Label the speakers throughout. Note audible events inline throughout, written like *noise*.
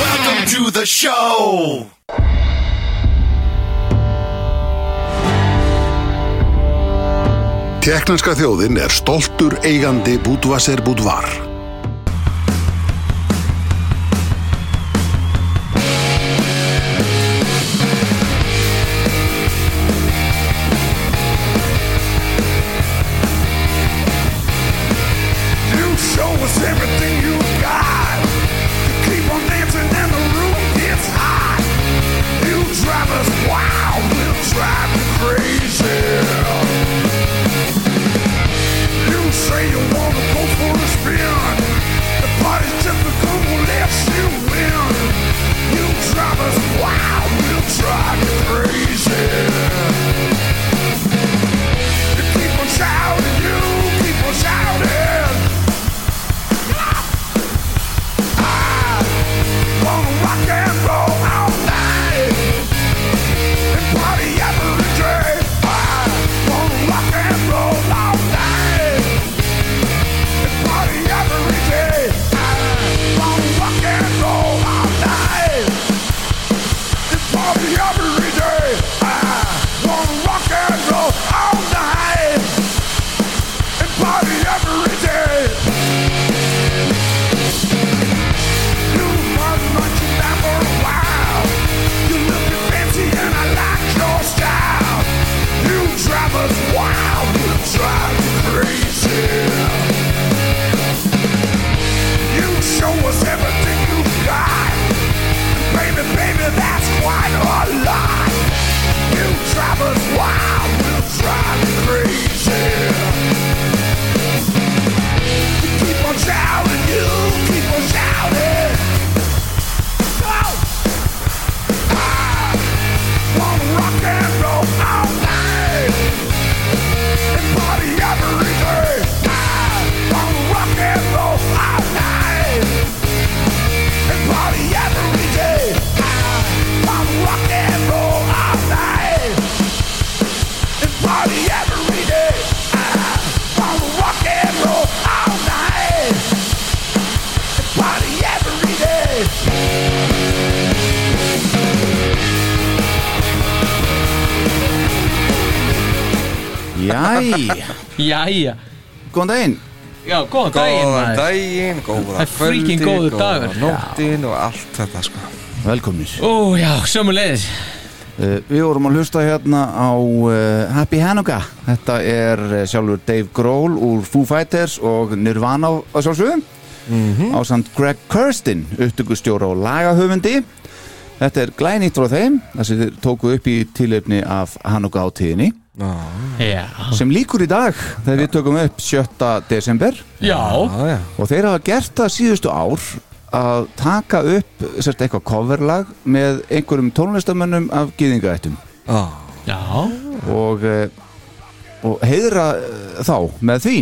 Speaker 1: Welcome to the show.
Speaker 2: Teknanska þjóðin er stoltur eigandi Budvaser Budvar.
Speaker 3: You show us everything you got. You keep on dancing and the room gets hot. You drive us wild, we'll drive you crazy. You say you wanna go for a spin. The party's typical, we'll let you win. You drive us wild, we'll drive you crazy. You keep on shouting, you keep on shouting. I wanna rock and roll all night and party every day. I wanna rock and roll all night and party every day. I wanna rock and roll all night and party every day. I wanna rock and roll all night and party every day. You must lunch you down for a while. You looking fancy and I like your style. You drive us wild, we'll drive you crazy. You show us everything you've got. Baby, baby, that's quite a lot. You drive us wild, we'll drive you crazy. Keep on shouting, you keep on shouting. Oh, I wanna rock and roll all night and party every day. I wanna rock and roll all night and party every day. I wanna rock and roll all night and party every day. I wanna rock and roll all night and party every day.
Speaker 4: Jæ,
Speaker 5: Jæja,
Speaker 4: góðan daginn
Speaker 5: já, góðan daginn
Speaker 6: Góðan
Speaker 5: maður.
Speaker 6: daginn, góðan
Speaker 5: Það er freaking góður
Speaker 6: góðan
Speaker 5: dagur.
Speaker 6: nóttin og allt þetta sko
Speaker 4: Velkomnir
Speaker 5: Ó já, sömulegis
Speaker 4: uh, Við vorum að hlusta hérna á uh, Happy Hanukkah Þetta er uh, sjálfur Dave Grohl úr Foo Fighters og Nirvana á- á sjálfsögum á samt Greg Kirsten upptökustjóra og lagahöfundi Þetta er glænýtt frá þeim það sem þeir tóku upp í tilöfni af Hanukkah átíðinni
Speaker 5: Já,
Speaker 4: sem líkur í dag þegar við tökum upp 7. desember
Speaker 5: já,
Speaker 6: Já, já,
Speaker 4: og þeir hafa gert það síðustu ár að taka upp sérst, eitthvað coverlag með einhverjum tónlistamönnum af gýðingaættum
Speaker 6: já
Speaker 5: já
Speaker 4: og, eh, og heiðra eh, þá með því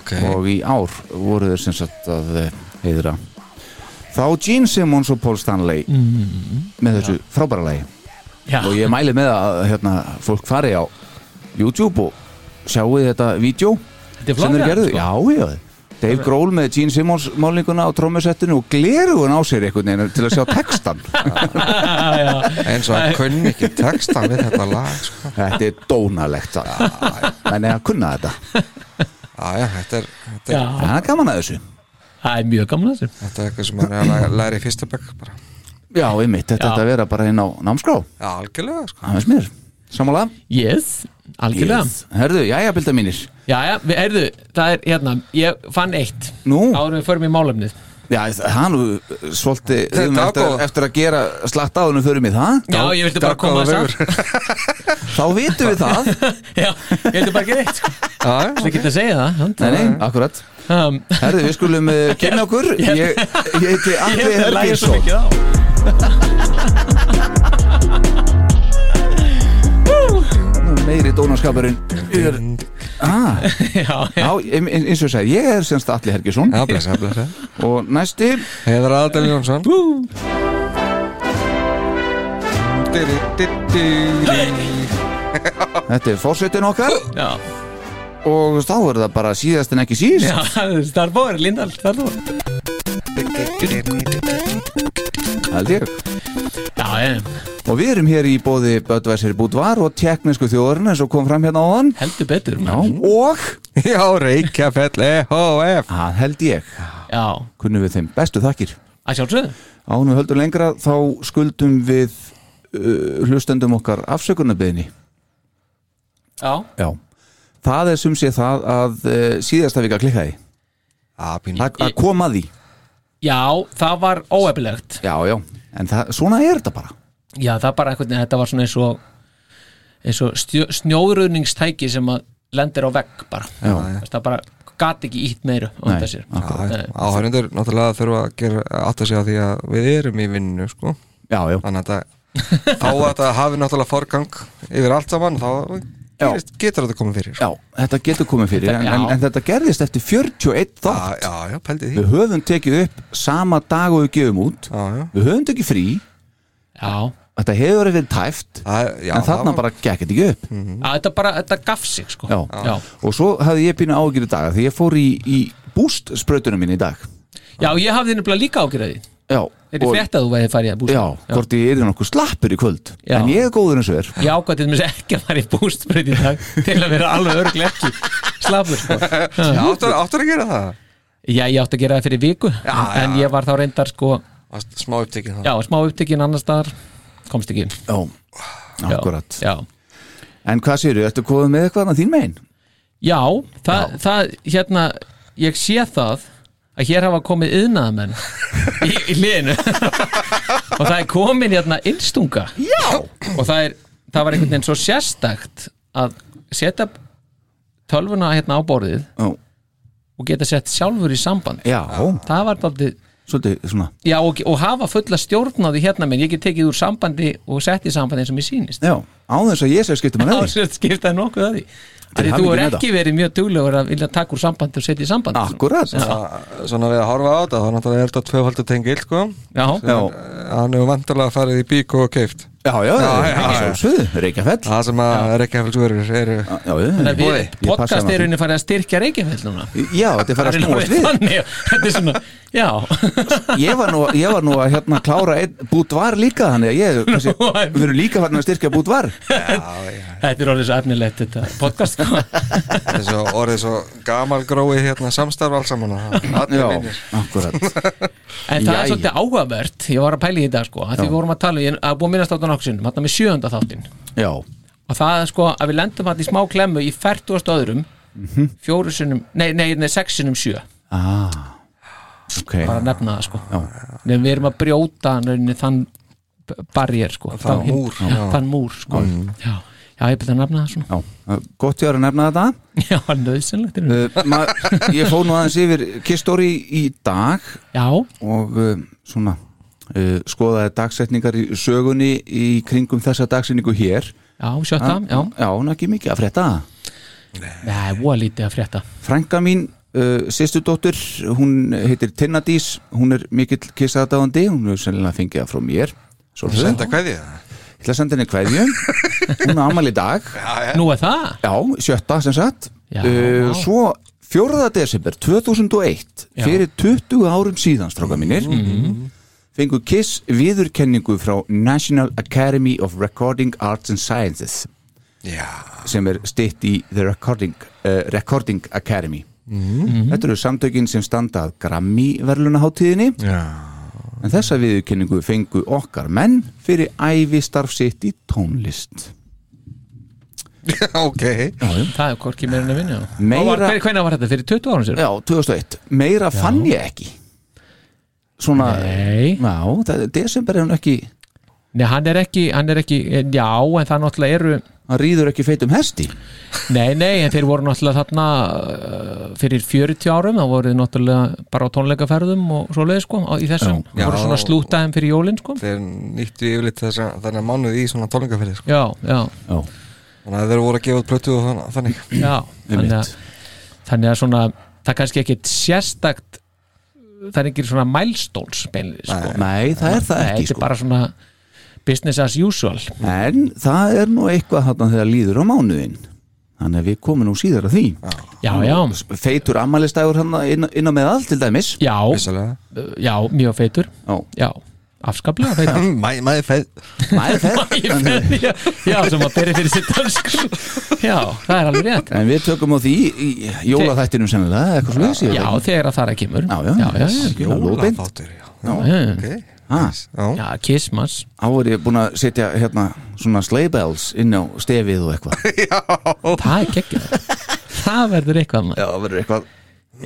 Speaker 6: Ok,
Speaker 4: og í ár voru þeir sem sagt að eh, heiðra þá Gene Simmons og Paul Stanley með þessu frábæra lagi
Speaker 5: Já,
Speaker 4: og ég mæli með að hérna, fólk fari á YouTube og sjáu þetta vídeo
Speaker 5: þetta
Speaker 4: sem
Speaker 5: er
Speaker 4: þeir
Speaker 5: flagrant,
Speaker 4: gerðu,
Speaker 5: sko.
Speaker 4: já, já Dave Grohl með Gene Simmons málninguna á trómusettinu og glerugun á sér einhvern veginn til að sjá *laughs* textan
Speaker 6: eins og hann kunni ekki texta við þetta
Speaker 5: *laughs*
Speaker 6: lag sko
Speaker 4: þetta er dónalegt en að kunna þetta
Speaker 6: Já, já, þetta er, þetta
Speaker 5: Já,
Speaker 6: er,
Speaker 4: það er gaman að þessu
Speaker 5: það er mjög gaman að þessu
Speaker 6: þetta er eitthvað sem maður er að læ- læra í fyrsta bekk bara
Speaker 4: já, einmitt, þetta
Speaker 5: Já.
Speaker 4: ætti að vera bara inn á námskrá
Speaker 6: Já, algjörlega sko
Speaker 4: það veist mér, samanlega
Speaker 5: Yes, algjörlega
Speaker 4: Herðu, jæja, bilda mínir
Speaker 5: Jæja, við heyrðu, það er hérna Ég fann eitt
Speaker 4: Nú?
Speaker 5: Árum við förum í málefnið
Speaker 4: Já, það er nú svolítið
Speaker 6: Þetta
Speaker 4: um
Speaker 6: var
Speaker 4: eftir,
Speaker 6: góð.
Speaker 4: eftir að gera slatt áðunum fyrir mig það
Speaker 5: Já, ég vildi bara koma
Speaker 6: dágóða
Speaker 5: þess að
Speaker 4: Þá vitum við það
Speaker 5: Já, ég vildi bara gera eitt sko.
Speaker 6: Já,
Speaker 5: Það geta að segja það
Speaker 4: Nei,
Speaker 5: hann.
Speaker 4: nei, akkurat
Speaker 5: um,
Speaker 4: Herðu, við skulum uh, kynna okkur *laughs* Ég, ég heiti Atli
Speaker 5: Ég hérna lægir svo
Speaker 4: Helginsson
Speaker 5: mikið á
Speaker 4: Nú meiri dónaskapurinn er, ah,
Speaker 5: *laughs* Já,
Speaker 4: Já, em- em- eins og ég segi, ég er semst Atli Helginsson
Speaker 6: já, blessa, blessa
Speaker 4: Og næsti
Speaker 6: Heiðar Adel Jónsson
Speaker 4: Þetta er fórsetin okkar
Speaker 5: já,
Speaker 4: Og þá er það bara síðast en ekki síðast
Speaker 5: já *laughs* Starfóður, Lindal, Starfóður
Speaker 4: Held ég
Speaker 5: Já, ég,
Speaker 4: Og við erum hér í bóði Böðvæsir Búdvar og teknisku þjóðurinn eins og kom fram hérna á hann
Speaker 5: heldur betur
Speaker 4: Já,
Speaker 5: maður.
Speaker 4: og
Speaker 6: Já, Reykjafell E EHF
Speaker 4: Það held ég
Speaker 5: já,
Speaker 4: Kunnum við þeim bestu þakkir
Speaker 5: að sjálfsögðu
Speaker 4: Ánum við höldum lengra þá skuldum við uh, hlustendum okkar afsökunarbyðinni
Speaker 5: Já,
Speaker 4: Já Það er sem sé það að uh, síðasta vika klikkaði
Speaker 6: Já, pínu
Speaker 4: Það að koma því
Speaker 5: já, það var óefilegt
Speaker 4: Já, já En það, svona er þetta bara
Speaker 5: Já, það bara einhvern veginn, þetta var svona eins og eins og stjó- snjóruðningstæki sem að lendir á vegg bara
Speaker 4: Já.
Speaker 5: Þess, það bara gat ekki ítt meiru undan
Speaker 4: Nei,
Speaker 5: sér Eh,
Speaker 4: akkurat.
Speaker 5: Nei.
Speaker 6: Áhörindur náttúrulega þurfa að gera átt að segja því að við erum í vinnu sko.
Speaker 4: Já, já
Speaker 6: þannig að þetta- þá að þetta hafi náttúrulega forgang yfir allt saman þá
Speaker 4: Já.
Speaker 6: gerist, getur þetta komið fyrir sko.
Speaker 4: Já, þetta getur komið fyrir en, en,
Speaker 5: já.
Speaker 4: en þetta gerðist eftir 41 þátt
Speaker 6: Ah, já, já, já, pældi því
Speaker 4: Við höfum tekið upp sama dag og við gefum út
Speaker 6: já, já.
Speaker 4: Við höfum tekið frí
Speaker 5: Já,
Speaker 4: Þetta hefur verið tæft
Speaker 6: Það- já,
Speaker 4: En þarna
Speaker 6: það var-
Speaker 4: bara gekk þetta ekki upp
Speaker 5: að þetta bara, þetta gaf sig sko
Speaker 4: Mm. Já.
Speaker 5: já.
Speaker 4: Og svo hafði ég pínu ágjur í dag Því ég fór í, í búst sprautunum mín í dag
Speaker 5: Já, ég hafði nefnilega líka ágjörði
Speaker 4: Já,
Speaker 5: Þetta er
Speaker 4: og-
Speaker 5: frétt að þú væði farið að búst
Speaker 4: já, hvort ég er nokkuð slappur í kvöld
Speaker 5: Já.
Speaker 4: En ég er góður eins og er
Speaker 5: Ég ákvæði til mér ekki að fara í bústbreyt í
Speaker 4: *laughs*
Speaker 5: dag til að vera alveg örglega ekki slafur sko.
Speaker 6: Já, áttur, áttur að gera það
Speaker 5: Já, ég átti að gera það fyrir viku
Speaker 6: Já,
Speaker 5: en
Speaker 6: já.
Speaker 5: ég var þá reyndar sko
Speaker 6: Varst smá upptekið það
Speaker 5: já, smá upptekinn annar staðar komst ekki já,
Speaker 4: Já, akkurat
Speaker 5: já.
Speaker 4: En hvað séru, ertu komið með eitthvað annað þín megin?
Speaker 5: Já, það, það, hérna, ég sé það að hér hafa komið yðnaðamenn í, í liðinu *laughs* og það er komin hérna innstunga Já! og það, er, það var einhvern veginn svo sérstakt að setja tölvuna hérna á borðið
Speaker 4: Já,
Speaker 5: og geta sett sjálfur í samband
Speaker 4: já
Speaker 5: það var daldið
Speaker 4: svolítið svona
Speaker 5: Já, og, og hafa fulla stjórn á því hérna minn, ég get tekið úr sambandi og sett í sambandi eins og mér sýnist
Speaker 4: Já, á þess að ég segi skiptum að neði
Speaker 5: ásett skiptaði nokkuð að því Því
Speaker 4: hamingju
Speaker 5: þú er
Speaker 4: með
Speaker 5: ekki verið mjög duglegur að vilja taka úr sambandi og setja í sambandi
Speaker 4: Akkurat
Speaker 6: Svona við að horfa á þetta, þá náttúrulega er þetta tvöfaldur tengil sko. Eh,
Speaker 5: Já,
Speaker 4: Já,
Speaker 6: Hann hefur vantilega farið í bík og keift
Speaker 4: já, já,
Speaker 6: Já, já,
Speaker 4: já
Speaker 6: já.
Speaker 4: Sjálfsöðu, Reykjafell
Speaker 6: Það sem að Reykjafellsverur eru
Speaker 4: Já, já,
Speaker 5: þannig að
Speaker 6: Boði,
Speaker 5: við
Speaker 4: ég passa hana.
Speaker 5: podcasteirinni farið að styrkja Reykjafell núna
Speaker 4: já, þetta er farið að snúast við
Speaker 5: Þannig, þetta er svona, já *laughs*
Speaker 4: Ég var nú, ég var nú að hérna klára einn búdvar líka þannig að ég, kannski,
Speaker 5: Nú, en-
Speaker 4: við erum líka farin að styrkja búdvar
Speaker 5: Þetta er orðið svo efnilegt þetta podcast sko.
Speaker 6: Þetta er svo orðið svo gamalgrói hérna, samstarf alls saman Allir
Speaker 4: Já,
Speaker 6: vinir.
Speaker 4: akkurat
Speaker 5: En það er
Speaker 4: Jæja.
Speaker 5: svolítið áhugavert, ég var að pæla í þetta sko, að því
Speaker 4: Já.
Speaker 5: við vorum að tala, ég er búið að minnast á þetta nokkusinnum, hann með sjöunda þáttinn
Speaker 4: Já,
Speaker 5: og það er sko að við lendum hann í smá klemmu í 40 öðrum
Speaker 4: Mhm.
Speaker 5: fjóru sinnum, nei, nei, nei, sex sinnum sjö
Speaker 4: Ah, ok
Speaker 5: bara að nefna það sko Nefnum við erum að brjóta nörni, þann barjér sko
Speaker 6: Þann
Speaker 5: hin-
Speaker 6: múr, já. Mm.
Speaker 5: þann múr sko já. já, ég byrja að nefna það svona
Speaker 4: Já, uh, gott ég var að nefna þetta
Speaker 5: *laughs* já, nöðsynlegt er
Speaker 4: Uh, ma, ég fór nú aðeins yfir kistóri í dag
Speaker 5: já,
Speaker 4: og uh, svona uh, skoðaði dagsetningar í sögunni í kringum þessa dagsetningu hér Ah,
Speaker 5: já, sjötta, já
Speaker 4: já, hún er ekki mikið að frétta
Speaker 5: nei, voða lítið að frétta
Speaker 4: frænka mín, uh, sýstudóttur hún heitir Tinnadís hún er mikill kissaðdáðandi hún er sennilega fengið það frá mér svo er það.
Speaker 6: Senda hvað því
Speaker 4: ég ætla að senda henni kveðju hún er ámæli í dag
Speaker 5: nú er það,
Speaker 4: Já, sjötta sem sagt
Speaker 5: Já,
Speaker 4: uh,
Speaker 5: vá.
Speaker 4: Svo 4. desember 2001
Speaker 5: Já. Mhm.
Speaker 4: Fyrir 20 árum síðan, stráka mínir Fengu Kiss viðurkenningu frá National Academy of Recording Arts and Sciences
Speaker 6: Já, *laughs*
Speaker 4: sem er stitt í The Recording, uh, Recording Academy
Speaker 5: Mhm.
Speaker 4: Þetta eru samtökin sem standa að Grammy verðlunaháttíðinni
Speaker 6: já
Speaker 4: en þessa viðurkenningu fengu okkar menn fyrir ævi starf sitt í tónlist
Speaker 6: ok
Speaker 5: það er hvorki meira en að vinja
Speaker 4: Meira-
Speaker 5: Meira... Hvernig var þetta? Fyrir 20 árum sér?
Speaker 4: Já, 2001 Meira fann ég ekki Svona
Speaker 5: Nei,
Speaker 4: Já, það, desember er hún ekki
Speaker 5: Nei hann, er ekki, hann er ekki eh, Já, en það náttúrulega eru
Speaker 4: Hann rýður ekki feitum hesti
Speaker 5: Nei, nei, en þeir voru náttúrulega þarna uh, fyrir 40 árum, þá voru þeir náttúrulega bara á tónleikaferðum og svoleiði sko á, í þessum,
Speaker 6: Já.
Speaker 5: voru svona
Speaker 6: Já.
Speaker 5: slútaðum fyrir jólin sko
Speaker 6: þeir nýttu yfirleitt þess að þannig að mánuði í svona tónleikaferði sko.
Speaker 5: Já, já,
Speaker 4: Já,
Speaker 6: þannig að þeir voru að gefa út plötu og þann- þannig
Speaker 5: já þannig að, þannig að svona það er kannski ekkit sérstakt það er ekki svona milestones beinlega sko,
Speaker 4: Nei, það er það
Speaker 5: Nei,
Speaker 4: ekki
Speaker 5: þetta er
Speaker 4: sko
Speaker 5: bara svona business as usual
Speaker 4: En það er nú eitthvað þarna þegar líður á mánuðin Þannig að við komum nú síðar að því
Speaker 5: Já, já,
Speaker 4: Feitur ammælistægur hann inn, inn á með allt til dæmis
Speaker 5: já,
Speaker 6: vissalega
Speaker 5: já, mjög feitur
Speaker 4: Já,
Speaker 5: Já, afskaplega
Speaker 4: *laughs*
Speaker 5: feitur
Speaker 6: Mm, Mæ- maður feð
Speaker 4: maður fer
Speaker 5: Ég fer- já, *laughs* já, sem að beri fyrir sitt danskur Já, það er alveg rétt
Speaker 4: En við tökum á því í jólaþættinum sennilega Eitthvað slúið
Speaker 5: Já,
Speaker 4: síðan
Speaker 5: þegar að það kemur
Speaker 4: Já, já,
Speaker 5: já, já,
Speaker 4: já, lóðbeint.
Speaker 6: Jólaþáttur, já. Já,
Speaker 5: já.
Speaker 6: ok.
Speaker 4: Ha.
Speaker 6: Nice. Já.
Speaker 5: já kissmas
Speaker 4: Þá er ég búin að setja hérna svona sleigh bells inn á stefið og eitthvað
Speaker 5: Það er geggjum Það verður eitthvað maður
Speaker 4: *laughs* Já, Ah. það verður eitthvað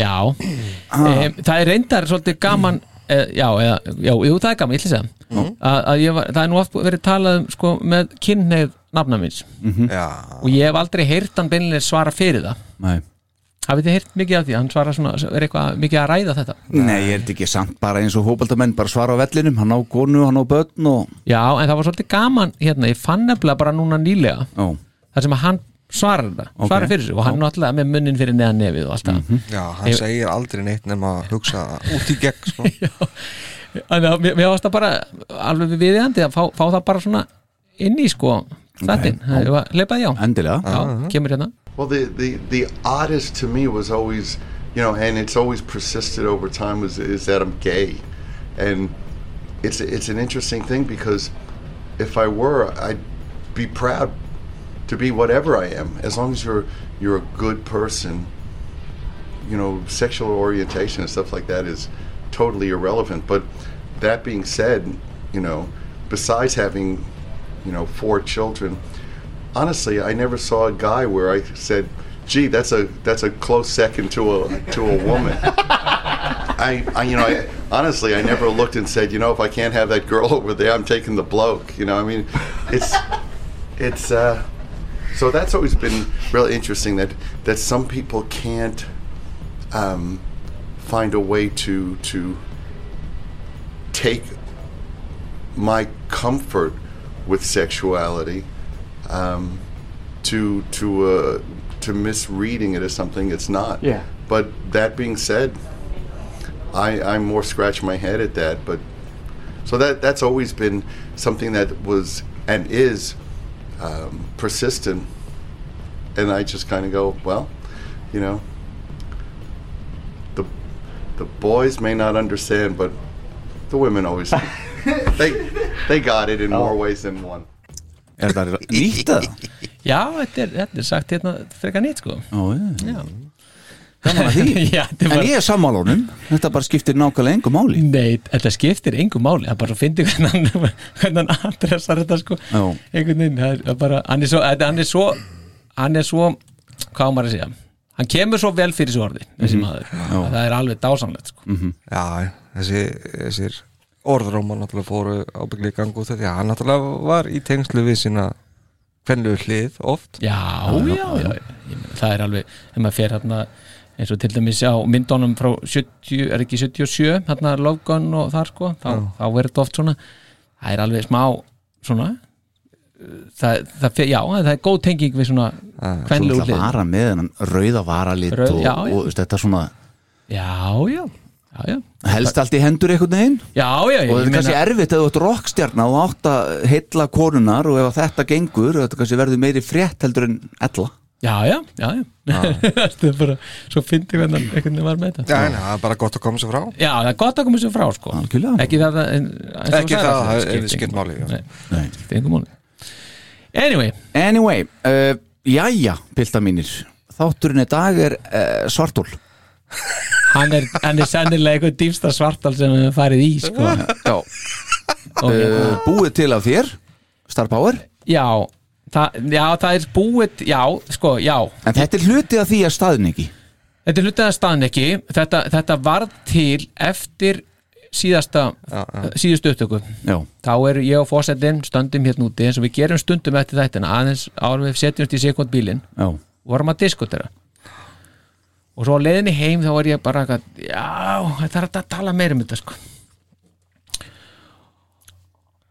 Speaker 5: Já, um, það er reyndar svolítið gaman uh, Já, eða, já, jú, það er gaman, ég ætla að segja að, að ég var, Það er nú oft verið talað um sko, með kynneið nafna míns
Speaker 4: Mhm.
Speaker 6: Já.
Speaker 5: og ég hef aldrei heyrt hann beinlega svara fyrir það
Speaker 4: Nei,
Speaker 5: Hafið þið heyrt mikið af því, hann svara svona er eitthvað mikið að ræða þetta
Speaker 4: Nei ég er þetta ekki samt bara eins og hópaldamenn bara svara á vellinum, hann á konu, hann á börn og
Speaker 5: Já, en það var svolítið gaman hérna, ég fann nefnilega bara núna nýlega
Speaker 4: Ó,
Speaker 5: þar sem að hann svarar þetta,
Speaker 4: Ok. Mhm.
Speaker 5: svarar fyrir sig og hann náttúrulega með munnin fyrir neðan nefið og allt það
Speaker 6: já, hann segir aldrei neitt nema að hugsa út í gegn *laughs* sko.
Speaker 5: Þannig að mér mér varst það bara alveg viðjandi að fá, fá það bara svona inn í sko þættin, okay. leipaði já
Speaker 4: endilega
Speaker 5: Já, kemur hérna
Speaker 7: Well, the, the, the oddest to me was always, you know, and it's always persisted over time is, is that I'm gay. And it's, it's an interesting thing because if I were, I'd be proud to be whatever I am. As long as you're, you're a good person, you know, sexual orientation and stuff like that is totally irrelevant. But that being said, you know, besides having, you know, four children, honestly, I never saw a guy where I said, "Gee, that's a that's a close second to a to a woman." I, I you know, I, honestly, I never looked and said, you know, if I can't have that girl *laughs* over there, I'm taking the bloke. You know, I mean, it's it's uh, so that's always been really interesting that that some people can't um, find a way to to take my comfort with sexuality um, to to uh, to misreading it as something it's not.
Speaker 8: Yeah.
Speaker 7: But that being said, I I more scratch my head at that. But so that that's always been something that was and is um, persistent, and I just kind of go, well, you know, the the boys may not understand, but the women always they they got it in more ways than one.
Speaker 4: Er það nýtt að það?
Speaker 5: Já, þetta er, þetta er sagt hérna frekar nýtt sko
Speaker 4: Ó, já.
Speaker 5: Já,
Speaker 4: Gaman
Speaker 5: *laughs*
Speaker 4: að því
Speaker 5: Já, þetta er
Speaker 4: En
Speaker 5: bara-
Speaker 4: ég er sammálunum, þetta bara skiptir nákvæmlega engu máli
Speaker 5: Nei, þetta skiptir engu máli það er bara að fyndi hvernig hann *laughs* hvernig hann adressar þetta sko
Speaker 4: Já.
Speaker 5: einhvern veginn, það er bara hann er svo, þetta- hann er svo, hann er svo hvað á maður að segja, hann kemur svo vel fyrir svo orði, þessi
Speaker 4: Mhm.
Speaker 5: maður Að það er alveg dásamlegt sko
Speaker 6: já, þessi, þessir orðróma náttúrulega fóru ábyggli í gang út af því að hann náttúrulega var í tengslu við sína hvernlu hlið oft
Speaker 5: já, já, já, já. Ég meina, það er alveg, þegar maður fer hérna eins og til dæmis á myndunum frá 70, er ekki 77, hérna Love Gun og þar sko, þá, þá verður þetta oft svona það er alveg smá svona það, það, fer- já, það er góð tenging við svona
Speaker 4: Svo
Speaker 5: kvenlegu
Speaker 4: ætla að
Speaker 5: hlið
Speaker 4: vara með hennan rauða varalit
Speaker 5: Rauð-
Speaker 4: og,
Speaker 5: já, já.
Speaker 4: og veist, þetta svona
Speaker 5: já, já, já, já
Speaker 4: helst allt í hendur einhvern veginn
Speaker 5: já, já,
Speaker 4: og þetta
Speaker 5: ég
Speaker 4: er kannski
Speaker 5: meina
Speaker 4: erfitt ef þú ert rockstjarna og átt að heilla konunar og ef að þetta gengur þetta kannski verður meiri frétt heldur en ella
Speaker 5: já, já, já, já þetta er bara, svo fyndi hvernig hann- einhvern veginn var með þetta
Speaker 6: já, en það er bara gott að koma sér frá
Speaker 5: já, það er gott að koma sér frá sko
Speaker 4: Algjörlega.
Speaker 5: ekki það en- eins og
Speaker 6: Ekki
Speaker 5: sagði,
Speaker 6: það, það er-
Speaker 5: skiptir
Speaker 6: skipt
Speaker 5: engu
Speaker 6: máli, já.
Speaker 5: Nei, skiptir engu máli anyway,
Speaker 4: Anyway, uh, jæja, pilda mínir Þátturinn í dag er uh, svartól
Speaker 5: hann er, hann er sennilega einhver dýfsta svartal sem við farið í sko. *laughs*
Speaker 4: Já, *laughs*
Speaker 5: okay.
Speaker 4: uh, búið til af þér Star Power
Speaker 5: já, það, já, það er búið, já, sko, já
Speaker 4: En þetta er hluti af því að staðin ekki
Speaker 5: Þetta er hlutið að staðan ekki þetta, þetta varð til eftir síðasta, eh, síðustu upptöku
Speaker 4: Já,
Speaker 5: þá er ég og fósettin stöndum hérna úti eins og við gerum stundum eftir þetta aðeins árum við setjumst í sekund bílinn
Speaker 4: já,
Speaker 5: og vorum að diskutera og svo á leiðinni heim þá var ég bara að, já, það er að tala meira um þetta sko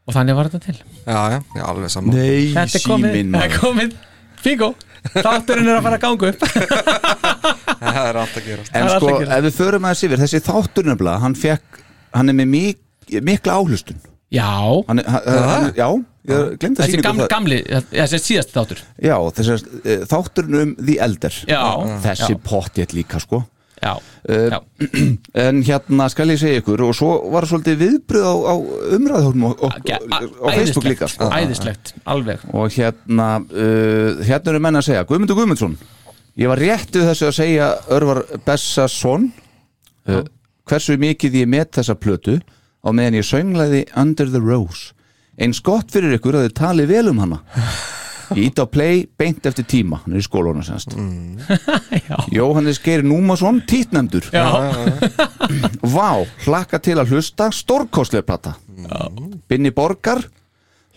Speaker 5: og þannig var þetta til
Speaker 6: já, já, já, alveg saman
Speaker 4: Nei,
Speaker 5: þetta er komið, það er komið fingo, þátturinn er að fara að ganga upp
Speaker 4: *laughs*
Speaker 6: það er allt að gerast
Speaker 4: En
Speaker 5: *laughs* Það
Speaker 4: sko,
Speaker 5: er allt að gera.
Speaker 4: ef við förum aðeins yfir Þessi þáttur nefnilega, hann fekk Hann er með mik, mikla áhlustun
Speaker 5: já,
Speaker 4: hann, er- hann, hann, Já, ég glemd að
Speaker 5: þessi
Speaker 4: sýningu
Speaker 5: gamli,
Speaker 4: það-
Speaker 5: gamli þessi síðast þáttur
Speaker 4: Já, þessar eh, þátturinn um The Elder
Speaker 5: já,
Speaker 4: Þessi
Speaker 5: já.
Speaker 4: pottjétt líka sko
Speaker 5: já,
Speaker 4: Eh,
Speaker 5: já.
Speaker 4: En hérna skal ég segja ykkur Og svo var svolítið viðbröð á, á umræðhólum og, og,
Speaker 5: Ge- a-
Speaker 4: á Facebook
Speaker 5: æðislegt,
Speaker 4: líka sko.
Speaker 5: æðislegt, alveg
Speaker 4: Og hérna uh, Hérna eru menn að segja Guðmundur Guðmundsson Ég var rétt við þessu að segja Örvar Bessason uh, Hversu mikið ég met þessa plötu Á meðan ég sönglaði Under the Rose Eins gott fyrir ykkur að þið tali vel um hana Ég ít á play beint eftir tíma Hann er í skólanu semst
Speaker 5: Mm. *laughs*
Speaker 4: Jóhannes Geir Númason, títnæmdur
Speaker 5: já,
Speaker 4: Vá, hlakka til að hlusta stórkostlega plata Binni Borgar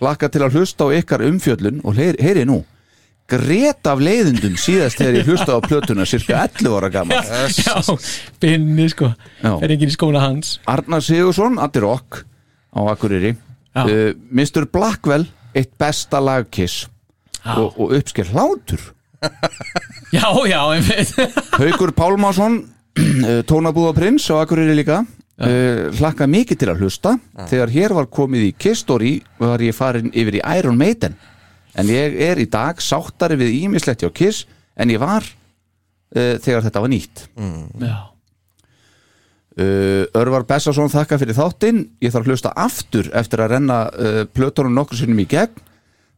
Speaker 4: hlakka til að hlusta á ykkar umfjöllun og heyri, heyri nú grét af leiðindum síðast þegar ég hlusta á plötuna cirka 11 ára gammal
Speaker 5: já, binni sko
Speaker 4: ah, Já.
Speaker 5: er enginn í skóla hans
Speaker 4: Arnar Sigursson, Addi Rock á Akureyri
Speaker 5: Já.
Speaker 4: uh, Mr. Blackwell, eitt besta lagkiss og, og uppsker hlátur
Speaker 5: já, já, einmitt
Speaker 4: Haukur *clears throat* Pálmásson tónabúða prins á Akureyri líka uh, hlakka mikið til að hlusta þegar hér var komið í Kistori var ég farin yfir í Iron Maiden en ég er í dag sáttari við ímislegt hjá Kiss en ég var uh, þegar þetta var nýtt
Speaker 5: já,
Speaker 4: uh, Örvar Bessason þakka fyrir þáttinn ég þarf að hlusta aftur eftir að renna uh, plötunum nokkur sinnum í gegn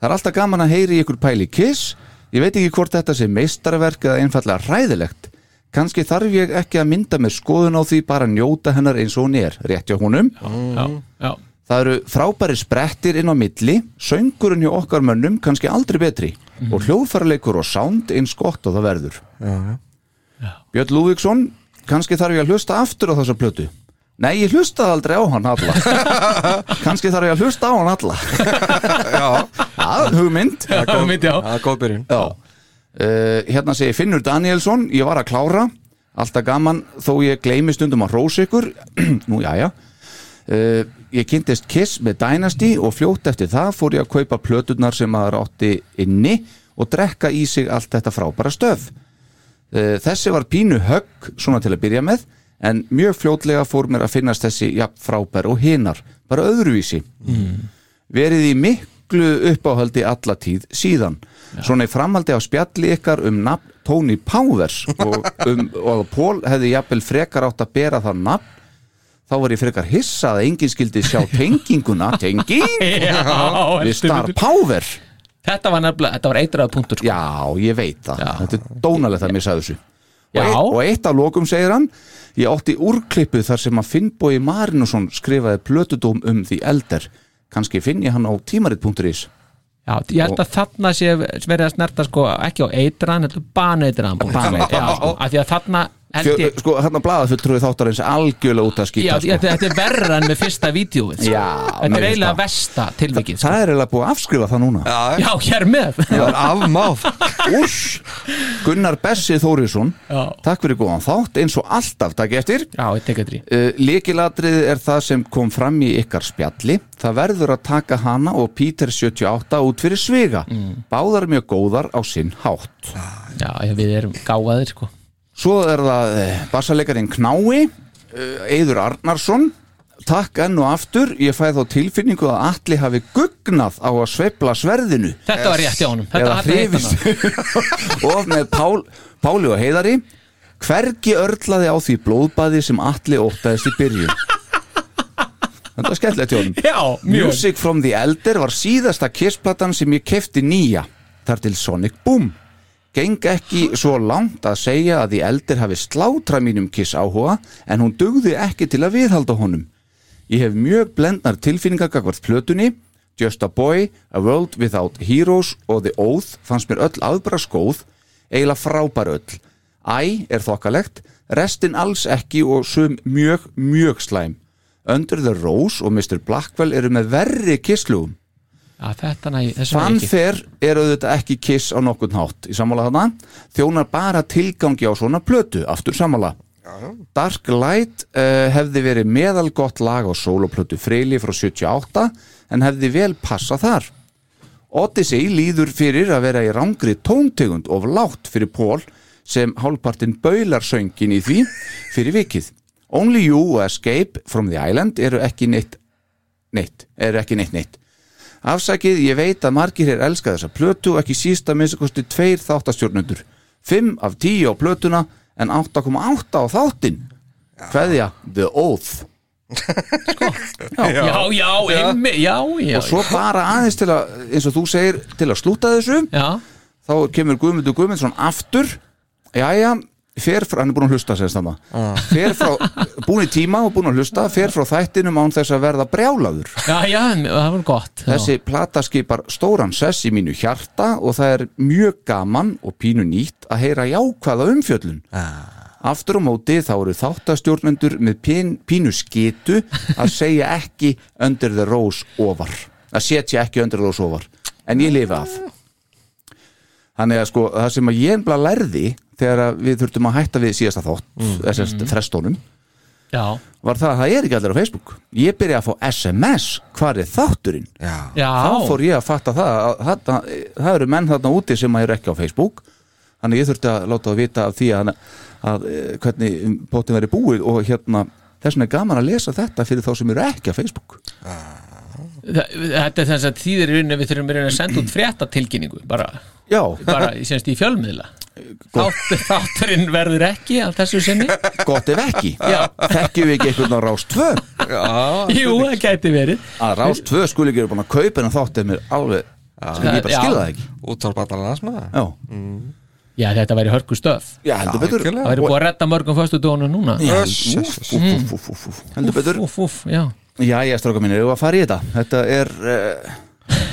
Speaker 4: það er alltaf gaman að heyri ykkur pæli kiss ég veit ekki hvort þetta sé meistarverk eða einfallega ræðilegt kannski þarf ég ekki að mynda mér skoðun á því bara að njóta hennar eins og hún er rétt hjá húnum
Speaker 5: já,
Speaker 4: Mhm.
Speaker 5: já,
Speaker 4: það eru frábæri sprettir inn á milli söngurinn hjá okkar mönnum kannski aldrei betri og hljóðfærarleikur og sound eins gott og það verður Björn Lúvíksson kannski þarf ég að hlusta aftur á þessa plötu Nei, ég hlustaði aldrei á hann alla kannski þarf ég að hlusta á hann alla Já, að hugmynd
Speaker 5: já, einmitt, já.
Speaker 6: það er góð byrjun
Speaker 4: Já uh, Hérna segir Finnur Danielsson Ég var að klára, alltaf gaman Þó ég gleymi stundum að rósa ykkur *clears throat* Nú, jæja uh, Ég kynntist Kiss með Dynasty Og fljótt eftir það fór ég að kaupa plöturnar Sem maður átti inni Og drekka í sig allt þetta frábæra stöf uh, Þessi var pínu högg Svona til að byrja með En mjög fljótlega fór mér að finnast þessi jafn frábær og hinar, bara öðruvísi verið í miklu uppáhaldi alla tíð síðan svona í framhaldi á spjalli ykkar um nafn Tony Powers og, um, og að Pól hefði jafnvel frekar átt að bera það nafn þá var ég frekar hissa að enginn skildi sjá tenginguna tenging
Speaker 5: Já,
Speaker 4: við
Speaker 5: heldur
Speaker 4: Star
Speaker 5: betur.
Speaker 4: Power
Speaker 5: þetta var nefnilega, þetta var eitraða punktur sko.
Speaker 4: Já, ég veit það, þetta er dónalegt að missa þessu og,
Speaker 5: Já.
Speaker 4: eitt, og eitt af lokum segir hann ég átti úrklippu þar sem að Finnbói Marinusson skrifaði plötudóm um því elder kannski finn ég hann á tímarit.is
Speaker 5: já, ég held að þarna sé sem verið að snerta sko, ekki á eitraðan heldur baneitraðan punkt
Speaker 4: Baneitraðan,
Speaker 5: já, sko, af því að þarna held
Speaker 4: Fjö,
Speaker 5: ég
Speaker 4: sko, hérna blaða fulltrúi þáttarins algjörlega út að
Speaker 5: Já,
Speaker 4: skýta
Speaker 5: ég-
Speaker 4: sko.
Speaker 5: þetta er verra en með fyrsta vídjóið sko.
Speaker 4: Já,
Speaker 5: Þetta
Speaker 4: mér
Speaker 5: er
Speaker 4: finnst
Speaker 5: eiginlega
Speaker 4: það.
Speaker 5: versta tilvikið sko.
Speaker 4: Það er eiginlega búið að afskrifa það núna
Speaker 5: Já, hér með
Speaker 6: það er afmáf
Speaker 4: Úss, Gunnar Bessi Þórisson
Speaker 5: Já.
Speaker 4: Takk fyrir góðan þátt eins og alltaf takk eftir
Speaker 5: Já, ég tekið þrý
Speaker 4: uh, Líkilatriði er það sem kom fram í ykkar spjalli Það verður að taka hana og Peter 78 út fyrir sviga Báðar mjög góðar á sinn hátt
Speaker 5: Já, ég- við erum gáðaðir sko.
Speaker 4: Svo er það eh, bassalekarinn Knái, eh, Eiður Arnarsson Takk enn og aftur, ég fæði þá tilfinningu að Atli hafi gugnað á að sveifla sverðinu
Speaker 5: Þetta var rétt hjá honum Þetta
Speaker 4: eða
Speaker 5: var rétt hjá honum.
Speaker 4: hrifist *laughs* og með Pál, Páli og Heiðari hvergi örlaði á því blóðbæði sem Atli óttaðist í byrjun Þetta var skemmtilegt hjá honum
Speaker 5: *laughs* Já, mjög
Speaker 4: Music from the Elder var síðasta kissplattan sem ég kefti nýja þar til Sonic Boom geng ekki svo langt að segja að The Elder hafi slátra mínum kiss áhuga en hún dugði ekki til að viðhalda honum ég hef mjög blendnar tilfinningar gagvart plötunni Just a Boy, A World Without Heroes og The Oath fannst mér öll aðbraskóð, eiginlega frábær öll. Æ er þokkalegt, restin alls ekki og sum mjög, mjög slæm. Under the Rose og Mr. Blackwell eru með verri kisslugum.
Speaker 5: að þetta næ, þessum er ekki
Speaker 4: Fanfare er auðvitað ekki kiss á nokkurn hátt í sammála þarna, þjónar bara tilgangi á svona plötu, aftur sammála Dark Light uh, hefði verið meðal gott lag á soloplötu Freyli frá 78 en hefði vel passa þar Odyssey líður fyrir að vera í rángri tóntegund of lágt fyrir Pól sem hálfpartin baular söngin í því fyrir vikið Only You og Escape from the Island eru ekki neitt neitt, eru ekki neitt neitt Afsakið, ég veit að margir hér elska þessa plötu og ekki síst að minnsta kosti tveir þáttastjórnundur. 5 af 10 á plötuna en 8,8 á þáttin. Kveðja, The Oath.
Speaker 5: já, já, einmi, já, já
Speaker 4: Svo bara aðeins til að, eins og þú segir, til að slúta þessu,
Speaker 5: já,
Speaker 4: þá kemur Guðmundur Guðmundsson aftur. Jæja, fer frá, hann er búin að hlusta, segist þannig. Fer frá, búin í tíma og búin að hlusta, fer frá þættinum án þess að verða brjálaður.
Speaker 5: já, já, það var gott já.
Speaker 4: Þessi plata skipar stóran sess í mínu hjarta og það er mjög gaman og pínu nýtt að heyra jákvæða umfjöllun. Aftur á móti þá eru þáttastjórnendur með pín, pínu skitu að segja ekki under the rose ofar. Að setja ekki under the rose ofar. En ég lifi af. Þannig að sko, það sem að ég ennbla lærði þegar að við þurftum að hætta við síðasta þátt, mm. þessast frestónum,
Speaker 5: já,
Speaker 4: var það að það er ekki allir á Facebook. Ég byrja að fá SMS, hvar er þátturinn?
Speaker 6: já,
Speaker 5: já
Speaker 4: þá fór ég að fatta það að þarna, það eru menn þarna úti sem eru ekki á Facebook þannig ég þurfti að láta að vita af því að, að eh, hvernig bóttin verið búið og hérna þess vegna er gaman að lesa þetta fyrir þá sem eru ekki á Facebook
Speaker 5: Þa- Þetta er þess að þýðir í rauninni að við þurfum í rauninni að senda út fréttatilkynningu bara,
Speaker 4: Já,
Speaker 5: bara í, semst, í fjölmiðla Þátt, Þátturinn verður ekki á þessu
Speaker 4: *laughs*
Speaker 5: sinni
Speaker 4: gott ef
Speaker 5: *laughs*
Speaker 4: ekki Þekkjum við ekki einhvern á Rás 2
Speaker 5: Jú, það gæti verið
Speaker 4: að Rás 2 skuli ekki vera búin að kaupa en þátt er mér alveg sem ég bara
Speaker 5: Já.
Speaker 4: skilða það ekki
Speaker 6: útvarp allan landsmaða
Speaker 4: Já,
Speaker 5: Já, þetta væri hörku stöf
Speaker 4: já heldur betur
Speaker 6: algjörlega.
Speaker 5: Það væri búið að redda mörgum föstu dónu núna
Speaker 4: Já,
Speaker 6: Uss,
Speaker 4: úff, úff, úff, úff, úff, úff. Heldur betur
Speaker 5: Úf, úf, já
Speaker 4: Jæja, stráka mínir, ég var að fara í þetta Þetta er uh,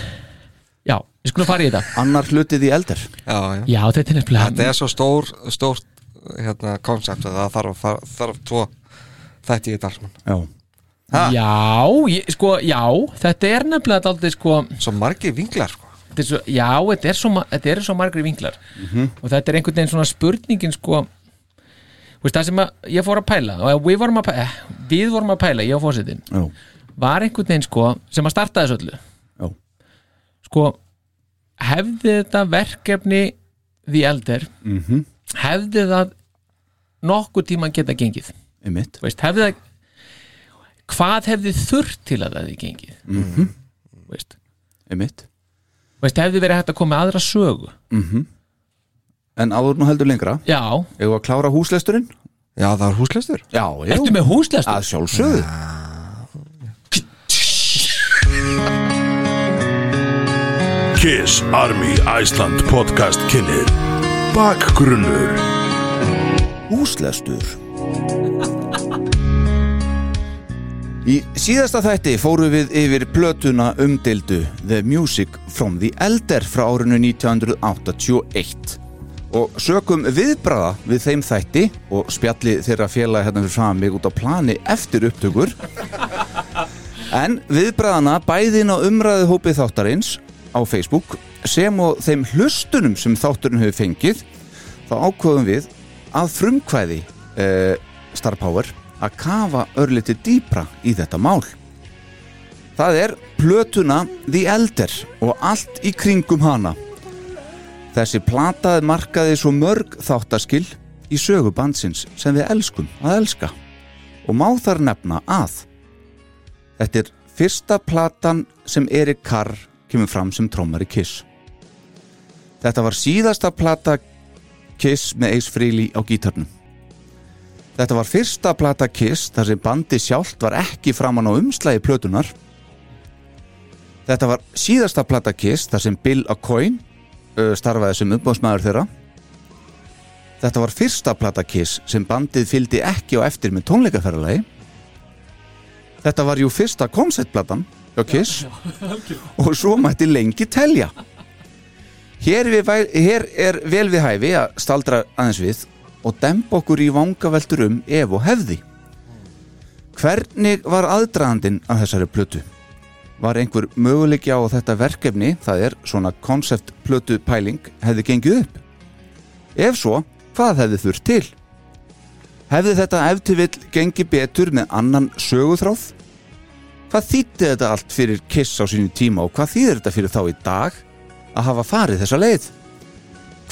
Speaker 5: Já, við skulum fara í þetta
Speaker 4: annar hlutið í eldir
Speaker 6: já, já.
Speaker 5: Já, þetta er nefnilega
Speaker 6: þetta er svo stór stórt hérna koncept að það þarf, að fara- þarf tvo þætti í þetta sko. alls mann
Speaker 4: Já,
Speaker 5: Já, ég, sko, já, þetta er nefnilega daldið, sko,
Speaker 6: svo margir vinglar sko
Speaker 5: þetta er svo, já, þetta er svo, ma- þetta er svo margri vinklar
Speaker 6: Mhm.
Speaker 5: og þetta er einhvern veginn svona spurningin, sko, þú veist, það sem að ég fór að pæla og að við vorum að pæla, við vorum að pæla, ég og fósitin,
Speaker 4: já,
Speaker 5: var einhvern veginn, sko, sem að starta þessu öllu,
Speaker 4: já
Speaker 5: sko, hefði þetta verkefni The Elder,
Speaker 6: Mhm.
Speaker 5: -hmm. hefði það nokkuð tíma geta gengið?
Speaker 4: Einmitt.
Speaker 5: Þú veist, hefði það hvað hefði þurft til að það hefði gengið mm -hmm. veist,
Speaker 4: Einmitt.
Speaker 5: Þú veist, hefði verið hægt að koma með aðra sögu
Speaker 4: En áður nú heldur lengra,
Speaker 5: já,
Speaker 4: eigum við að klára húslesturinn?
Speaker 6: já það er húsleistur
Speaker 4: Já, já.
Speaker 5: ertu með húslæstu
Speaker 4: Að sjálfsögðu.
Speaker 1: Kiss Army Iceland podcast kynir Bakgrunnur
Speaker 4: Húslestur. Í síðasta þætti fóru við yfir plötuna umdildu The Music from the Elder frá árinu 1981 og sökum viðbraða við þeim þætti og spjalli þeirra félagi hérna fyrir fram mig út á plani eftir upptökur En viðbræðana bæðin á umræðu hópið þáttarins á Facebook sem og þeim hlustunum sem þátturinn hefur fengið þá ákvöðum við að frumkvæði eh, Star Power að kafa örliti dýpra í þetta mál. Það er plötuna The Elder og allt í kringum hana. Þessi plataði markaði svo mörg þáttaskil í sögu bandsins sem við elskum að elska og má þar nefna að Þetta er fyrsta platan sem Erik Carr kemur fram sem trommari Kiss. Þetta var síðasta plata Kiss með Ace Frehley á gítarnum. Þetta var fyrsta plata Kiss þar sem bandi sjálft var ekki framan á umslagi plötunar. Þetta var síðasta plata Kiss þar sem Bill O'Coin ö, uh, starfaði sem umbóðsmaður þeirra. Þetta var fyrsta plata Kiss sem bandið fylgdi ekki á eftir með tónleikaferðalagi. Þetta var jú fyrsta konceptplatan hjá Kiss og svo mætti lengi telja hér, við, væ- hér er vel við hæfi að staldra aðeins við og dempa okkur í vangaveltur um ef og hefði hvernig var aðdraðandinn af þessari plötu? Var einhver möguleiki á að þetta verkefni, það er svona konsept plötu pæling, hefði gengið upp? Ef svo, hvað hefði þurft til? Hefði þetta ef til vill gengið betur með annan söguþráð? Hvað þýtti þetta allt fyrir Kiss á sínu tíma og hvað þýðir þetta fyrir þá í dag að hafa farið þessa leið?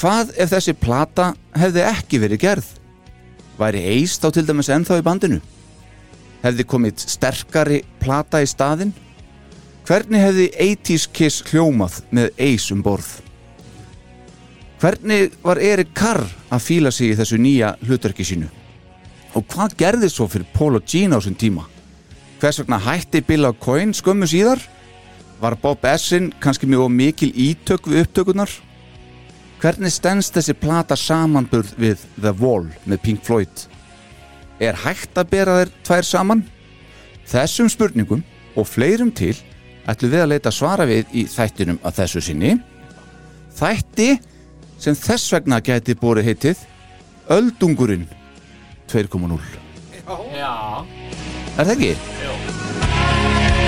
Speaker 4: Hvað ef þessi plata hefði ekki verið gerð? Væri eist þá til dæmis ennþá í bandinu? Hefði komið sterkari plata í staðinn? Hvernig hefði 80s Kiss hljómað með Ace um borð? Hvernig var Erik Carr að fíla sig í þessu nýja hlutverki sínu? Og hvað gerði svo fyrir Paul og Gene á þessum tíma? Hvers vegna hætti Bill og Coyne skömmu síðar? Var Bob Essin kannski mjög mikil ítök við upptökunar? Hvernig stendst þessi plata samanburð við The Wall með Pink Floyd? Er hægt að bera þær tvær saman? Þessum spurningum og fleirum til ætlum við að leita svara við í þættinum að þessu sinni. Þætti sem þess vegna gæti borið heitið Öldungurinn 2.0
Speaker 5: Já
Speaker 4: Er það ekki?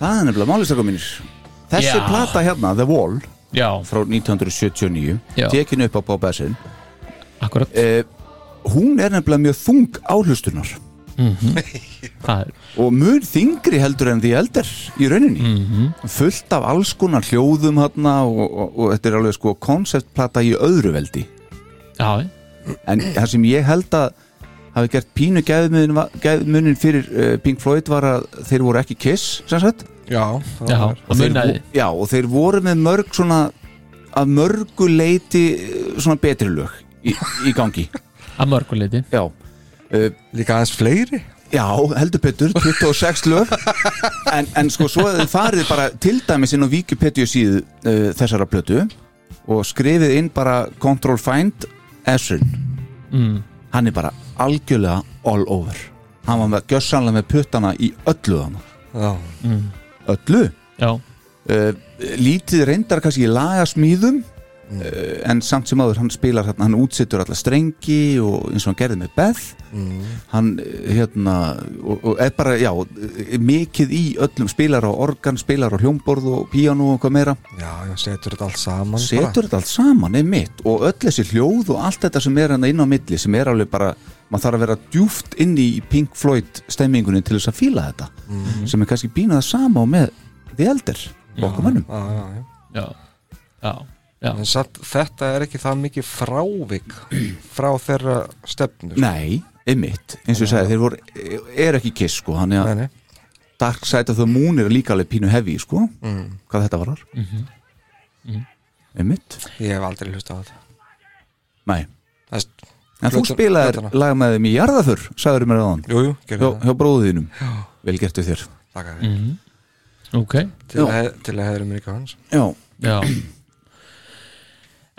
Speaker 4: Það er nefnilega málistakum mínir Þessi
Speaker 5: Já.
Speaker 4: plata hérna, The Wall
Speaker 5: Já,
Speaker 4: frá 1979
Speaker 5: Já.
Speaker 4: tekin upp á Bob Essin
Speaker 5: akkurat
Speaker 4: eh, hún er nefnilega mjög þung áhlustunar
Speaker 5: Það er
Speaker 4: og mun þingri heldur en því eldar í rauninni fullt af alls konar hljóðum hérna og, og, og, þetta er alveg sko konceptplata í öðru veldi
Speaker 5: Já,
Speaker 4: en það sem ég held að hafi gert pínu gæðmunin fyrir uh, Pink Floyd var að þeir voru ekki Kiss sem sagt
Speaker 6: Já,
Speaker 5: já,
Speaker 6: það er
Speaker 5: og munaði
Speaker 4: Já, og þeir voru með mörg svona að mörgu leiti eh, svona betri lög í, í gangi
Speaker 5: að mörguleiti
Speaker 4: Já,
Speaker 6: líka aðeins fleiri
Speaker 4: já heldur Petur, 26 lög en, en sko svo að þið farið bara til dæmis inn á Wikipedia síðu uh, þessara plötu og skrifið inn bara Control Find Esrin hann er bara algjörlega all over hann var með gjössanlega með puttana í öllu hann
Speaker 6: Já,
Speaker 4: öllu
Speaker 5: Já,
Speaker 4: Eh, uh, lítið reyndar kannski í lagasmíðum uh, en samt sem áður hann spilar hérna, hann útsittur alla strengi og eins og hann gerði með Beth hann uh, hérna og, og er bara, já, uh, mikið í öllum spilar á organ, spilar á hljómborð og píanu og hvað meira
Speaker 6: já, já, setur þetta allt saman
Speaker 4: setur þetta allt saman, einmitt og öll þessi hljóð og allt þetta sem er hann inn á milli sem er alveg bara, maður þarf að vera djúft inn í Pink Floyd stemmingunni til þess að fíla þetta sem er kannski býnað sama og með The Elder, okkur mönnum
Speaker 6: bara, já, já, já.
Speaker 5: já, já, já.
Speaker 6: En satt, þetta er ekki það mikið frávik frá þeirra stefnu sko.
Speaker 4: Nei, einmitt, eins og ég sagði, þeir voru er ekki kiss sko, hann
Speaker 6: Nei,
Speaker 4: er
Speaker 6: nei.
Speaker 4: Dark Side of the Moon er líka alveg pínu hefi sko, hvað þetta varar
Speaker 5: Mhm.
Speaker 4: einmitt
Speaker 6: Ég hef aldrei hlust á þetta
Speaker 4: Nei,
Speaker 6: Þess,
Speaker 4: en þú
Speaker 6: Plötun-
Speaker 4: spilaðir
Speaker 6: plötuna.
Speaker 4: lag með þeim í jarðaför, sagður mér aðan
Speaker 6: Jú, jú,
Speaker 4: hjá,
Speaker 6: gerðu það
Speaker 4: hjá bróðuðinum, vel gertu þér
Speaker 6: Takk að þér
Speaker 5: ok
Speaker 6: Til
Speaker 4: Já.
Speaker 6: að he- Til að hefður mér ekki hans
Speaker 4: Já,
Speaker 5: já.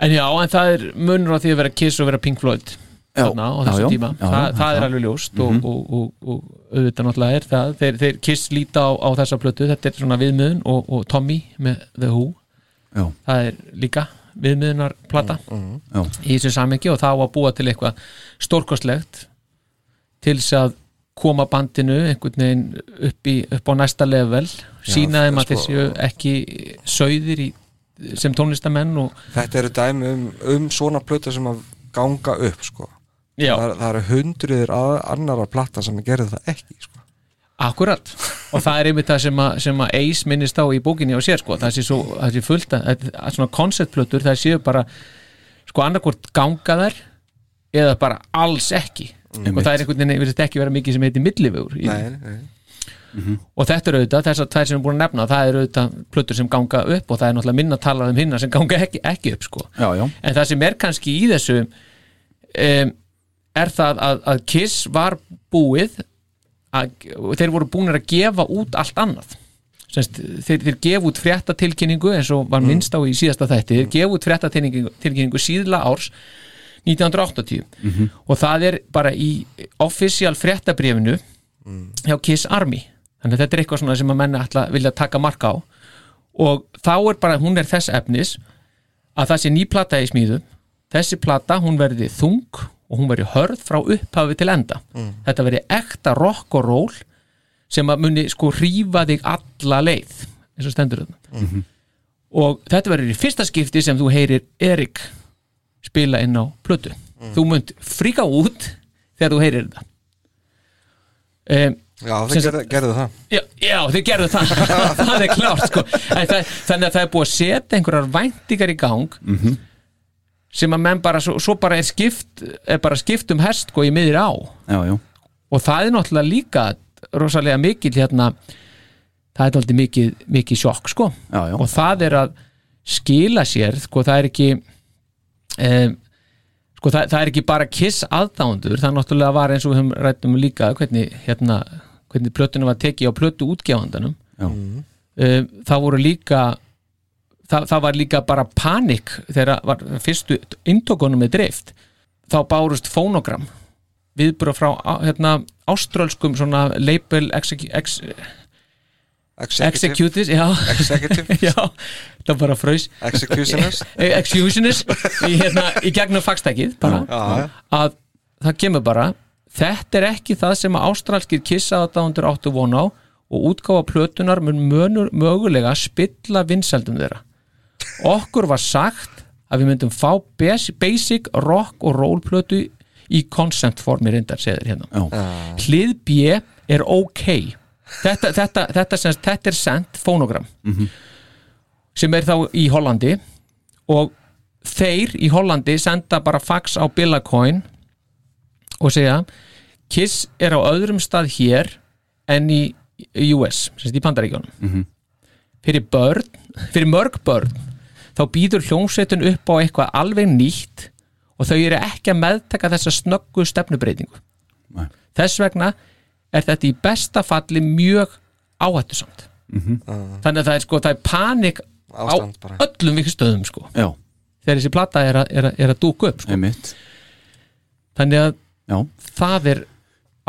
Speaker 5: en já, en það er munur á því að vera Kiss og vera Pink Floyd
Speaker 4: Já,
Speaker 5: þarna á
Speaker 4: já,
Speaker 5: þessum
Speaker 4: já,
Speaker 5: tíma
Speaker 4: já,
Speaker 5: það,
Speaker 4: já,
Speaker 5: það
Speaker 4: já. Mhm.
Speaker 5: er alveg ljóst og, og, og, og auðvitað náttúrulega er það þeir, þeir Kiss líta á, á þessa plötu þetta er svona viðmiðun og, og Tommy með The Who
Speaker 4: já,
Speaker 5: það er líka viðmiðunarplata
Speaker 4: já,
Speaker 5: í þessu samengi og það á að búa til eitthvað stórkostlegt til þess að koma bandinu einhvern veginn upp, í, upp á næsta level sína þeim að
Speaker 6: sko-
Speaker 5: þeir séu ekki sögðir í, sem tónlistamenn og
Speaker 6: Þetta eru dæmi um, um svona plötu sem að ganga upp sko.
Speaker 5: já,
Speaker 6: það, það eru hundruðir að, annara platta sem gerðu það ekki sko.
Speaker 5: akkurat og það er einmitt það sem að, sem að Ace minnist á í bókinni á sér sko, það sé, svo, það sé fullt að, að, að svona konceptplötur það séu bara sko annarkvort ganga þær eða bara alls ekki og það er einhvern veginn, við þetta ekki vera mikið sem heitir millivegur í,
Speaker 6: Nei, nei,
Speaker 5: og þetta eru auðvitað, þessar tvær sem við erum búin að nefna það eru auðvitað plötur sem ganga upp og það er náttúrulega minna talað um hinna sem ganga ekki, ekki upp sko.
Speaker 4: já, já,
Speaker 5: en það sem er kannski í þessu um, er það að, að Kiss var búið að, og þeir voru búinir að gefa út allt annað Semst, þeir, þeir gefa út fréttatilkynningu eins og var minnst á í síðasta þætti þeir gefa út fréttatilkynningu tilkynningu síðla árs 1980 og það er bara í offisíal fréttabrifinu hjá Kiss Army þannig að þetta er eitthvað svona sem að menna ætla vilja taka marka á og þá er bara, hún er þess efnis að það sé ný plata í smíðu þessi plata, hún verði þung og hún verði hörð frá upphafi til enda þetta verði ekta rock og roll sem að muni sko rífa þig alla leið eins og stendur þetta og þetta verður í fyrsta skipti sem þú heyrir Erik spila inn á plötu þú munt fríka út þegar þú heyrir þetta um,
Speaker 6: Já, það
Speaker 5: Sem sagt-
Speaker 6: gerðu, gerðu það
Speaker 5: Já, já þið gerðu það það er klárt sko En það, þannig að það er búið að setja einhverjar væntingar í gang sem að menn bara, svo, svo bara er skipt er bara skipt um hest sko í miðri á
Speaker 4: já, já,
Speaker 5: og það er náttúrulega líka rosalega mikil hérna það er náttúrulega mikið, mikið sjokk sko
Speaker 4: já, já.
Speaker 5: og það er að skila sér sko það er ekki um, sko það, það er ekki bara kiss aðdándur, það náttúrulega var eins og við höfum rættum líka hvernig hérna, hvernig plötunum var tekið á plötu útgefandanum
Speaker 4: Já.
Speaker 5: um, það voru líka það, það var líka bara panik þegar var fyrstu intokunum með dreift þá bárust fónogram viðbúra frá á- hérna, áströlskum svona label execu ex
Speaker 6: Executive,
Speaker 5: executives já,
Speaker 6: executive,
Speaker 5: *laughs*
Speaker 4: *laughs*
Speaker 5: já, það bara fraus
Speaker 6: executionist
Speaker 5: executionist í, hérna, í gegnum fagstækið bara,
Speaker 6: Já,
Speaker 5: að það kemur bara þetta er ekki það sem að ástralskir kissaðadáundur áttu von á og útgáfa plötunar mun mönur, mögulega spilla vinsældum þeirra okkur var sagt að við myndum fá bes- basic rock og roll plötu í concept formi reyndar segir hérna
Speaker 4: Já.
Speaker 5: hlið B er ok þetta, þetta, þetta, sem, þetta er sent fónogram sem er þá í Hollandi og þeir í Hollandi senda bara fax á Billacoin og segja Kiss er á öðrum stað hér en í í US sem sagt í Pandaríkjónum fyrir börn, fyrir mörg börn þá býður hljómsveitin upp á eitthvað alveg nýtt og þau eru ekki að meðtaka þessa snöggu stefnubreitingu
Speaker 4: Nei.
Speaker 5: þess vegna er þetta í besta falli mjög áhættusamt þannig að það er sko það er panik á
Speaker 6: Ah. Ástand bara.
Speaker 5: öllum vikið stöðum sko
Speaker 4: já,
Speaker 5: þegar þessi plata er að, er að, er að dúka upp sko.
Speaker 4: einmitt
Speaker 5: þannig að
Speaker 4: Já,
Speaker 5: það er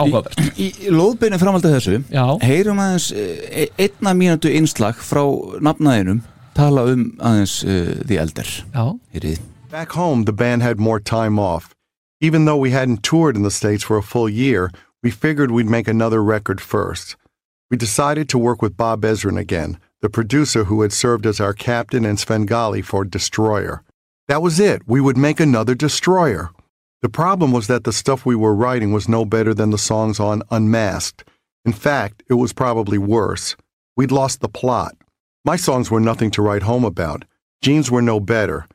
Speaker 5: áhugavert
Speaker 4: í, í lóðbeinu framhaldið þessu
Speaker 5: Já.
Speaker 4: heyrum aðeins eh, einna mínútu innslag frá nafnaðinum tala um aðeins uh, The Elder
Speaker 5: já,
Speaker 4: Heyrið.
Speaker 8: Back home, the band had more time off. Even though we hadn't toured in the States for a full year, we figured we'd make another record first. We decided to work with Bob Ezrin again, the producer who had served as our captain and Svengali for Destroyer. That was it, we would make another Destroyer. The problem was that the stuff we were writing was no better than the songs on Unmasked. In fact, it was probably worse. We'd lost the plot. My songs were nothing to write home about. Gene's were no better.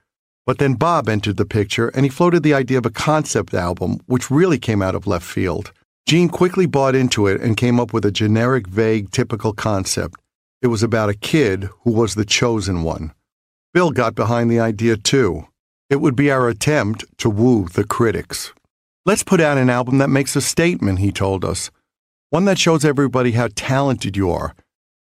Speaker 8: But then Bob entered the picture and he floated the idea of a concept album, which really came out of left field. Gene quickly bought into it and came up with a generic, vague, typical concept. It was about a kid who was the chosen one. Bill got behind the idea too. It would be our attempt to woo the critics. Let's put out an album that makes a statement, he told us. One that shows everybody how talented you are.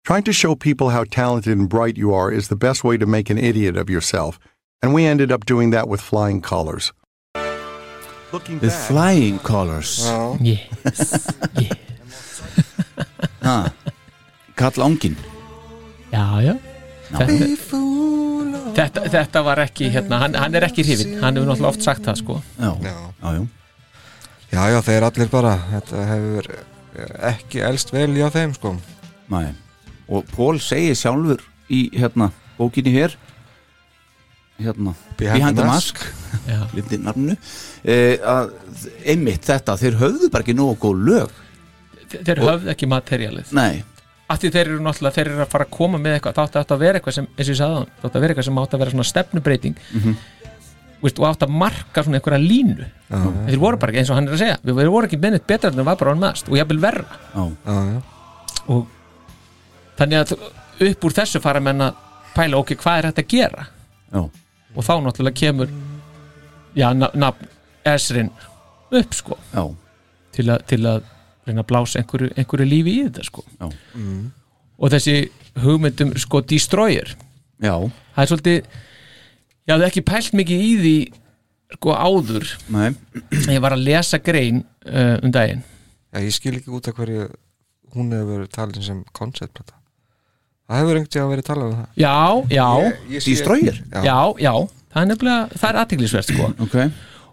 Speaker 8: Trying to show people how talented and bright you are is the best way to make an idiot of yourself, and we ended up doing that with flying colors. Looking
Speaker 4: The Flying Colors
Speaker 5: yes yeah.
Speaker 4: ha. Kall Angin
Speaker 5: já, já Þetta, þetta, þetta var ekki hérna, hann, hann er ekki hrifin, hann hefur náttúrulega oft sagt það sko
Speaker 4: Já,
Speaker 6: Já.
Speaker 4: já, já
Speaker 6: Já, já, þeir allir bara Þetta hefur eh, ekki elst vel hjá þeim sko
Speaker 4: Nei. Og Pól segir sjálfur í hérna, bókinni hér hérna,
Speaker 6: Behind the Mask.
Speaker 5: Já.
Speaker 4: lifti nafnu e, að, einmitt þetta, þeir höfðu bara ekki nógu góð lög
Speaker 5: Þe- Þeir höfðu ekki materialið
Speaker 4: Nei,
Speaker 5: af því þeir eru náttúrulega, þeir eru að fara að koma með eitthvað það átti átti að vera eitthvað sem, eins og ég sagði áðan, það átti að vera eitthvað sem átti að vera svona stefnubreiting Vist, og átti að marka svona einhverja línu þeir voru bara ekki, eins og hann er að segja við við voru ekki mennit betra en við var bara hann maðast og jafnvel verra
Speaker 4: á,
Speaker 6: Já, já,
Speaker 5: og þannig að upp úr þessu fara menn að pæla ok, hvað er þetta að gera
Speaker 4: já,
Speaker 5: og þá náttúrulega kemur já, na- nafn Esrin upp sko
Speaker 4: já
Speaker 5: til að, til að reyna að blása einhverju, einhverju lífi í þetta sko
Speaker 4: Já.
Speaker 6: Mm.
Speaker 5: og þessi hugmyndum sko destroyer
Speaker 4: já,
Speaker 5: það er svolítið ég hafði ekki pælt mikið í því sko áður
Speaker 4: nei,
Speaker 5: en ég var að lesa grein uh, um daginn
Speaker 6: já Ég skil ekki út af hverju hún hefur verið talin sem konceptplata Það hefur einhvern tíðan verið talað um það
Speaker 5: já, já,
Speaker 6: ég sé-
Speaker 4: Destroyer
Speaker 6: Já.
Speaker 5: já, já það er nefnilega, það er aðtiklisvert sko
Speaker 4: Ok,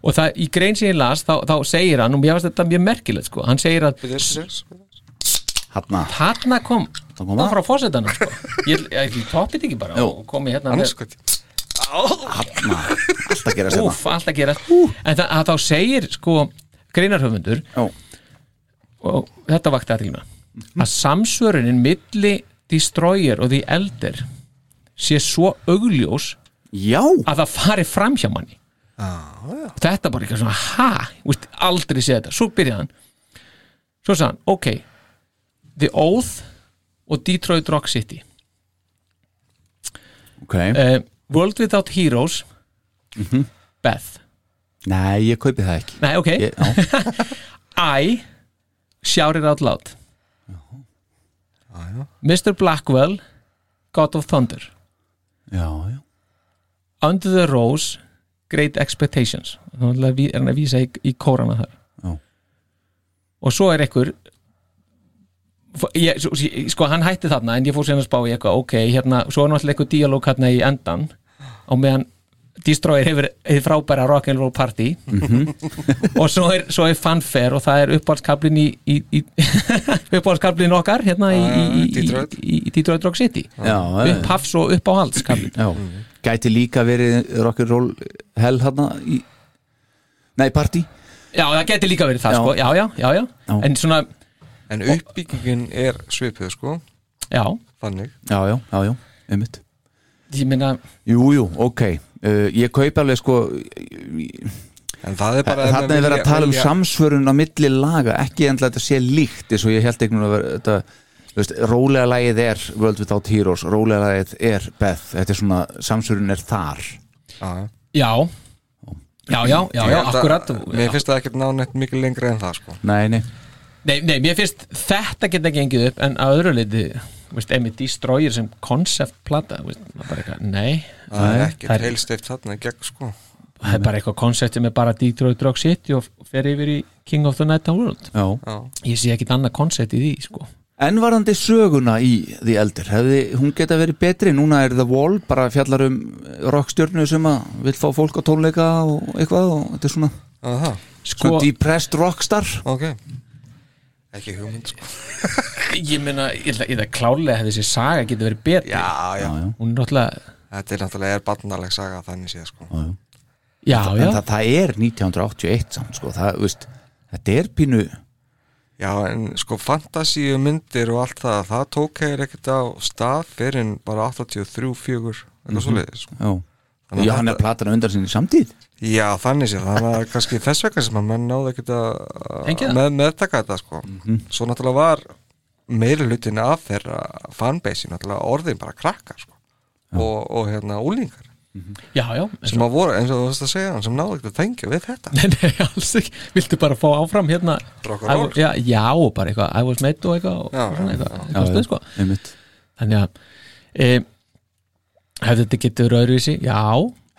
Speaker 5: og það, í grein sem ég las þá, þá segir hann, og mér finnst þetta mjög merkilegt sko hann segir að
Speaker 4: hérna,
Speaker 5: þarna kom
Speaker 4: Það kom
Speaker 5: það
Speaker 4: að.
Speaker 5: frá fósettanum sko. ég, ég, ég toppið ekki bara
Speaker 4: Jú.
Speaker 5: og komi hérna með-
Speaker 6: Anskot
Speaker 4: alltaf gera sérna
Speaker 5: Úf, alltaf gerast En það, að þá segir sko greinarhöfundur
Speaker 4: Já,
Speaker 5: og þetta vakti aðtilina að samsvörunin milli destroyer og því eldir sé svo augljós
Speaker 4: já,
Speaker 5: að það fari fram hjá manni ah, þetta bara eitthvað svona ha, úst, aldrei sé þetta, svo byrjaði hann svo sagði hann, ok The Oath og Detroit Rock City
Speaker 4: ok
Speaker 5: uh, World Without Heroes
Speaker 4: Mhm.
Speaker 5: Beth
Speaker 4: Nei, ég kaupi það ekki
Speaker 5: Nei, ok,
Speaker 4: ég, Já,
Speaker 5: *laughs* I Shout It Out Loud Mr. Blackwell God of Thunder
Speaker 4: já, já,
Speaker 5: Under the Rose Great Expectations þannig að er hann að vísa í, í kórana þar
Speaker 4: Já.
Speaker 5: og svo er einhver f- ég, svo- ég- sko hann hætti þarna en ég fór sérna að spá í eitthvað ok, hérna, svo er náttúrulega einhver dialóg hérna í endan á meðan Destroyer hefur hefur frábæra rock'n'roll party
Speaker 4: Mhm.
Speaker 5: *laughs* og svo er, svo er fanfare og það er uppáhaldskablin í, í, í *laughs* uppáhaldskablin okkar hérna í, í, í,
Speaker 6: Detroit.
Speaker 5: í, í Detroit Rock City
Speaker 4: Ah, já, já.
Speaker 5: upphafs og uppáhaldskablin
Speaker 4: Já, gæti líka verið rock'n'roll hell hérna í... Nei, party
Speaker 5: Já, það geti líka verið það,
Speaker 4: Já.
Speaker 5: sko, já, já, já, já,
Speaker 4: Já.
Speaker 5: en svona,
Speaker 6: En uppbyggingin er svipuð sko
Speaker 5: já,
Speaker 6: Þannig
Speaker 4: Já, já, já, já, einmitt
Speaker 5: ég meina,
Speaker 4: Jú, jú, ok uh, Ég kaup alveg sko
Speaker 6: En það er bara
Speaker 4: Þarna er verið að tala um samsvörun á milli laga Ekki endla þetta sé líkt eins og ég held einhvern veginn að vera þetta, þú veist, Rólega lagið er World Without Heroes Rólega lagið er Beth Þetta er svona, samsvörun er þar
Speaker 6: sam
Speaker 5: já, já, já, já, já, akkurat,
Speaker 6: Mér
Speaker 5: já.
Speaker 6: finnst það ekkert ná neitt mikið lengra en það sko
Speaker 4: Nei, nei,
Speaker 5: Nei, nei, mér finnst þetta geta gengið upp, en að öðru leiti, veist, emi Destroyer sem konceptplata, veist, það er bara eitthvað, nei,
Speaker 6: Það er
Speaker 5: það er-
Speaker 6: ekkert heilstift þarna í gegn sko
Speaker 5: það er bara eitthvað koncept sem er bara Detroit Rock City og fer yfir í King of the Night and World,
Speaker 4: já
Speaker 6: Já,
Speaker 5: ég sé ekkit annað koncept í því, sko,
Speaker 4: Envarandi söguna í The Elder hefði hún geta verið betri, núna er The Wall bara fjallar um rockstjörnu sem að vil fá fólk á tónleika og eitthvað og þetta er svona,
Speaker 6: Aha,
Speaker 5: Sko,
Speaker 4: svona depressed rockstar
Speaker 6: ok Ekki hugmynd sko
Speaker 5: Ég meina, ég ætla- ég ætla klálega hefði þessi saga getið verið betri
Speaker 6: Já, já,
Speaker 5: Hún er náttúrulega,
Speaker 6: þetta er náttúrulega er barnaleg saga þannig séð sko
Speaker 5: já, já
Speaker 4: en það, það er 1981 samt sko, það, veist, þetta er pínu
Speaker 6: Já, en sko fantasíu myndir og allt það, það tók hefur ekkert á stað fyrir en bara 83, 4
Speaker 5: Mhm.
Speaker 6: eitthvað svoleiðis sko.
Speaker 4: já,
Speaker 6: Þannig að
Speaker 4: já hann er
Speaker 6: þetta-
Speaker 4: platan undan sinni samtíð
Speaker 6: Já, þannig séð, þannig að kannski þess vegna sem að menn náðu ekkert að
Speaker 5: Tengja það?
Speaker 6: með, meðtaka þetta sko Svo náttúrulega var meiri hlutin af þeirra fanbase náttúrulega orðin bara krakkar sko og, og hérna úlingar
Speaker 5: Já, já,
Speaker 6: sem að voru, eins og þú veist að segja, sem náðu ekkert að tengja við þetta
Speaker 5: Nei, *laughs* nei, alls ekki Viltu bara fá áfram hérna
Speaker 6: Rock and roll,
Speaker 5: I- já, já, og bara eitthvað I was made og eitthvað, og
Speaker 6: Já, já,
Speaker 5: svona eitthvað, eitthvað stuð, sko.
Speaker 4: einmitt.
Speaker 5: Þannig að e, Hefði þetta getið röðruvísi? Já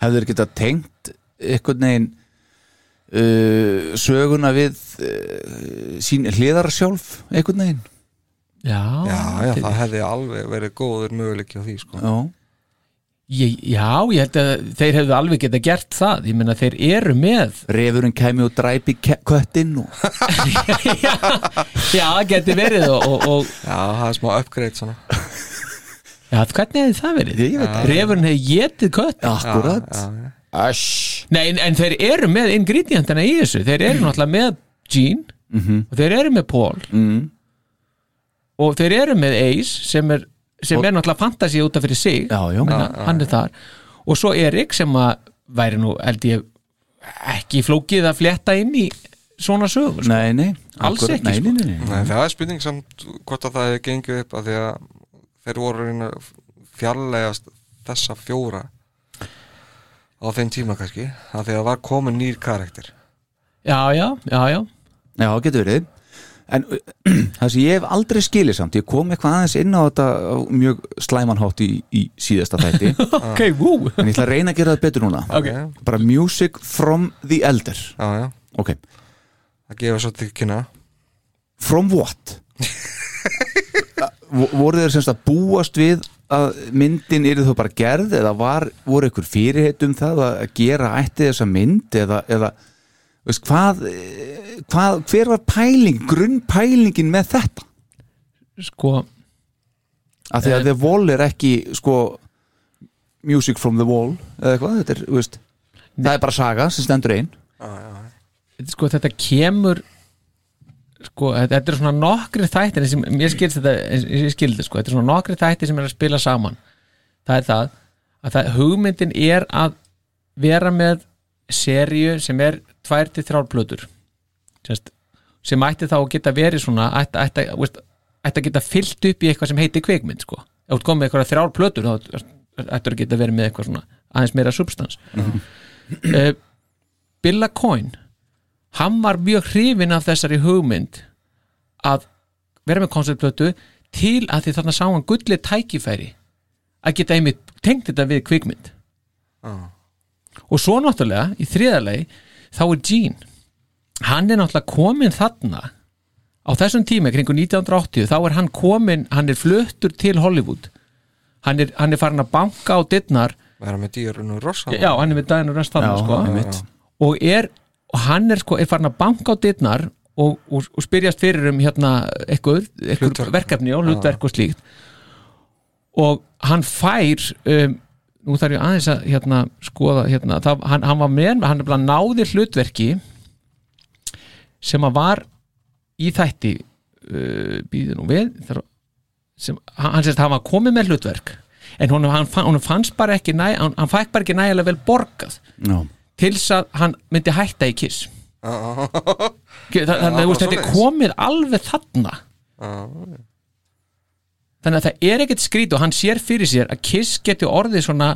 Speaker 4: hefðu þeir geta tengt einhvern veginn uh, söguna við uh, sín hliðar sjálf einhvern veginn
Speaker 5: Já,
Speaker 6: Já, já,
Speaker 5: þetta-
Speaker 6: það hefði alveg verið góður möguleiki á því sko
Speaker 4: já,
Speaker 5: ég, já, ég held að þeir hefðu alveg getið gert það Ég meina þeir eru með
Speaker 4: refurinn kæmi og dræpi ke- köttin og
Speaker 5: Já, já getið verið og, og, og
Speaker 6: Já, það er smá upgrade svona
Speaker 5: Já, hvernig hefði það verið?
Speaker 4: Ég veit það.
Speaker 5: Refurinn hefði getið kött
Speaker 4: akkurat
Speaker 6: Já, já, já.
Speaker 4: Æsj
Speaker 5: Nei, en, en þeir eru með ingredientina í þessu Þeir eru náttúrulega með Gene
Speaker 4: Mhm.
Speaker 5: og þeir eru með Paul
Speaker 4: mm.
Speaker 5: og þeir eru með Ace sem er, sem er náttúrulega fantasi út af fyrir sig
Speaker 4: Já, já.
Speaker 5: Menna, hann er þar og svo Erik sem að væri nú held ég ekki flókið að fletta inn í svona sögur sko.
Speaker 4: Nei, nei,
Speaker 5: Alls
Speaker 4: akkurat,
Speaker 5: ekki,
Speaker 4: nei, nei,
Speaker 5: sko.
Speaker 4: nei, nei.
Speaker 6: Nei, það er spurning samt hvort að það hefði gengið upp að því að þeir voru að reyna að fjarlægast þessa fjóra á þeim tíma kannski að því að það var komin nýr karakter
Speaker 5: já, já, já, já
Speaker 4: Já, getur verið En *clears throat* uh, það sem ég hef aldrei skilið samt Ég kom eitthvað aðeins inn á þetta á mjög slæmanhátt í, í síðasta þætti
Speaker 5: *laughs*
Speaker 4: En
Speaker 5: ok, wú
Speaker 4: ég ætla að reyna að gera það betur núna
Speaker 5: Ok.
Speaker 6: Já,
Speaker 4: Bara music from the elder
Speaker 6: já,
Speaker 4: Ok,
Speaker 6: það gefa svo til kynna
Speaker 4: from what? *laughs* Vo- voru þeir semst að búast við að myndin eru þau bara gerð eða var, voru ykkur fyrirheit um það að gera ætti þessa mynd eða, eða veist, hvað, eh, hvað, hver var pæling grunnpælingin með þetta
Speaker 5: sko,
Speaker 4: af því að The Wall er ekki sko Music from the Wall eða eitthvað, þetta er, veist það er bara saga sem stendur einn
Speaker 5: sko þetta kemur sko, þetta þetta er svona nokkri þættir sem mér skilst þetta, eins og ég skildi sko, þetta er svona nokkri þættir sem er að spila saman það er það að það, hugmyndin er að vera með seríu sem er tvær til þrjár plötur Sest, sem ætti þá að geta verið svona ætti, ætti, veist, ætti að geta fyllt upp í eitthvað sem heiti kvikmynd sko ef þú komið eitthvað þrjár plötur þá ætti að geta verið með eitthvað svona aðeins meira substans uh, Billa Coyne hann var mjög hrifin af þessari hugmynd að vera með konceptplötu til að því þarna sá hann gulli tækifæri að geta einmitt tengt þetta við kvikmynd
Speaker 6: Já.
Speaker 5: og svo náttúrulega í þriðalegi þá er Gene hann er náttúrulega komin þarna á þessum tíma kringu 1980 þá er hann komin, hann er fluttur til Hollywood hann er, hann er farin að banka á dittnar
Speaker 6: vera með dýrun og rossa
Speaker 5: já, hann er með daginn og rest þarna sko
Speaker 4: einmitt.
Speaker 5: og er og hann er sko, er farin að banka á dittnar og, og, og spyrjast fyrir um hérna eitthvað, eitthvað
Speaker 6: Hlutverk.
Speaker 5: verkefni og hlutverk og slíkt og hann fær um, nú þarf ég aðeins að hérna, skoða hérna, það, hann, hann var með, hann er bara náði hlutverki sem að var í þætti uh, býðu nú við þar, sem, hann, hann sérst, hann var komið með hlutverk en honum, hann, fann- honum fannst bara ekki næ, hann, hann fæk bara ekki nægilega vel borgað
Speaker 4: Já,
Speaker 5: til þess að hann myndi hætta í kiss
Speaker 6: Ah,
Speaker 5: Þa, þannig
Speaker 6: bara
Speaker 5: að þú veist, þetta er
Speaker 6: svoleiðis. Ah,
Speaker 5: komið alveg þarna þannig að það er ekkert skrít og hann sér fyrir sér að kiss geti orðið svona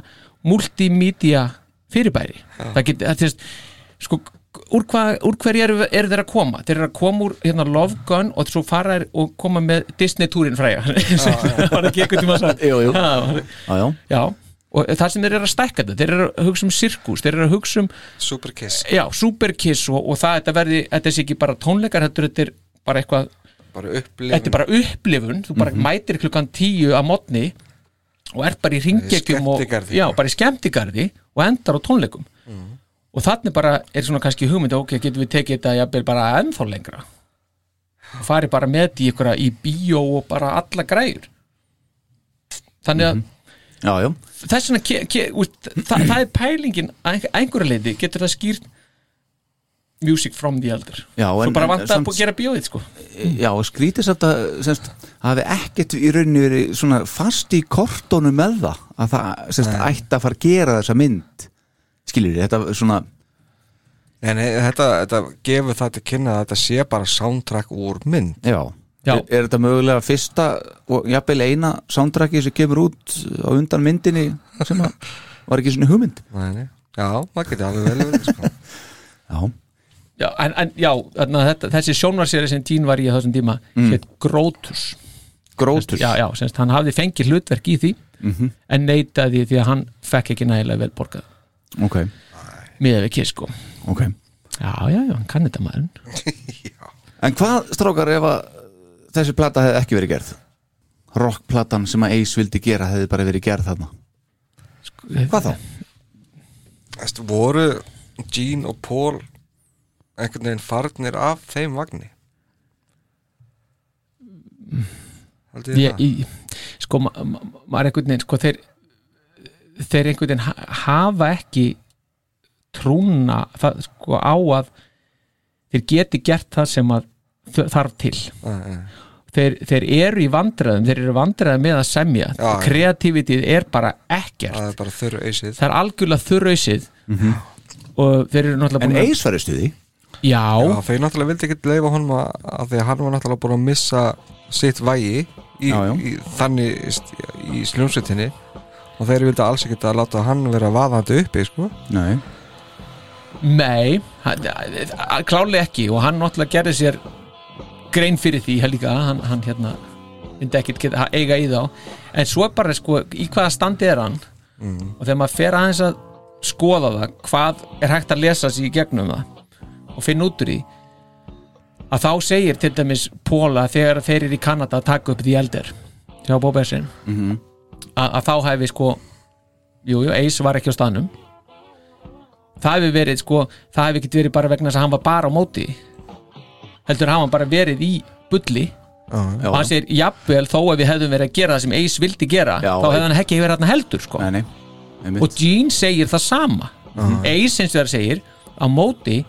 Speaker 5: multimedia fyrirbæri það geti, það er sko úr, hva, úr hverju eru, eru þeir að koma þeir eru að koma úr hérna, Love Gun og svo fara þeir og koma með Disney-túrin fræja
Speaker 6: Ah,
Speaker 5: *laughs* var ekki eitthvað tíma sagt
Speaker 4: Jú, jú.
Speaker 5: já,
Speaker 4: já, já,
Speaker 5: já og það sem þeir eru að stækka þetta þeir eru að hugsa um sirkus, þeir eru að hugsa um
Speaker 6: superkiss,
Speaker 5: já, superkiss og, og það þetta verði, þetta sé ekki bara tónleikar heldur þetta er bara eitthvað
Speaker 6: bara
Speaker 5: þetta
Speaker 6: upplifun
Speaker 5: er bara upplifun þú bara mætir klukkan tíu að modni og ert bara í ringjekjum og,
Speaker 6: skemmtigarði.
Speaker 5: já, bara í skemmtigarði og endar á tónleikum og þannig bara er svona kannski hugmynd ok, getum við tekið þetta jafnvel bara ennþá lengra og farið bara með þetta í ykkur í bíó og bara alla græjur þannig að
Speaker 4: já, já,
Speaker 5: þess vegna ke, ke, úst, þa, það er pælingin að einhver- einhverju leiti getur það skýrt music from the elder
Speaker 4: Já,
Speaker 5: svo
Speaker 4: en-
Speaker 5: bara
Speaker 4: en-
Speaker 5: vantar að
Speaker 4: samt-
Speaker 5: bú- gera bíóið sko
Speaker 4: já skrítið samt að semst, hafi ekkert í rauninni verið svona fast í kortónu með það að það semst, ætti að fara að gera þessa mynd skilur þið, þetta svona
Speaker 6: en he- þetta, þetta gefur það til kynna að þetta sé bara soundtrack úr mynd
Speaker 4: já,
Speaker 5: Já.
Speaker 4: Er, er þetta mögulega fyrsta og jafnvel eina soundtracki sem kemur út á undan myndinni sem að var ekki svona hugmynd
Speaker 6: Nei, nei. já, það geti alveg vel verið sko.
Speaker 4: já,
Speaker 5: já, en, en, já, þarna, þetta, þessi sjónvarseri sem tín var í á þessum tíma mm. hétt Grótus
Speaker 4: grótur
Speaker 5: já, já, semst, hann hafði fengið hlutverk í því
Speaker 4: Mhm.
Speaker 5: en neitaði því að hann fekk ekki nægilega vel borgað
Speaker 4: ok,
Speaker 5: miðað við kiss sko
Speaker 4: ok
Speaker 5: já, já, já, hann kann þetta maður
Speaker 4: En hvað strákar ef að þessi plata hefði ekki verið gerð? Rockplatan sem að Ace vildi gera hefði bara verið gerð þarna Hvað þá?
Speaker 6: Veist, voru Gene og Paul einhvern veginn farnir af þeim vagnir haldið
Speaker 5: ég,
Speaker 6: ég,
Speaker 5: ég, sko ma- ma- maður einhvern veginn sko þeir þeir einhvern veginn ha- hafa ekki trúna það, sko á að þeir geti gert það sem að þ- þarf til
Speaker 6: það Nei, nei.
Speaker 5: þeir, þeir eru í vandræðum, þeir eru vandræðum með að semja,
Speaker 6: Já, já.
Speaker 5: kreativitið er bara ekkert,
Speaker 6: Það er bara þurru eysið
Speaker 5: það er algjörlega þurrausið og þeir eru náttúrulega
Speaker 4: En
Speaker 5: búin að-
Speaker 4: Ace var í stuði
Speaker 6: Já,
Speaker 5: já,
Speaker 6: þau náttúrulega vildi ekki leifa honum að, að því að hann var náttúrulega búin að missa sitt vægi í,
Speaker 4: Já, já.
Speaker 6: í þannig st- í sljómsveitinni og þeir vildi alls ekki að láta hann vera vaðandi uppi sko.
Speaker 4: Nei
Speaker 5: nei hann- a- a- klálega ekki og hann náttúrulega gerði sér grein fyrir því hann líka, hann, hann hérna myndi ekkit geta að eiga í þá en svo er bara sko, í hvaða standi er hann og þegar maður fer aðeins að skoða það, hvað er hægt að lesa sér í gegnum það og finna út úr því að þá segir til dæmis Póla þegar þeir eru í Kanada að taka upp því eldir hjá Bóbersin mm -hmm. að þá hefði sko jú, jú, Ace var ekki á staðnum það hefði verið sko það hefði ekki verið bara vegna þess að hann var bara á móti heldur hafa hann bara verið í bulli
Speaker 4: Já.
Speaker 5: og hann segir jafnvel þó að við hefðum verið að gera það sem Ace vildi gera
Speaker 4: Já,
Speaker 5: þá hefði hann ekki verið hann heldur sko
Speaker 4: Nei, nei Einmitt.
Speaker 5: og Gene segir það sama Ace eins og það segir á móti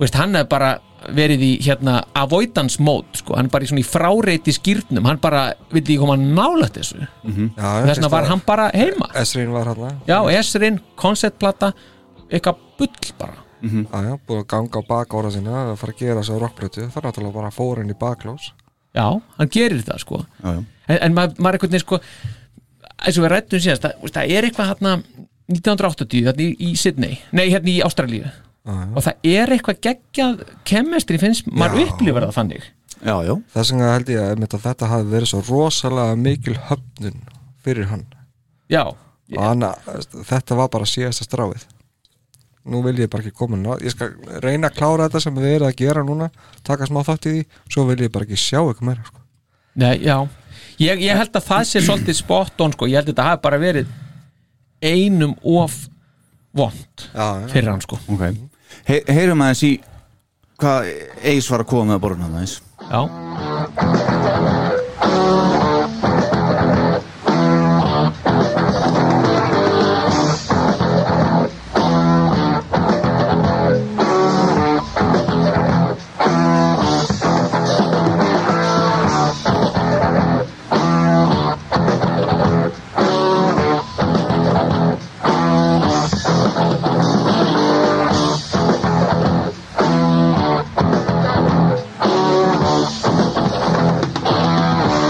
Speaker 5: veist, hann hefði bara verið í hérna avoidance mode sko. hann er bara í svona í fráreiti skýrnum hann bara vildi ekki koma nálætt þessu mm
Speaker 6: Já,
Speaker 5: þess vegna var hann bara heima
Speaker 6: Esrin var hann
Speaker 5: já, Esrin, konceptplata eitthvað bull bara
Speaker 6: aðja, búin að ganga á bakára sinna að fara að gera svo rockblötu, það er náttúrulega bara fór inn í baklós
Speaker 5: já, hann gerir það sko
Speaker 4: Já, já.
Speaker 5: en, en maður maður einhvern veginn sko eins og við rættum síðast, það, veist, það er eitthvað hérna 1980 hérna í, í Sydney nei, hérna í Ástralíu og það er eitthvað geggjað kemestri finnst, maður upplifir það þannig
Speaker 4: Já, já,
Speaker 6: þess vegna held ég að einmitt að þetta hafi verið svo rosalega mikil höfnun fyrir hann
Speaker 5: já,
Speaker 6: og hann, þetta var bara síðasta stráið nú vil ég bara ekki koma ná. ég skal reyna að klára þetta sem við erum að gera núna taka smá þátt í því, svo vil ég bara ekki sjá ykkur meira sko.
Speaker 5: nei, já ég, ég held að það sé svolítið spot on sko, ég held að þetta hafi bara verið einum of vond
Speaker 6: já,
Speaker 5: fyrir hann sko
Speaker 4: ok He Heyrum aðeins í hvað Ace var að koma með að borna aðeins
Speaker 5: já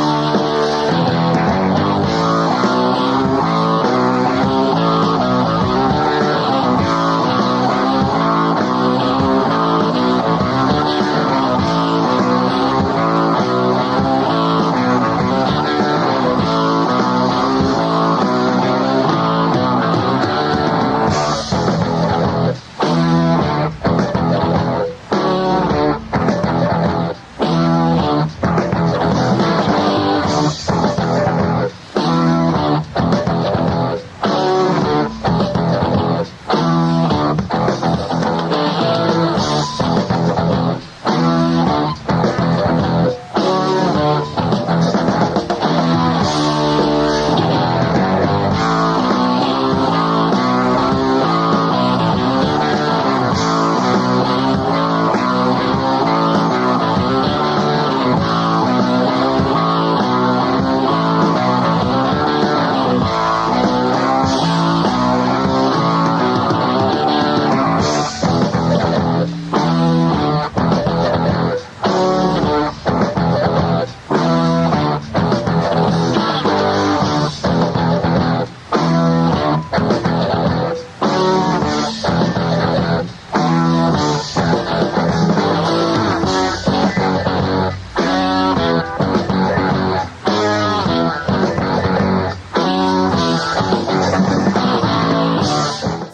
Speaker 3: Thank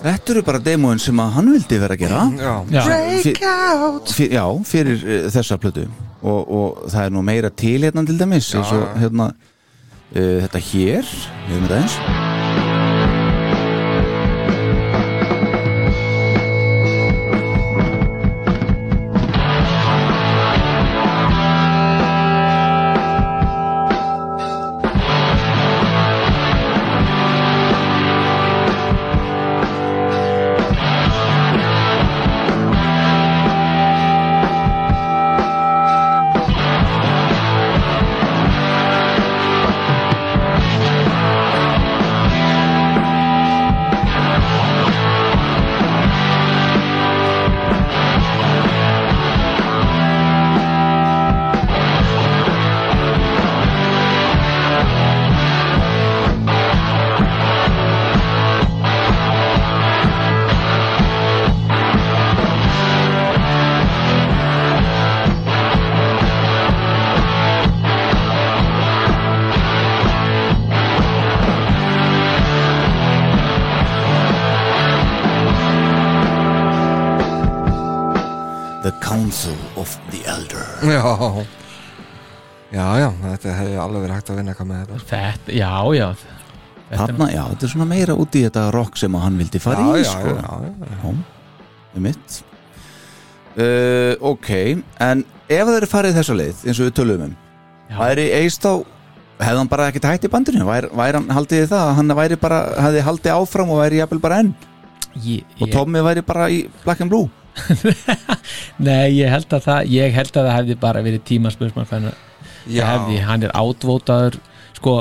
Speaker 4: Þetta eru bara demóin sem að hann vildi vera að gera
Speaker 6: já,
Speaker 5: já,
Speaker 4: Fyr- fyr, Já, fyrir uh, þessa plötu og, og það er nú meira til hérna til dæmis eins og hérna uh, þetta hér, við erum þetta eins The Council of the Elder
Speaker 6: já Já, já, þetta hefði alveg verið hægt að vinna eitthvað með þetta sko.
Speaker 5: þetta, já, já
Speaker 4: Þarna, já, þetta er svona meira út í þetta rock sem að hann vildi fara
Speaker 6: Já,
Speaker 4: í
Speaker 6: já,
Speaker 4: sko.
Speaker 6: já, já,
Speaker 4: Já, um mitt uh, Ok, en ef það eru farið þessa leið eins og við tölum um
Speaker 5: Já.
Speaker 4: væri eist á hefði hann bara ekkert hætt í bandinu væri, væri hann haldið þið það, að hann væri bara hefði haldið áfram og væri jafnvel bara enn
Speaker 5: Ég,
Speaker 4: og
Speaker 5: ég,
Speaker 4: Tommy væri bara í Black and Blue
Speaker 5: nei, ég held að það ég held að það hefði bara verið tímaspursmann hvernig
Speaker 6: já.
Speaker 5: hefði, hann er átvótaður sko,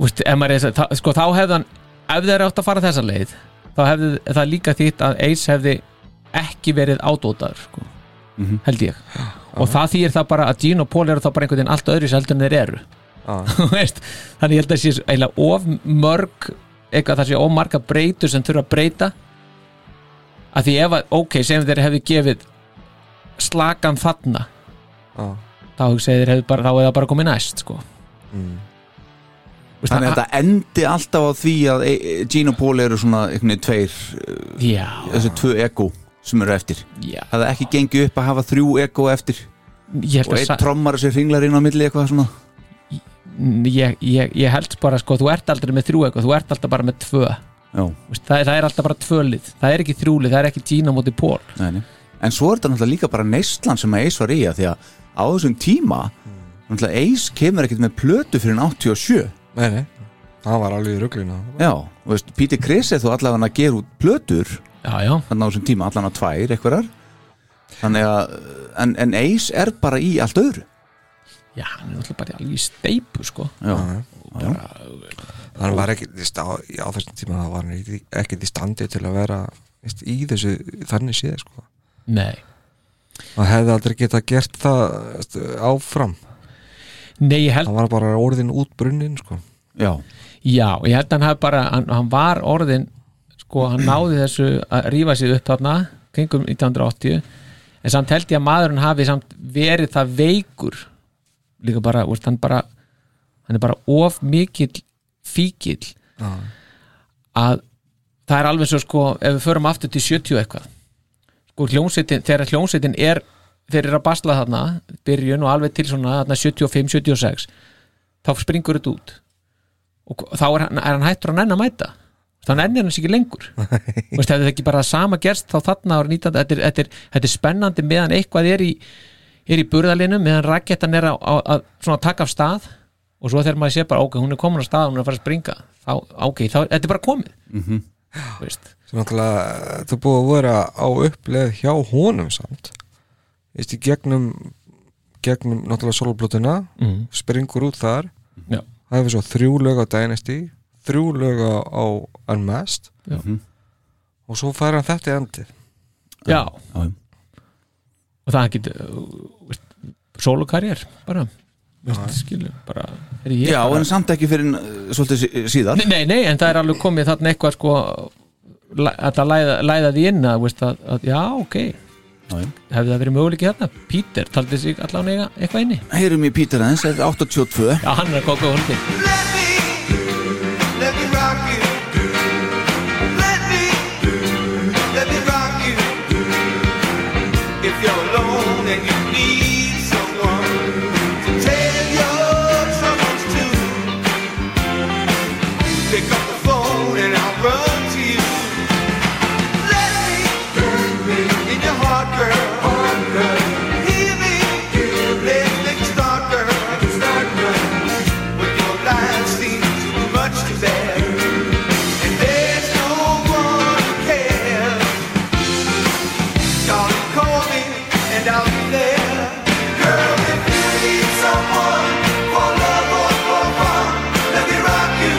Speaker 5: úst, MRS, það, sko þá hefði hann ef þeir átt að fara þessa leið þá hefði það líka þýtt að Ace hefði ekki verið átvótaður sko,
Speaker 4: Mhm.
Speaker 5: held ég og það þýr það bara að Gene og Paul eru þá bara einhvern veginn allt öðru heldur en þeir eru
Speaker 6: Já,
Speaker 5: *laughs* Þú veist, þannig ég held að sé svo- eiginlega of mörg eitthvað það sé of marga breytur sem þurfa að breyta að því ef að, ok, segjum þeir hefði gefið slakan þarna
Speaker 6: já,
Speaker 5: þá hugsaði þeir hefði bara, þá hefði það bara komið næst sko
Speaker 6: Mm.
Speaker 5: Vist,
Speaker 4: þannig að þetta endi alltaf á því að e, e, Gene og Paul eru svona einhvern veginn tveir uh,
Speaker 5: já,
Speaker 4: þessi tvö ego sem eru eftir
Speaker 5: já,
Speaker 4: það er ekki gengið upp að hafa þrjú ego eftir og
Speaker 5: ég held að
Speaker 4: einn
Speaker 5: sa-
Speaker 4: trommar sem ringlar inn á milli eitthvað svona
Speaker 5: ég, ég, ég held bara sko, þú ert aldrei með þrjú eitthvað, þú ert alltaf bara með tvö
Speaker 4: Já,
Speaker 5: Vist, það, er, það er alltaf bara tvölið, það er ekki þrjúlið það er ekki tína móti pól
Speaker 4: nei, nei. en svo er þetta náttúrulega líka bara neyslan sem að Ace var í að því að á þessum tíma náttúrulega Ace kemur ekkert með plötu fyrir en 87
Speaker 6: nei, nei Hann var alveg í ruglinu
Speaker 4: Já, og veist, Píti Kris er þú allavega að gera út plötur
Speaker 5: já, já,
Speaker 4: þannig á þessum tíma allan að tvær eitthvaðar þannig að, en, en Ace er bara í allt öðru
Speaker 5: já, hann er náttúrulega bara alveg í steipu sko
Speaker 4: já,
Speaker 6: hann var ekki þú veist, á, á þessum tíma það var hann ekki, ekki í standi til að vera þú veist, í þessu þannig séð sko.
Speaker 5: nei,
Speaker 6: og hefði aldrei geta gert það þú veist, áfram
Speaker 5: nei, ég held
Speaker 6: hann var bara orðin út brunnin sko.
Speaker 4: já,
Speaker 5: Já, ég held að hann hafi bara, hann, hann var orðin sko, hann náði þessu að rífa sig upp þarna, kringum 1980 en samt held ég að maðurinn hafi samt verið það veikur líka bara, úrst, hann bara hann er bara of mikill fíkil að það er alveg svo sko ef við förum aftur til 70 eitthvað sko hljónsetin, þegar hljónsetin er þeir eru að basla þarna byrjun og alveg til svona þarna 75-76 þá springur þetta út og þá er hann, er hann hættur að nenn að mæta þá nennir hann sér ekki lengur Vist, hefði það ekki bara sama gerst þá þarna ára 19, þetta er, þetta, er, þetta er spennandi meðan eitthvað er í, er í burðalinu meðan rakettan er að, að, að svona taka af stað og svo þegar maður sé bara ok, hún er komin af stað, hún er að fara að springa þá, ok, þá, þetta er bara komið mm -hmm.
Speaker 6: sem náttúrulega eh, þú búið að vera á uppleið hjá honum samt Þú veist, í gegnum gegnum náttúrulega soloplötuna
Speaker 5: Mhm.
Speaker 6: springur út þar
Speaker 5: Já.
Speaker 6: það hefur svo þrjú lög á Dynasty þrjú lög á, á Unmasked
Speaker 5: Já. Mhm.
Speaker 6: og svo fær hann þetta í endið
Speaker 5: já,
Speaker 4: já,
Speaker 5: og það getur solokarjér, bara Vist, skilu, bara, er ég
Speaker 4: já
Speaker 5: bara,
Speaker 4: en samt ekki fyrir en uh, svolítið sí- síðar
Speaker 5: Nei, nei, nei, en það er alveg komið þarna eitthvað sko læ- þetta læða, læða því inn að, veist, að, að já, ok,
Speaker 4: Já, já.
Speaker 5: hefði það verið möguleiki þarna Peter taldi sig allan eiga eitthvað inni
Speaker 4: heyrum í Pítur aðeins, þetta er 82
Speaker 5: Já, hann er að kóka hóldi
Speaker 9: Let me rock you. Let me
Speaker 3: alone and you need someone to tell your troubles to. You pick up the phone and I'll run to you. Let me burn me in your heart, girl. Hear me, let things start, girl. When your life seems too much to bear, and there's no one who cares. Darling, call me and I'll be there. Girl, if you need someone for love or for fun, let me rock you.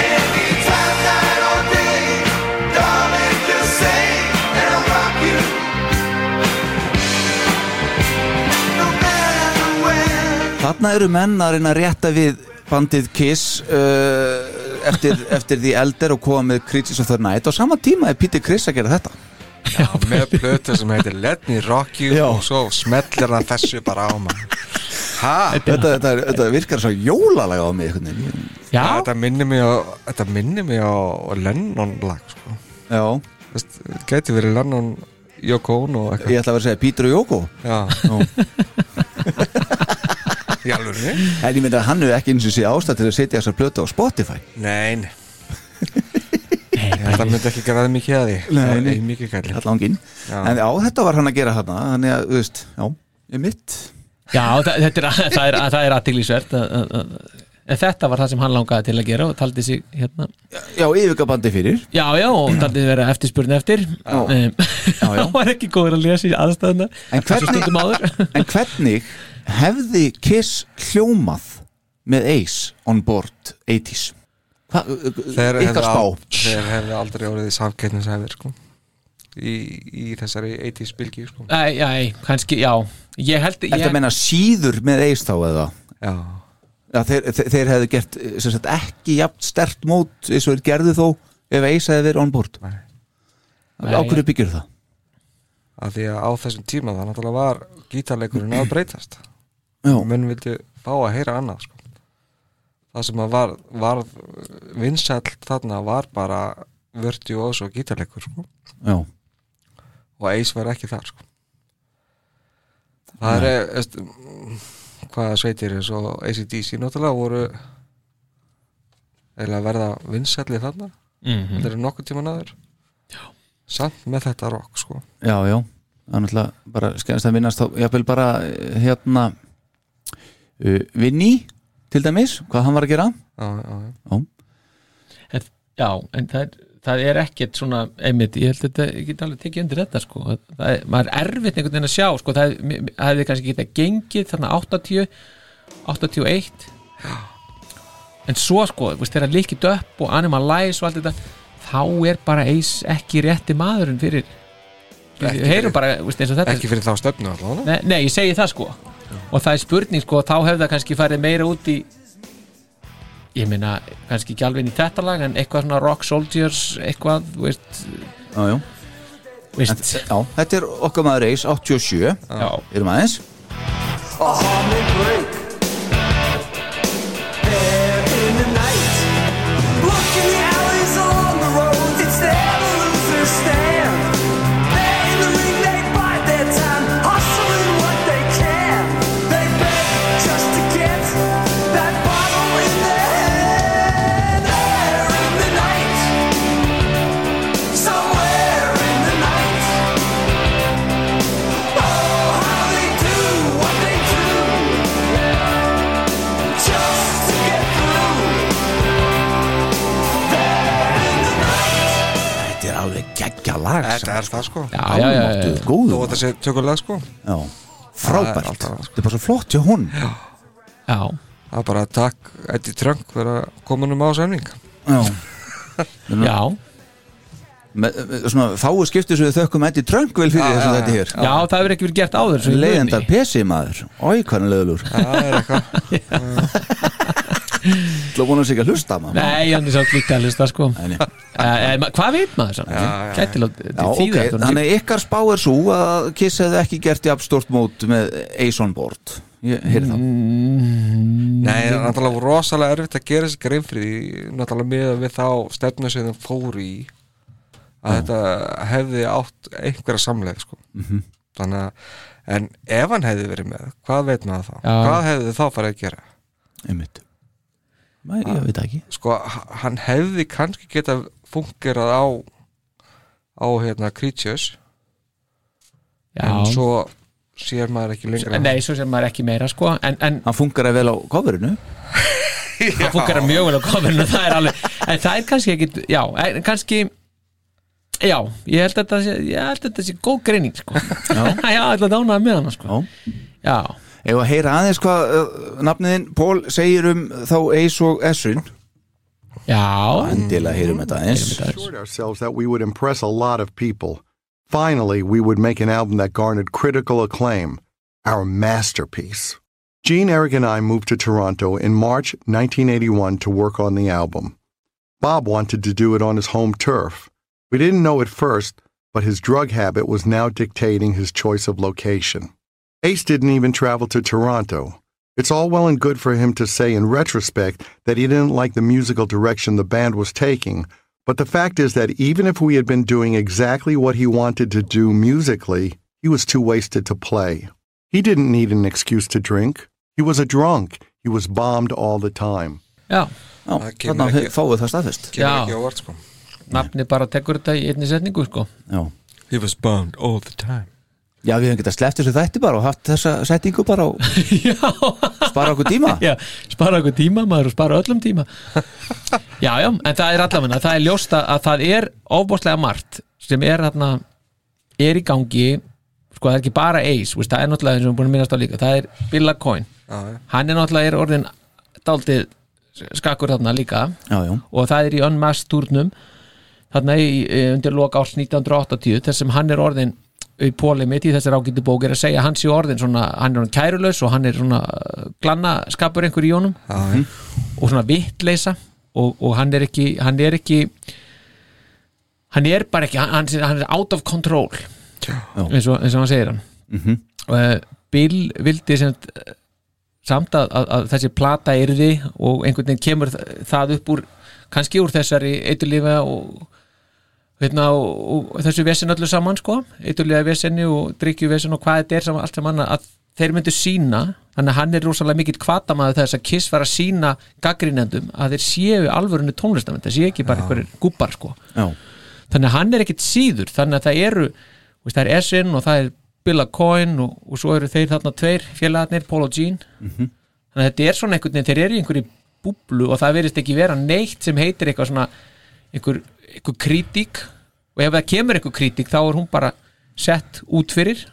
Speaker 3: Anytime, night or day, darling, just say and I'll rock you. No matter where.
Speaker 4: Þarna eru menn að reyna að rétta við bandið Kiss uh, *laughs* eftir, eftir því eldir og koma með Creatures of the Night og sama tíma er Peter Criss að gera þetta
Speaker 6: með plötu sem heitir Let Me Rock You
Speaker 4: Já.
Speaker 6: og svo smellir hann þessu bara á mann ha,
Speaker 4: þetta, þetta, er- þetta virkar svo jólalega á mig einhvern veginn.
Speaker 5: Já,
Speaker 6: þetta minnir mig á, þetta minnir mig á Lennon lag sko.
Speaker 4: Já,
Speaker 6: Vist, gæti verið Lennon Yoko Ono og
Speaker 4: ég ætla að vera að segja Peter og Jóko
Speaker 6: eitthvað
Speaker 4: Nú.
Speaker 6: í alvörni
Speaker 4: En ég myndi að hann hefur ekki eins og sé ástæð til að setja þessar plötu á Spotify
Speaker 6: nein þetta myndi ekki græða mikið að því
Speaker 4: Nei,
Speaker 6: Það er
Speaker 4: nei.
Speaker 6: í mikið kæli
Speaker 4: Allan ginn
Speaker 6: Já.
Speaker 4: En á þetta var hann að gera þarna Þannig að, þú veist, já, ég mitt
Speaker 5: já þa- þetta er, það er, það er aðtiglisvert En þetta var það sem hann langaði til að gera og taldi sig hérna
Speaker 4: Já, yfirgabandi fyrir
Speaker 5: Já, já, og *clears throat* taldi sig vera eftirspurni eftir Em,
Speaker 4: já.
Speaker 5: *laughs* Hann var ekki góður að lesa í aðstæðuna
Speaker 4: En
Speaker 5: Svo
Speaker 4: hvernig-
Speaker 5: stundum áður *laughs*
Speaker 4: En hvernig hefði Kiss hljómað með Ace on board 80s? Hva,
Speaker 6: þeir hefðu
Speaker 4: ykkar
Speaker 6: al-
Speaker 4: spá
Speaker 6: þeir hefðu aldrei orðið samkettnishæfir sko. í, í þessari 80s bylgi sko.
Speaker 5: Æ, æ, kannski, já Ég held, ég,
Speaker 4: Þetta meina síður með Ace þá eða?
Speaker 6: já
Speaker 4: Já, þeir, þeir, þeir hefðu gert eh, sem sagt, ekki jafn stert mót eins og þeir gerðu þó ef Ace hefði verið on board
Speaker 6: Nei.
Speaker 4: Á hverju byggjur það?
Speaker 6: að því að á þessum tíma það náttúrulega var gítarleikurinn að breytast
Speaker 4: Já,
Speaker 6: og menn vildi fá að heyra annað sko. það sem að var, var vinsæll þarna var bara vördi og svo gítarleikur sko.
Speaker 4: já,
Speaker 6: og Ace var ekki þar sko. það er eist, hvað sveitir eins og ACDC náttúrulega voru eða verða vinsælli þarna
Speaker 5: Mhm.
Speaker 6: þetta eru nokkuð tíma náður samt með þetta rock sko.
Speaker 4: já, já Það er náttúrulega bara skemmst að minnast þá jafnvel bara eh, hérna uh, Vinny til dæmis, hvað hann var að gera
Speaker 6: já, já, já.
Speaker 5: en, Já, en það er, það er ekkert svona einmitt, ég held að þetta, ég get alveg tekið undir þetta sko, það er, maður er erfitt einhvern veginn að sjá, sko, það er- mér- það hefði kannski getað gengið þarna 80 81 en svo sko, þú veist, þegar líkið upp og Animal Lies og allt þetta þá er bara eis ekki rétti maðurinn fyrir,
Speaker 6: Ekki
Speaker 5: við heyrum bara þú veist, eins og þetta
Speaker 6: ekki fyrir þá stefnu allavega
Speaker 5: Nei, nei, ég segi það sko og það er spurning sko, þá hefði það kannski farið meira út í ég meina, kannski ekki alveg inn í þetta lag en eitthvað svona Rock Soldiers eitthvað, þú veist,
Speaker 4: Já, já
Speaker 5: veist
Speaker 4: Þetta- Já, þetta er okkar maður reys 87
Speaker 5: já,
Speaker 4: Erum aðeins
Speaker 3: a harmony break. There in the night, look in the alleys along the roads. It's there the losers stand. There in the ring, they bide their time, hustling what they can. They beg just to get that bottle in their hand. There in the night, somewhere in the night. Oh, how they do what they do just to get through.
Speaker 4: Þetta er alveg geggja lag
Speaker 6: Þetta er það sko
Speaker 5: já, já, já, já,
Speaker 4: Almáttuð
Speaker 6: Þú
Speaker 4: góður
Speaker 6: vart að segja tökulega sko
Speaker 4: Já,
Speaker 6: Það er
Speaker 4: frábært
Speaker 6: alltaf-
Speaker 4: Þetta er bara svo flott hjá hún Já,
Speaker 5: já.
Speaker 6: Það er bara takk Eddie Trunk fyrir að koma um á sæmning
Speaker 5: já.
Speaker 4: Með, með svona fáu skipti sem við þökkum Eddie Trunk vel fyrir þessu þetta hér
Speaker 5: já það hefur ekki verið gert áður svo ég
Speaker 4: Leiðendar
Speaker 5: muni.
Speaker 4: PC maður Ói, hvernig leiðulur
Speaker 6: Það er
Speaker 4: *laughs*
Speaker 6: eitthvað
Speaker 4: Þú búin að sig að hlusta maður
Speaker 5: Nei, hann er sátt líka að hlusta sko
Speaker 4: Nei, nei.
Speaker 5: Eh, eh, ma- Hvað veit maður sann? Gæti lát,
Speaker 4: Já, ok, þannig ykkar spá er svo að Kiss hefði ekki gert jafn stort mót með Ace on board Ég heyri það
Speaker 6: Nei, það er náttúrulega rosalega erfitt að gera þessi grein fyrir því Náttúrulega miða við þá stefnu sem þeim fóru í að þetta hefði átt einhverja samleið sko.
Speaker 4: Mhm.
Speaker 6: þannig að en ef hann hefði verið með, hvað veit maður þá
Speaker 5: Já.
Speaker 6: hvað hefði þá farið að gera
Speaker 4: einmitt Mæ, ég veit það ekki
Speaker 6: sko, h- hann hefði kannski geta fungerað á á hérna Creatures en
Speaker 5: Já.
Speaker 6: svo sér maður ekki lengra
Speaker 5: Nei, svo sem maður ekki meira sko En, en
Speaker 4: Hann funkar vel á coverinu
Speaker 5: það funkar mjög vel á kofinu Það er alveg En það er kannski ekki Já, en kannski Já, ég held að þetta sé, ég held að þetta sé góð greining sko Já, *laughs* já ætla að dánaði með hana sko Já,
Speaker 4: Ef að heyra aðeins hvað uh, nafnið þinn Pól segir um þá Ace og Essun
Speaker 5: já
Speaker 4: Endilega
Speaker 6: Mm.
Speaker 4: heyrum þetta aðeins
Speaker 8: assured ourselves that we would impress a lot of people. Finally, we would make an album that garnered critical acclaim, our masterpiece. Gene, Eric, and I moved to Toronto in March 1981 to work on the album. Bob wanted to do it on his home turf. We didn't know at first, but his drug habit was now dictating his choice of location. Ace didn't even travel to Toronto. It's all well and good for him to say in retrospect that he didn't like the musical direction the band was taking, but the fact is that even if we had been doing exactly what he wanted to do musically, he was too wasted to play. He didn't need an excuse to drink. He was a drunk. He was bombed all the time.
Speaker 5: já
Speaker 4: Já,
Speaker 6: Það kemur
Speaker 4: þannig að
Speaker 6: ekki-
Speaker 4: fáið það staðfest
Speaker 6: kemur
Speaker 5: Já.
Speaker 6: ekki á vart sko
Speaker 5: Nafni bara tekur þetta í einni setningu sko
Speaker 4: Já,
Speaker 6: he was bombed all the time
Speaker 4: Já við höfum getað sleppt þessu þætti bara og haft þessa settingu bara
Speaker 6: *laughs*
Speaker 4: og
Speaker 5: Já
Speaker 4: spara okkur tíma
Speaker 5: *laughs* Já, spara okkur tíma maður og spara öllum
Speaker 6: *laughs*
Speaker 5: tíma Já, já, en það er allavega það er ljóst að- að það er ofbóðslega margt sem er þarna er í gangi, sko það er ekki bara Ace, veist, það er náttúrulega eins og við erum búin að minnast á líka það er Billa Coyne,
Speaker 6: já.
Speaker 5: hann er náttúrulega er orðin daldið skakkur þarna líka
Speaker 4: Já, já,
Speaker 5: og það er í Unmasked turnum þarna í, eh, undir loka árs 1980 þess sem hann er orðin í pólið mitt í þessar ágættu bók er að segja að hann sé orðin svona, hann er orðin kærulaus og hann er svona eh, glanna skapur einhver í honum
Speaker 6: Já,
Speaker 5: og svona vittleisa og, og hann er ekki hann er ekki hann er bara ekki, hann, hann er- hann er out of control eins og, eins og hann segir hann
Speaker 6: Mhm.
Speaker 5: mm -hmm. Bill vildi sem, sagt, eh, samt að, að, að þessi plata yrði og einhvern veginn kemur þa- það upp úr kannski úr þessari eiturlífa og Veitna, og, og þessu vesen öllu saman sko, eiturlega vesenni og drikju vesen og hvað þetta er saman, allt saman að þeir myndu sína, þannig að hann er rosalega mikill kvatamaður þess að Kiss var að sína gaggrinendum að þeir séu alvörinu tónlistamenn, það séu ekki bara einhverjir gubbar sko,
Speaker 4: já,
Speaker 5: þannig að hann er ekkit síður, þannig að það eru þú veist, það er Essin og það er Billa Coyne og, og svo eru þeir þarna tveir félagarnir, Paul og Gene
Speaker 6: Mhm.
Speaker 5: þannig að þetta er svona einhvern veginn, þeir eru í einhverju búblu og það verðist ekki vera neitt sem heitir eitthvað svona einhver, einhver kritík og ef það kemur einhver kritík þá er hún bara sett út fyrir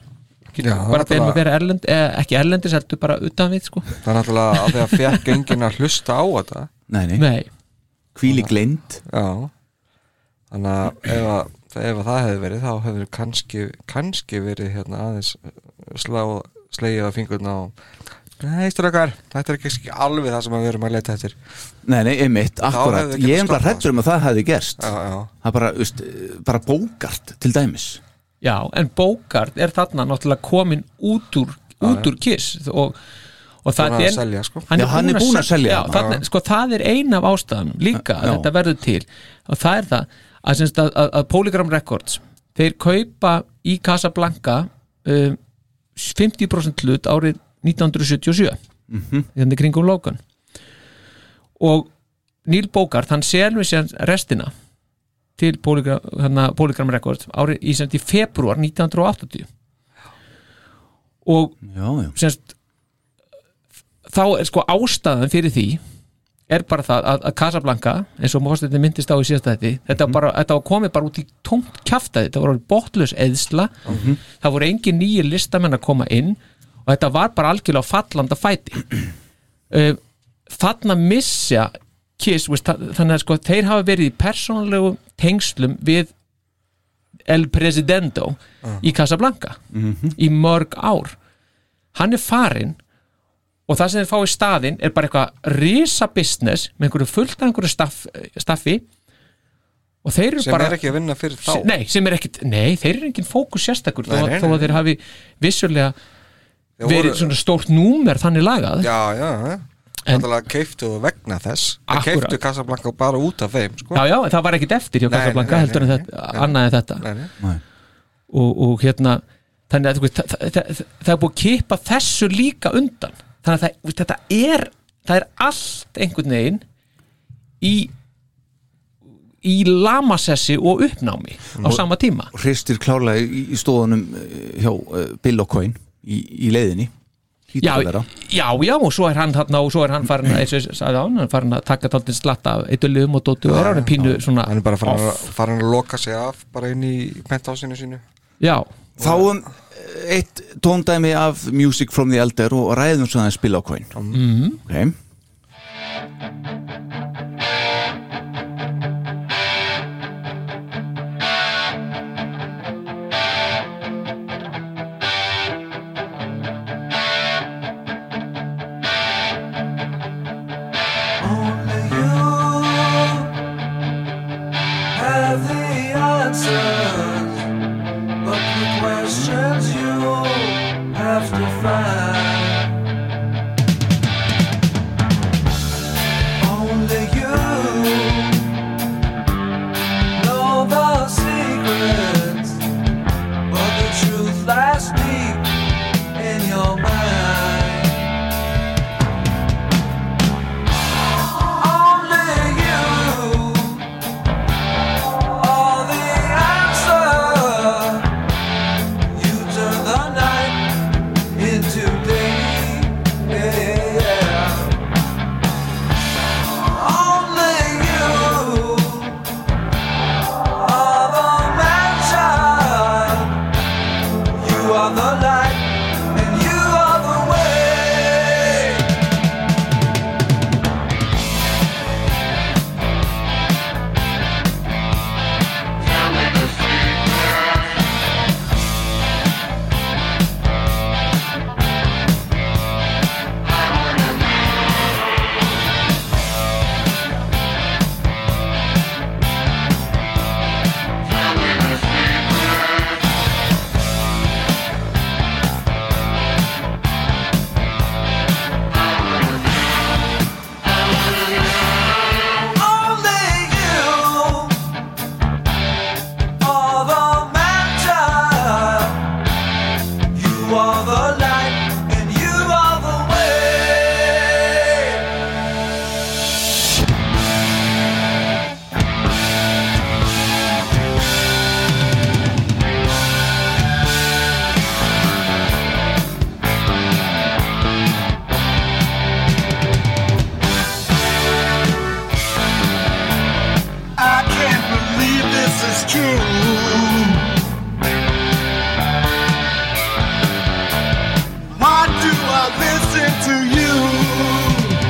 Speaker 6: Já,
Speaker 5: bara þeim að
Speaker 6: náttúrulega-
Speaker 5: vera erlend, eh, ekki erlendis heldur bara utan við sko
Speaker 6: það er náttúrulega að því að fekk enginn að hlusta á þetta
Speaker 4: nei, nei
Speaker 5: Nei,
Speaker 4: Hvíli gleind
Speaker 6: Já Þannig að ef, að ef að það hefði verið þá hefur kannski, kannski verið hérna aðeins slá, slegið að fingurna á Nei, strókar, þetta er ekki alveg það sem við erum að leta eftir
Speaker 4: Nei, nei, einmitt, akkurat
Speaker 6: hefði getað
Speaker 4: Ég er bara
Speaker 6: stoppað
Speaker 4: hrættur um að það hefði gerst
Speaker 6: Já, já,
Speaker 4: Það er bara, veist, bara bókart til dæmis
Speaker 5: já, en Bogart er þarna náttúrulega komin út úr, út úr kiss og, og það
Speaker 6: Búinn að
Speaker 5: er
Speaker 6: selja, sko.
Speaker 4: Já, hann er búinn að selja
Speaker 5: já,
Speaker 4: þarna.
Speaker 5: þarna, sko, það er ein af ástæðanum líka að
Speaker 4: Já.
Speaker 5: þetta verður til og það er það að, sem sagt að, að, að Polygram Records þeir kaupa í Casablanca um, 50% hlut árið 1977
Speaker 4: Mhm.
Speaker 5: þannig Hérna kringum lókan og Neil Bogart hann selur sér restina til Polygram, hana, Polygram Records árið í, sem sagt í februar 1980 og
Speaker 4: Já, já,
Speaker 5: semst þá er sko ástæðan fyrir því er bara það að, að Casablanca eins og maður myndist á í síðasta þetta þetta, var bara, þetta var komið bara út í tómt kjaftaði þetta var bóttlaus eðsla það voru engin nýjir listamenn að koma inn og þetta var bara algjörlega á fallanda fæti uh, þarna missja Kiss, veist, þa- þannig að sko þeir hafa verið í persónlegu tengslum við El Presidento
Speaker 6: Ah.
Speaker 5: í Casablanca
Speaker 6: Mhm.
Speaker 5: í mörg ár hann er farinn og það sem þeir fá í staðinn er bara eitthvað risa business með einhverju fullt af einhverju staff, staffi og þeir eru
Speaker 6: sem
Speaker 5: bara
Speaker 6: er ekki að vinna fyrir þá
Speaker 5: Se- nei, sem er ekkit, nei, þeir eru engin fókus sérstakur þó,
Speaker 6: Nei,
Speaker 5: að-
Speaker 6: nei,
Speaker 5: þó
Speaker 6: nei.
Speaker 5: að þeir hafi vissulega
Speaker 6: Þeir
Speaker 5: verið svona stórt númer þannig lagað
Speaker 6: Já, já, já Náttúrulega keiftu þú vegna þess Það
Speaker 5: Akkúrat.
Speaker 6: keiftu Casablanca bara út af þeim sko.
Speaker 5: já, já, en það var ekkit eftir hjá
Speaker 6: Nei, nei,
Speaker 5: Casablanca
Speaker 6: nei,
Speaker 5: heldur en
Speaker 6: nei,
Speaker 5: þetta,
Speaker 6: nei, nei.
Speaker 5: annað en þetta
Speaker 6: Nei, nei.
Speaker 5: og, og hérna þannig að þú veist, það, það, það, það er búið að kippa þessu líka undan þannig að það, þú veist, þetta er það er allt einhvern veginn í í lamasessi og uppnámi á sama tíma
Speaker 4: hristir klárlega í, í stóðunum eh, hjá uh, Bill O'Coin í, í leiðinni Hlýtur
Speaker 5: já,
Speaker 4: að vera.
Speaker 5: já, já, og svo er hann þarna og svo er hann farin að, eins og ég sagði á hann, hann farin að taka taldin slatta af eitt öllum og dóttu og er hann pínu svona
Speaker 6: Hann er bara farin að,
Speaker 5: off.
Speaker 6: farin að loka sig af bara inn í penthásinu sínu
Speaker 5: já,
Speaker 4: fáum eh, eitt tóndæmi af Music from the Elder og ræðum svo aðeins Bill O'Coin okay.
Speaker 3: have the answers, but the questions you have to find. Only you know the secrets, but the truth lies deep in your mind. Only you all the answer. You turn the night into day. Only you are the mansion. You are the light, and you are the way. Only you are the matter. You are the light, and you are the way. I can't believe this is true. Why do I listen to you?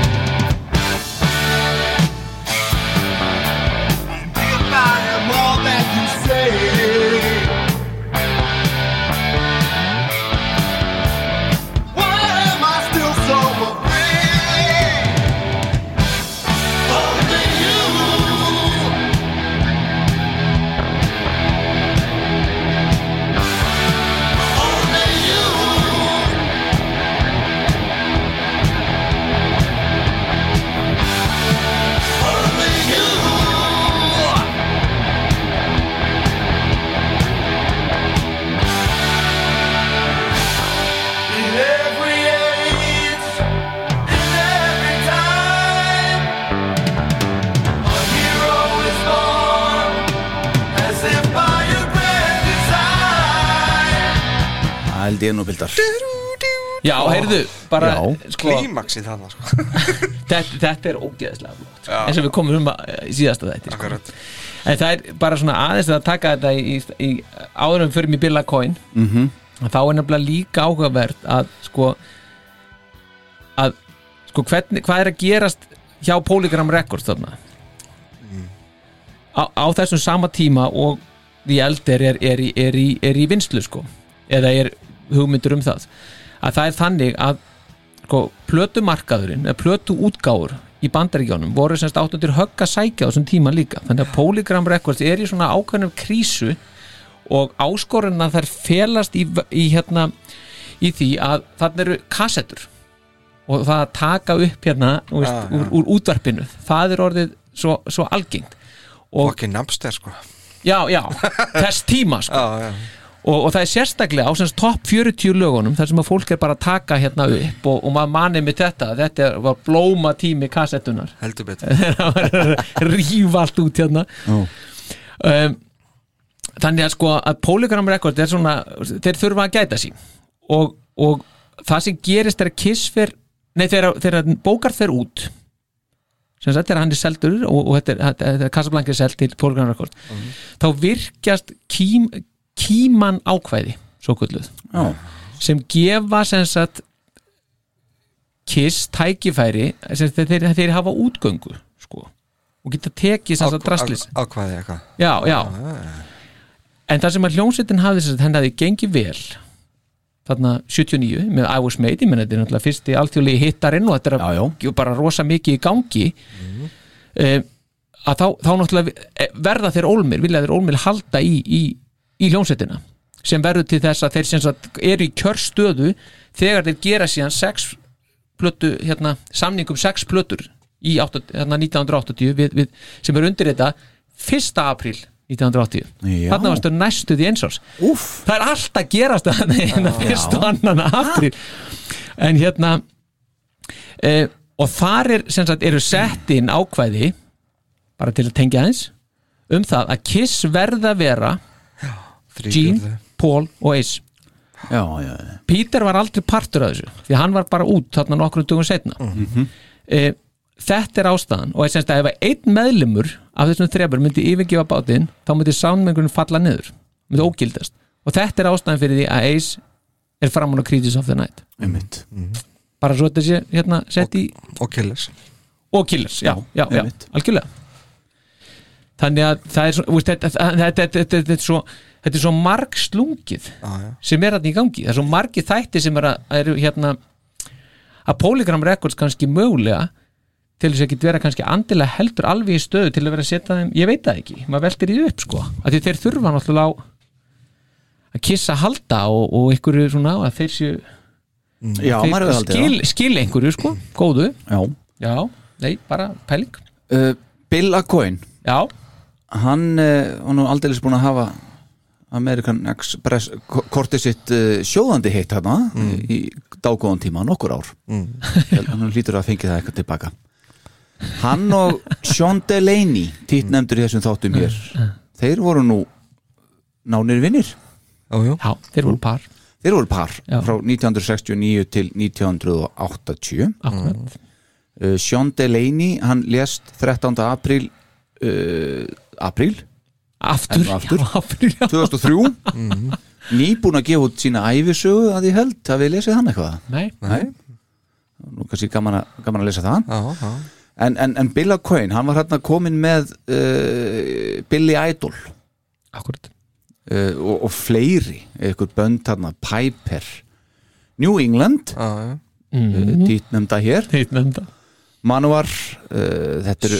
Speaker 3: And if I am all that you say, why am I still so afraid? Only you. Only you. Only you. In every age, in every time, a hero is born, as if by a grand design.
Speaker 4: Það held ég nú bildar
Speaker 5: já, heyrðu bara,
Speaker 4: Já.
Speaker 5: sko,
Speaker 6: Klímaxið þarna sko.
Speaker 5: þetta, þetta er ógeðslega flott eins og við komum um að, í síðasta þetta sko.
Speaker 6: Akkurat.
Speaker 5: en það er bara svona aðeins að taka þetta í, í, í áðurum fyrir mig Billa Coin mm -hmm. þá er nefnilega líka áhugavert að sko að sko hvernig, hvað er að gerast hjá Polygram Records þarna á, á þessum sama tíma og The Elder er, er, í- er, í, er í vinslu sko eða er hugmyndur um það að það er þannig að sko, plötumarkaðurinn eða plötu útgáfur í bandaríkjónum voru semst áttundir högg að sækja á þessum tíma líka þannig að Polygram Records er í svona ákveðnum krísu og áskorunna þær felast í, í hérna í því að þannig eru kassettur og það að taka upp hérna þú veist,
Speaker 6: Já, já.
Speaker 5: Úr, úr útvarpinu það er orðið svo, svo algengt og
Speaker 6: Fucking Napster sko
Speaker 5: já, já, þess tíma sko.
Speaker 6: Já, já
Speaker 5: og, og það er sérstaklega á semst topp 40 lögunum þar sem að fólk er bara að taka hérna upp og, og maður manið með þetta þetta er- var blóma tími kassettunar
Speaker 6: Heldur betur
Speaker 5: *laughs* það var að rífa allt út hérna
Speaker 4: Já.
Speaker 5: um, þannig að sko að Polygram Record er svona þeir þurfa að gæta sín og, og það sem gerist er að Kiss fer nei þegar, þegar bókar fer út sem sagt þegar hann er seldur og, og þetta er, þetta er- þetta er Casablanca er seld til Polygram Record þá virkjast kím, kíman ákvæði svo gulluð
Speaker 4: Já.
Speaker 5: sem gefa sem sagt Kiss tækifæri sem sagt, þeir, þeir, þeir hafa útgöngu sko og geta tekið sem sagt drastlis
Speaker 6: Ákvaði eitthvað
Speaker 5: já, já
Speaker 4: Ah.
Speaker 5: en það sem að hljómsveitin hafði þess að henni hafði gengið vel þarna 79 með I Was Made, ég menn þetta er náttúrulega fyrsti alltjóðlegi hittarinn og þetta er
Speaker 4: Já, Mhm. já.
Speaker 5: að- bara rosa mikið í gangi mm. að þá, þá náttúrulega eh, verða þeir ólmir, vilja þeir ólmir halda í, í, í hljómsveitina sem verður til þess að þeir sem sagt eru í kjörstöðu þegar þeir gera síðan sex plötu, hérna, samningum sex plötur í átta- hérna, 1980 við, við, sem er undir þetta 1. apríl 1980
Speaker 4: Já.
Speaker 5: þarna varstu næstuð í einsás
Speaker 4: Úff.
Speaker 5: það er allt að gerast þarna hérna fyrst og annan apríl en hérna e, og þar er, sem sagt, eru sett inn ákvæði bara til að tengja aðeins um það að Kiss verða að vera Gene, Paul og Ace
Speaker 4: já, já, já.
Speaker 5: Peter var aldrei partur af þessu því hann var bara út þarna nokkrum dugum setna mm þetta er ástæðan og ég semst að ef að einn meðlumur af þessum þrefur myndi yfirgefa bátinn þá myndi sánmengurinn falla niður myndi ógildast og þetta er ástæðan fyrir því að Ace er framann á Creatures of the Night
Speaker 4: einmitt
Speaker 5: bara svo þetta sé hérna sett í
Speaker 6: Og Killers
Speaker 5: og Killers, já, já, já,
Speaker 4: einmitt.
Speaker 5: algjörlega þannig að það er svo, þú veist, þetta, þetta, þetta, þetta, þetta er svo þetta er svo marg slungið
Speaker 6: Já, já
Speaker 5: sem er þarna í gangi, það er svo margi þætti sem er að, er hérna að Polygram Records kannski mögulega til þess að geta vera kannski andilega heldur alveg í stöðu til að vera að setja þeim ég veit það ekki, maður veltir því upp sko að því þeir þurfa náttúrulega á að kissa halda og, og einhverju svona að þeir séu
Speaker 4: já, maður
Speaker 5: þeir
Speaker 4: hefur haldið
Speaker 5: skil, skil einhverju sko, góðu
Speaker 4: það já.
Speaker 5: já, nei, bara pæling
Speaker 4: Uh, Bill Acoin
Speaker 5: já,
Speaker 4: hann uh, var nú aldeilis búin að hafa Amerikan Express ko- kortið sitt uh, sjóðandi heitt hérna í dágóðan tíma nokkur ár mm. hann lítur að fengi það eitthvað tilbaka hann og Sean Delaney týtt nefndur í þessum þáttum hér þeir voru nú nánir vinnir
Speaker 6: Jú, jú
Speaker 5: já, þeir voru par
Speaker 4: þeir voru par
Speaker 5: Já.
Speaker 4: frá 1969 til 1980
Speaker 5: akkurat,
Speaker 4: uh, Sean Delaney hann lést 13. apríl uh, apríl
Speaker 5: aftur,
Speaker 4: Enn og aftur.
Speaker 5: já, aftur já.
Speaker 4: 2003 nýbúin að gefa út sína æfisögu að ég held að við lesið hann eitthvað
Speaker 5: nei,
Speaker 4: Nei. nú kannski gaman að, gaman að lesa það
Speaker 6: Já, já
Speaker 4: en, en, en Bill O'Coin, hann var hérna komin með uh, Billy Idol uh,
Speaker 5: akkurat
Speaker 4: og, og fleiri, einhver bönd hérna Piper, New England
Speaker 6: Já, já
Speaker 4: mm. dýtnumda hér,
Speaker 5: þeir nefnda
Speaker 4: Manuar uh, þetta eru,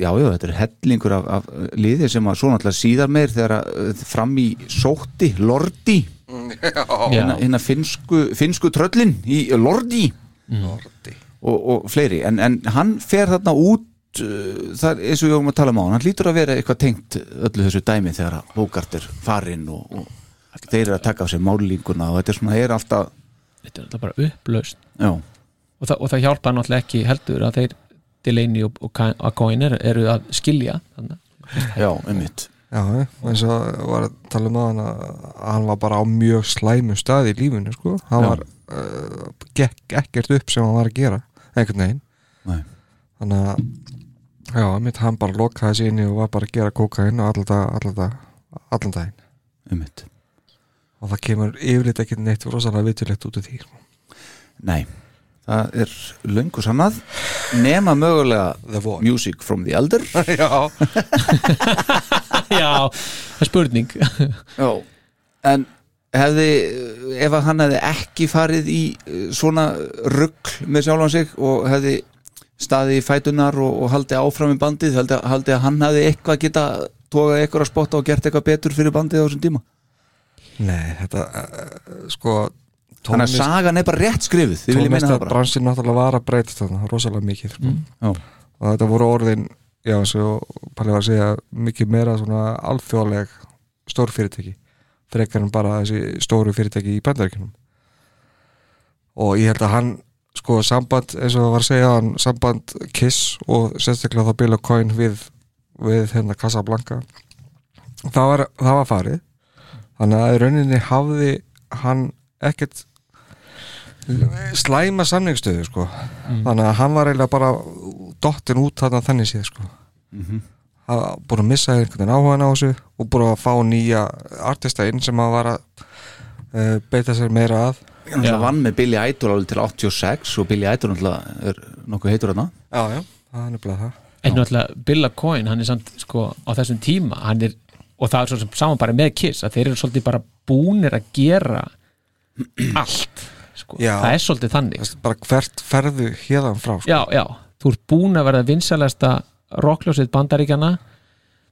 Speaker 4: já, já, þetta eru hellingur af, af liði sem að svo náttúrulega síðar meir þegar að uh, fram í sótti, lordi
Speaker 5: já,
Speaker 4: hérna, hérna finnsku, finnsku tröllin í Lordi
Speaker 6: Mm.
Speaker 4: og, og fleiri, en, en hann fer þarna út uh, það er eins og við vorum að tala um á hann lítur að vera eitthvað tengt öllu þessu dæmi þegar að Bogart er farinn og, og þeir eru að taka á sig mállíkuna og þetta er svona, er alltaf
Speaker 5: þetta er alltaf bara upplaust
Speaker 4: já,
Speaker 5: og, það, og það hjálpa náttúrulega ekki heldur að þeir Delaney og, og Ka- og Coyne er- eru að skilja
Speaker 4: *laughs*
Speaker 5: þannig.
Speaker 4: já, einmitt
Speaker 6: Já, já, eins og var að tala um að hann að hann var bara á mjög slæmum stað í lífinu, sko hann
Speaker 4: Já.
Speaker 6: var, uh, gekk ekkert upp sem hann var að gera einhvern veginn
Speaker 4: Nei.
Speaker 6: þannig að, já, mitt hann bara lokaði sér inni og var bara að gera kókain og allan dag, allan dag, allan daginn
Speaker 4: einmitt,
Speaker 6: og það kemur yfirleitt ekkert neitt rosalega vitulegt út af því
Speaker 4: *laughs*
Speaker 6: sko.
Speaker 4: nei það er löngu sannað nema mögulega
Speaker 6: The Void.
Speaker 4: Music from the Elder
Speaker 6: Já,
Speaker 5: já, það er spurning
Speaker 4: Já, en hefði, ef að hann hefði ekki farið í eh, svona rugg með sjálfan sig og hefði staðið í fætunar og, og haldið áfram í bandið, haldið, haldið að hann hefði eitthvað geta tókað eitthvað að spotta og gert eitthvað betur fyrir bandið á þessum tíma
Speaker 6: Nei, þetta uh, eh, sko
Speaker 4: Þannig að sagan er bara rétt skrifuð Þið viljið minna það bara Mm.
Speaker 6: Tónlistarbransin náttúrulega var að breytast þarna rosalega mikið sko.
Speaker 4: Já.
Speaker 6: og þetta voru orðin já, eins og Palli var að segja mikið meira svona alþjóðleg stór fyrirtæki frekar en bara þessi stóru fyrirtæki í bandaríkjunum og ég held að hann sko samband, eins og það var að segja hann, samband Kiss og sérstaklega þá Bill O'Coin við, við hérna Casablanca það var, það var farið þannig að í rauninni hafði hann ekkert slæma samningstöðu sko. þannig að hann var eiginlega bara dottin út þarna þannig séð sko. hann var búin að missa einhvern veginn áhugan á þessu og búin að fá nýja artista inn sem að var að uh, beita sér meira að
Speaker 4: Hann náttúrulega vann með Billy Idol alveg til 86 og Billy Idol náttúrulega er nokkuð heitur hann
Speaker 6: já, já, það er nefnilega það
Speaker 5: En náttúrulega Billa Coyne, hann er samt sko á þessum tíma, hann er og það er svo sem saman bara með Kiss að þeir eru svolítið bara búnir að gera allt sko.
Speaker 6: Já.
Speaker 5: það er svolítið þannig
Speaker 6: Þessi, bara hvert ferðu hérðan frá sko.
Speaker 5: já, já, þú ert búin að verða vinsalasta rockljósið bandaríkjana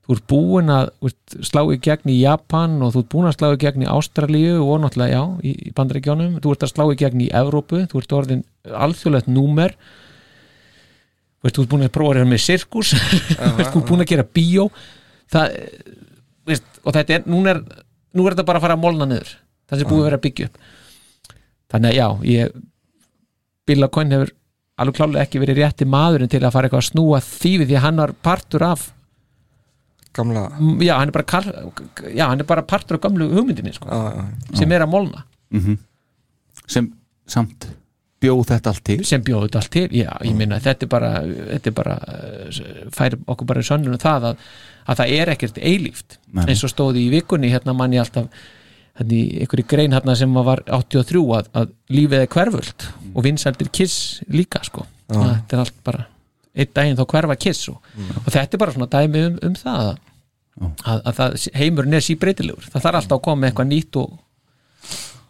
Speaker 5: þú ert búin að þú ert, slá í gegn í Japan og þú ert búin að slá í gegn í Ástralíu og náttúrulega, já, í, í bandaríkjánum þú ert að slá í gegn í Evrópu, þú ert orðin alþjóðlegt númer þú ert, þú ert búin að prófa að vera með sirkus *laughs* þú ert búin að gera bíó það, þú veist, og þetta er núna er, nú er þetta bara að fara að molna niður það sem búið að vera að byggja upp þannig að já, ég Bill O'Coin hefur alveg klálega ekki verið rétti maðurinn til að fara eitthvað að snúa þýfi því að hann var partur af
Speaker 6: gamla
Speaker 5: já, hann er bara, kar, já, hann er bara partur af gamlu hugmyndinni sko,
Speaker 6: já, já, já.
Speaker 5: sem er að molna,
Speaker 4: sem samt bjóð þetta allt til
Speaker 5: sem bjóðu þetta allt til já, ég minna, þetta er bara, þetta er bara eh, fær okkur bara í sönnunum það að, að það er ekkert eilíft
Speaker 4: Nei.
Speaker 5: eins og stóði í vikunni, hérna mann ég alltaf hérna í einhverju grein hérna sem var 83 að, að lífið er hverfult og vinsældir kiss líka sko það, þetta er allt bara einn daginn þá hverfa kiss og, og þetta er bara svona dæmi um, um það að, að, að það, heimurinn er síbreytilegur það þarf alltaf að koma með eitthvað nýtt og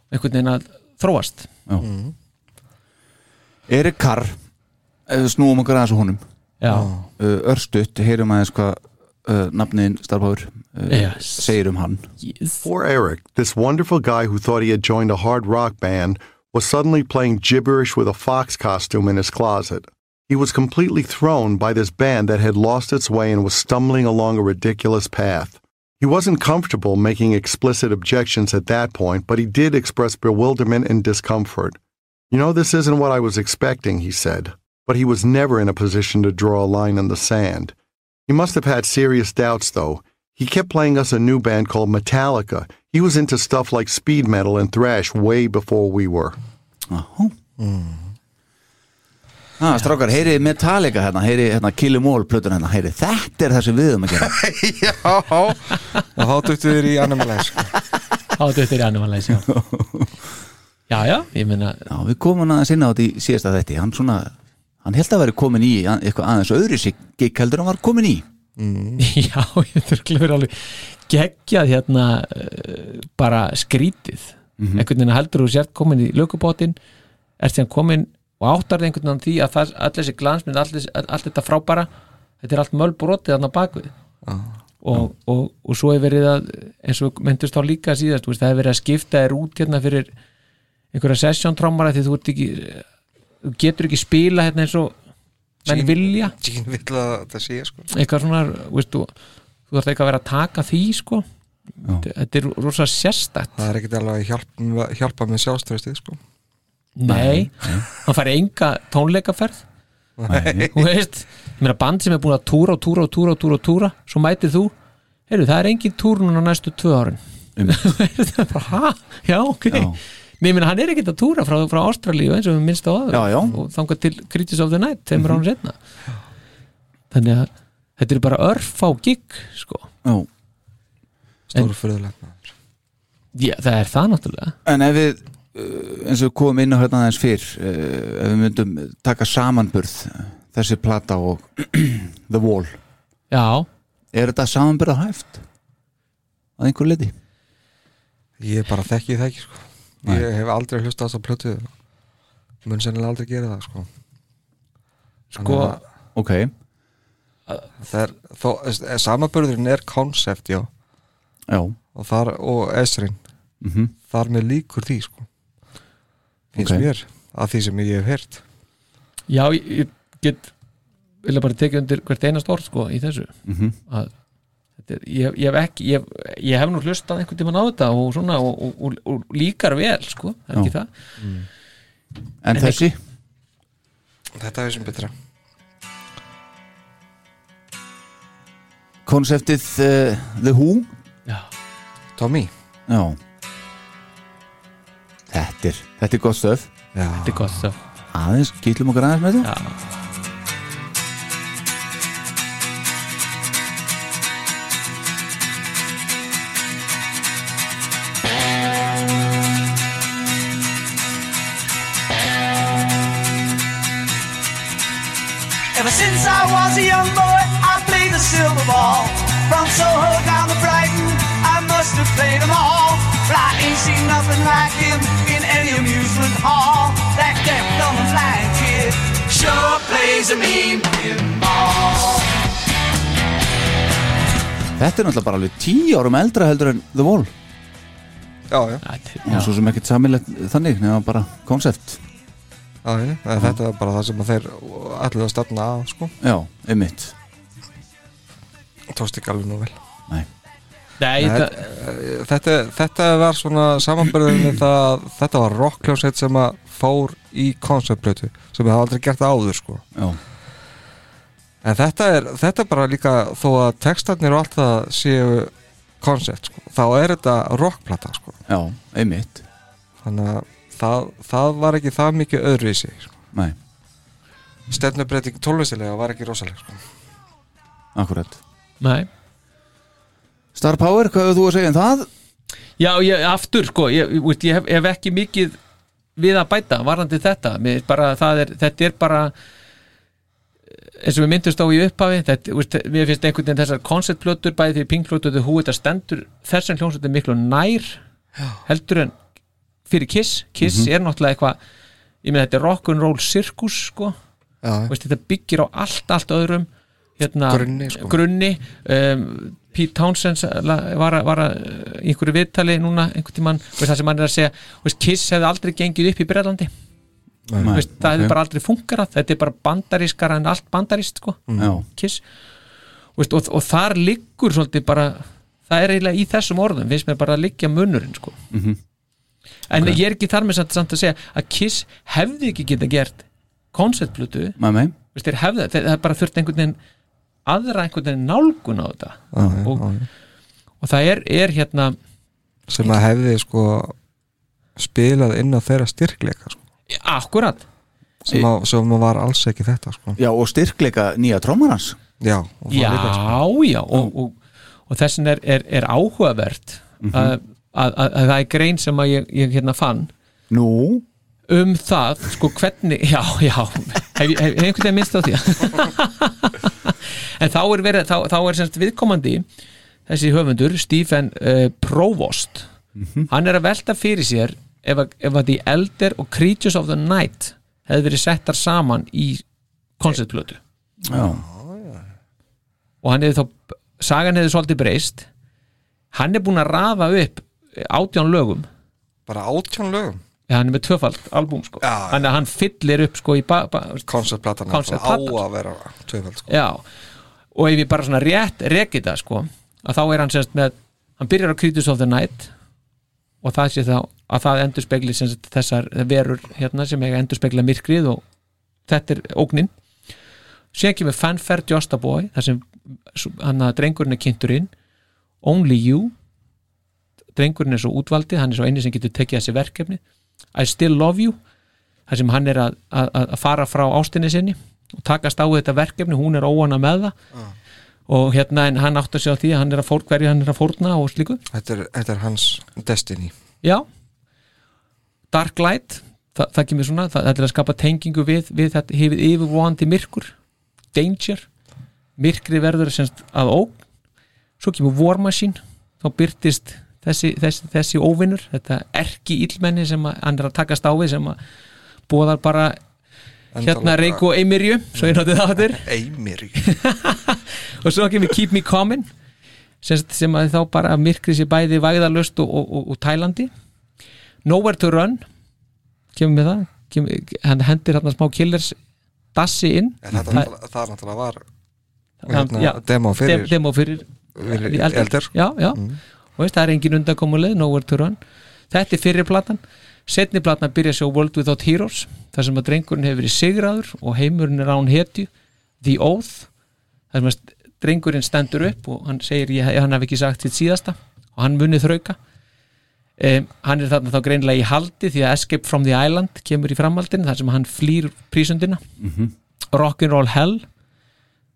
Speaker 5: einhvern veginn að þróast
Speaker 4: Erik Carr ef við Eh, snúum okkur aðeins á honum
Speaker 5: já,
Speaker 4: uh, örstutt, heyrum aðeins hvað uh, nafnin Starpower uh,
Speaker 5: Yes.
Speaker 4: segir um hann
Speaker 8: Poor Eric, this wonderful guy who thought he had joined a hard rock band, was suddenly playing gibberish with a fox costume in his closet. He was completely thrown by this band that had lost its way and was stumbling along a ridiculous path. He wasn't comfortable making explicit objections at that point, but he did express bewilderment and discomfort. You know, this isn't what I was expecting, he said, but he was never in a position to draw a line in the sand. He must have had serious doubts, though. He kept playing us a new band called Metallica. He was into stuff like speed metal and thrash way before we were.
Speaker 4: Áhú Ah, strákar, heyri Metallica hérna, heyri hérna Kill 'Em All plötun hérna, heyri þetta er það sem við höfum að gera
Speaker 6: já, og þá duttu þér í animalæs sko. *laughs*
Speaker 5: þá þetta er annum að leysa já, já, ég meina
Speaker 4: Já, við komum aðeins inn á þetta í síðasta þætti hann svona, hann held að vera komin í a- eitthvað aðeins öðru sig gikk heldur en hann var komin í
Speaker 5: *laughs* Já, ég þurfti að vera alveg geggjað hérna eh, bara skrítið einhvern veginn heldur þú sért komin í lögubótin ert síðan komin og áttar þig einhvern veginn á því að það, all þessi glansmynd all, þessi- all- allt þetta frábæra, þetta er allt mölbrotið þarna á bakvið og, og, og svo er verið að eins og myndust þá líka síðast, þú veist, það er verið að skipta þér út hérna fyrir einhverja sessjóntrómara því þú ert ekki þú getur ekki spila hérna eins og menn
Speaker 6: Sýn-
Speaker 5: vilja
Speaker 6: Gene vill að þetta sé sko.
Speaker 5: eitthvað svona veist, þú, þú þarf eitthvað að vera að taka því sko. þetta er rosa sérstætt
Speaker 6: það er ekkert alveg að hjálpa, hjálpa með sjálfströstið sko.
Speaker 5: nei, *laughs* hann fær enga tónleikaferð þú veist, ég meina band sem er búin að túra og túra og túra og túra og túra svo mætir þú, heyrðu það er engin túr núna næstu tvö árin *laughs*
Speaker 4: Um,
Speaker 5: það er bara, hæ, já ok
Speaker 4: Já.
Speaker 5: Nei, meni, hann er ekkert að túra frá, frá Ástralíu eins og við minnst á aður
Speaker 4: Já, Mhm. já.
Speaker 5: og þangað til Critics of the Night þeimur mm -hmm. án setna þannig að þetta eru bara örf á gig sko.
Speaker 4: Já.
Speaker 6: stórfyrðulegt maður
Speaker 5: Já, það er það náttúrulega
Speaker 4: En ef við uh, eins og við komum inn á hérna aðeins fyrr uh, ef við myndum taka samanburð eh, þessi plata og *clears throat* The Wall,
Speaker 5: Já,
Speaker 4: er þetta samanburða hæft? Að einhver liti?
Speaker 6: ég bara þekki það ekki sko. ég hef aldrei hlustað á þess að plötu mun sennilega aldrei gera það sko.
Speaker 5: sko,
Speaker 6: Þannig að
Speaker 4: Ok,
Speaker 6: það er, þó, samabörðurinn er konsept já,
Speaker 4: já
Speaker 6: og, þar, og esrin
Speaker 4: Mhm.
Speaker 6: þar með líkur því sko. finnst
Speaker 4: Ok.
Speaker 6: mér að því sem ég hef heyrt
Speaker 5: Já, ég, ég get vilja bara tekið undir hvert einast orð sko í þessu
Speaker 4: Mhm.
Speaker 5: að þetta er- ég, ég hef ekki ég, ég hef nú hlustað einhvern tímann á þetta og svona og, og, og, og líkar vel sko, það er
Speaker 4: Já.
Speaker 5: ekki það
Speaker 4: En
Speaker 5: En
Speaker 4: þessi?
Speaker 6: þetta er sem betra
Speaker 4: Konseptið uh, The Who?
Speaker 6: Tommy,
Speaker 4: Já Þetta er, þetta er gott stöf
Speaker 6: já,
Speaker 5: þetta er gott það
Speaker 4: Aðeins, kýtlum okkur aðeins með þetta
Speaker 10: Ever since I was a young boy, I played the silver ball. From Soho down to Brighton, I must have played 'em all. But I ain't seen nothing like him in any amusement hall. That deaf, dumb, and blind kid sure plays a mean pinball.
Speaker 4: Þetta er náttúrulega bara alveg tíu árum eldra heldur en The Wall
Speaker 6: já, já,
Speaker 4: og svo sem ekkert samilegt þannig nema bara konsept
Speaker 6: já, já. Eða, þetta var bara það sem að þeir allir að stefna að sko,
Speaker 4: Já, einmitt
Speaker 6: tókst ekki alveg nú vel
Speaker 5: Nei,
Speaker 6: Nei,
Speaker 5: það,
Speaker 6: þetta, þetta var svona samanbyrðin við það, þetta var rockljósett sem að fór í konceptblötu sem það aldrei gert áður sko
Speaker 4: Já,
Speaker 6: en þetta er, þetta er bara líka þó að textarnir og allt það séu koncept sko, þá er þetta rockplata sko,
Speaker 4: já, einmitt
Speaker 6: þannig að það, það var ekki það mikið öðru í sig sko.
Speaker 4: Nei,
Speaker 6: stefnubreiting tólvisilega var ekki rosalega sko.
Speaker 4: akkurat
Speaker 5: nei
Speaker 4: Star Power, hvað hefur þú að segja um það?
Speaker 5: Já, ég, aftur sko, ég, ég, veist, ég hef, hef ekki mikið við að bæta varandi þetta Mér finnst bara, það er, þetta er bara eh, eins og við myndust á í upphafi þetta, þú veist, mér finnst einhvern veginn þessar konceptplötur bæði því pinkplötur þau húið þetta stendur þessum hljómsveitum miklu nær heldur en fyrir Kiss Kiss er náttúrulega eitthvað ég meina þetta er rock'n'roll sirkus sko
Speaker 6: já,
Speaker 5: veist, þetta byggir á allt, allt öðrum hérna,
Speaker 6: Grunni, sko.
Speaker 5: grunni um, Pete Townsend la- var, að- var að, í einhverju viðtali núna einhvern tímann, veist, það sem hann er að segja veist, Kiss hefði aldrei gengið upp í Breitlandi
Speaker 4: Nei,
Speaker 5: veist, það hefði
Speaker 4: ok.
Speaker 5: bara aldrei funkarað þetta er bara bandarískara en allt bandaríst sko,
Speaker 4: Já,
Speaker 5: Kiss veist, og, og þar liggur svolítið bara það er eiginlega í þessum orðum finnst mér bara að liggja munurinn sko. en ég er ekki þar með samt, samt að segja að Kiss hefði ekki geta gert konceptblutu
Speaker 4: með mig
Speaker 5: veist, þeir hefða, þeir, það er bara þurft einhvern veginn aðra einhvern veginn nálgun á þetta og, og það er, er hérna
Speaker 6: sem að hefði sko spilað inn á þeirra styrkleika sko,
Speaker 5: akkurat,
Speaker 6: sem, að, sem að var alls ekki þetta sko.
Speaker 4: Já, og styrkleika nýja trómarans
Speaker 6: já, og það
Speaker 5: já,
Speaker 6: líka, sko.
Speaker 5: já og, og, og þessin er, er, er áhugavert að, að, að, að það er grein sem að ég, ég hérna fann
Speaker 4: Nú,
Speaker 5: um það, sko hvernig já, já, hef, ég- hef, hef einhvern veginn minnst á því *laughs* en þá er verið, þá, þá er semst viðkomandi þessi höfundur, Stephen uh, Provost hann er að velta fyrir sér ef, að- ef að The Elder og Creatures of the Night hefði verið settar saman í konceptplötu
Speaker 4: já,
Speaker 5: og hann hefði þá, sagan hefði svolítið breyst hann er búin að rafa upp átján lögum
Speaker 6: bara átján lögum
Speaker 5: Já, hann er með tvöfald albúm sko
Speaker 6: Já,
Speaker 5: hann, hann fyllir upp sko í ba, ba,
Speaker 6: konceptplatan á
Speaker 5: Konceptplatan,
Speaker 6: að vera tveimöld sko.
Speaker 5: Já, og ef ég bara svona rétt rekið það sko, að þá er hann semst með hann byrjar á Creatures of the Night og það sé þá að það endur spegli semst þessar verur hérna sem eiga endur spegla myrkrið og þetta er ógnin síðan kemur Fanfare Just a Boy þar sem s- hann að drengurinn er kynntur inn Only You drengurinn er svo útvaldið, hann er svo eini sem getur tekið þessi verkefni I Still Love You þar sem hann er að, að, að fara frá ástinni sinni og takast á við þetta verkefni, hún er óana með það og hérna en hann áttar sig á því að hann er að fór, hverju hann er að fórna og slíku
Speaker 6: þetta, er, þetta er hans destiny
Speaker 5: já Dark Light, það, það kemur svona það, þetta er að skapa tengingu við, við þetta hefur yfirvóandi myrkur Danger, myrkri verður semst að ógn, svo kemur War Machine, þá byrtist þessi, þessi, þessi óvinnur, þetta erki illmenni sem að, hann er að takast á við sem að bóðar bara hérna Reiko Eimirju svo ég notið það áttir *laughs*
Speaker 6: Eimir
Speaker 5: og svo kemur Keep Me Comin sem, sem að þá bara myrkrið sér bæði væðalust og, og, og, og tælandi Nowhere to Run kemur með það kemur, hann hendir hann smá killers dassi inn
Speaker 6: En þetta,
Speaker 5: Það-
Speaker 6: það, það náttúrulega var
Speaker 5: það-
Speaker 6: hérna,
Speaker 5: já,
Speaker 6: demo fyrir
Speaker 5: dem- demo fyrir
Speaker 6: fyrir Mm.
Speaker 5: í Elder.
Speaker 6: Elder.
Speaker 5: já, já. og veist, það er engin undankomuleg nowhere to run þetta er fyrir platan setni platan byrja sér World Without Heroes þar sem að drengurinn hefur verið sigraður og heimurinn er án hetju The Oath þar sem að st- drengurinn stendur upp og hann segir ég, hann hef ekki sagt þitt síðasta og hann munið þrauka Um, hann er þarna þá greinlega í haldi því að Escape from the Island kemur í framhaldin þar sem hann flýr prísundina
Speaker 4: Mhm.
Speaker 5: Rock'n'Roll Hell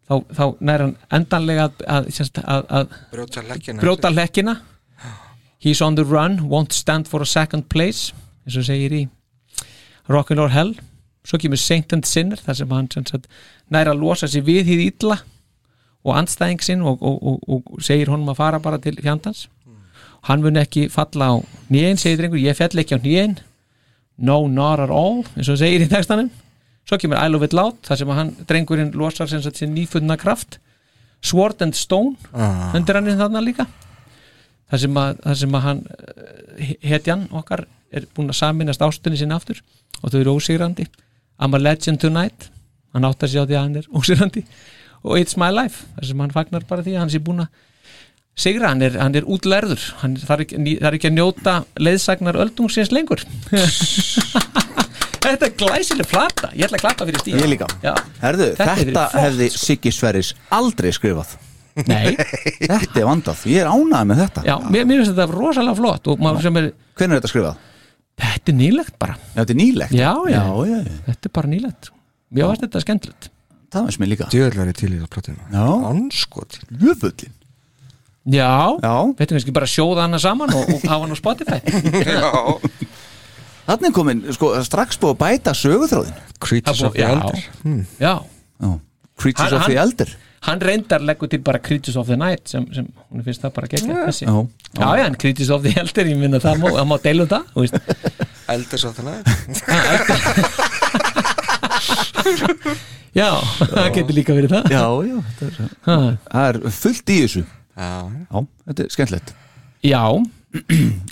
Speaker 5: þá, þá nær hann endanlega að, að, semst, að, að
Speaker 6: Brjóta hlekkina.
Speaker 5: brjóta hlekkina. He's on the run, won't stand for a second place eins og segir í Rock'n'Roll Hell svo kemur Saint and Sinner þar sem hann sem sagt, nær að losa sig við hýð ítla og anstæðing sinn og, og, og, og segir honum að fara bara til fjandans hann mun ekki falla á nýjen segir drengur, ég fell ekki á nýjen no not at all eins og segir í textanum svo kemur I love it loud þar sem að hann, drengurinn losar sem sagt sinn nýfundna kraft Sword and Stone
Speaker 6: Ah.
Speaker 5: undir hann þarna líka þar sem að, þar sem að hann eh, hetjan okkar er búin að saminast ástunni sinni aftur og þau eru ósigrandi I'm a legend tonight hann áttar sig á því að hann er ósigrandi og It's my life, þar sem hann fagnar bara því að hann sé búin að sigra, hann er, hann er útlærður hann er- þarf ekki, ný- þarf ekki að njóta leiðsagnar öldungsins
Speaker 4: *laughs*
Speaker 5: lengur Þetta er glæsileg plata ég ætla að klappa fyrir stíð
Speaker 4: Ég líka.
Speaker 5: Já.
Speaker 4: Herðu, þetta,
Speaker 5: Þetta er fyrir flott,
Speaker 4: hefði Siggi Sverris aldrei skrifað
Speaker 5: Nei,
Speaker 4: Þetta er vandað, ég er ánægð með þetta
Speaker 5: já, mér, mér finnst þetta rosalega flott og maður sem er,
Speaker 4: Hvernig er þetta skrifað?
Speaker 5: þetta er nýlegt bara
Speaker 4: Já, þetta er nýlegt
Speaker 5: Já, já,
Speaker 4: já, já, já.
Speaker 5: þetta er bara nýlegt Mér varst þetta skemmtilegt
Speaker 4: það finnst mér líka
Speaker 6: Djöðlari til í það plötinu
Speaker 4: Já.
Speaker 6: *laughs* Anskot
Speaker 4: Jöfullin
Speaker 5: Já,
Speaker 4: Já,
Speaker 5: þetta er kannski bara að sjóða hana saman og, og hafa hann á
Speaker 4: *laughs*
Speaker 5: Spotify
Speaker 4: þannig er komin sko, strax búið að bæta söguþróðin
Speaker 6: Creatures of the
Speaker 5: Já.
Speaker 6: Elder hmm.
Speaker 5: Já,
Speaker 4: já. Creatures
Speaker 5: Hann-
Speaker 4: of the
Speaker 5: hann-
Speaker 4: Elder
Speaker 5: hann reyndar leggur til bara Creatures of the Night sem, sem hún finnst það bara gegn þessi
Speaker 4: Já,
Speaker 5: Já, já, en Creatures of the Elder, ég minna það má, það má deilum það, þú veist
Speaker 6: Elder svo þannig
Speaker 5: Já, *laughs* það getur líka verið það
Speaker 4: Já, já, þetta er,
Speaker 5: Ha,
Speaker 4: það er fullt í þessu Já,
Speaker 6: *laughs* Já
Speaker 4: þetta er skemmtilegt
Speaker 5: Já,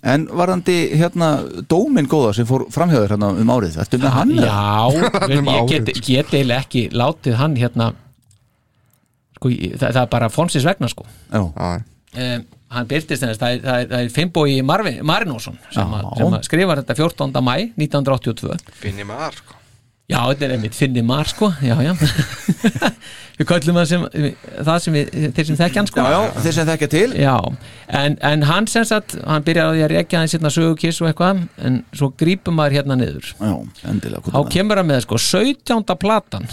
Speaker 4: En varðandi hérna dóminn góða sem fór framhjóður hérna um árið Ertu með hann? eða?
Speaker 5: *laughs* já
Speaker 6: um
Speaker 5: Ég
Speaker 6: árið,
Speaker 5: get, get eiginlega ekki látið hann hérna Sko, ég- það, það er bara fonsins vegna, sko
Speaker 4: já
Speaker 6: Já
Speaker 5: um, hann byrtist þess, það, er- það, er- það er Finnbói Marvin- Marinósson sem, að,
Speaker 4: Já.
Speaker 5: sem að skrifar þetta 14. mæ 1982
Speaker 6: Finni maður sko
Speaker 5: já, þetta er einmitt Finni Mar sko já, *laughs* já við köllum það sem, það sem við, þeir sem þekkja hann sko
Speaker 4: Já, já, þeir sem þekkja til
Speaker 5: Já, en, en hann sem sagt hann byrjar á því að rekja hann sérna sögukiss og eitthvað en svo grípum maður hérna niður
Speaker 4: Já, endilega
Speaker 5: þá
Speaker 4: hvað
Speaker 5: kemur hann með sko 17. platan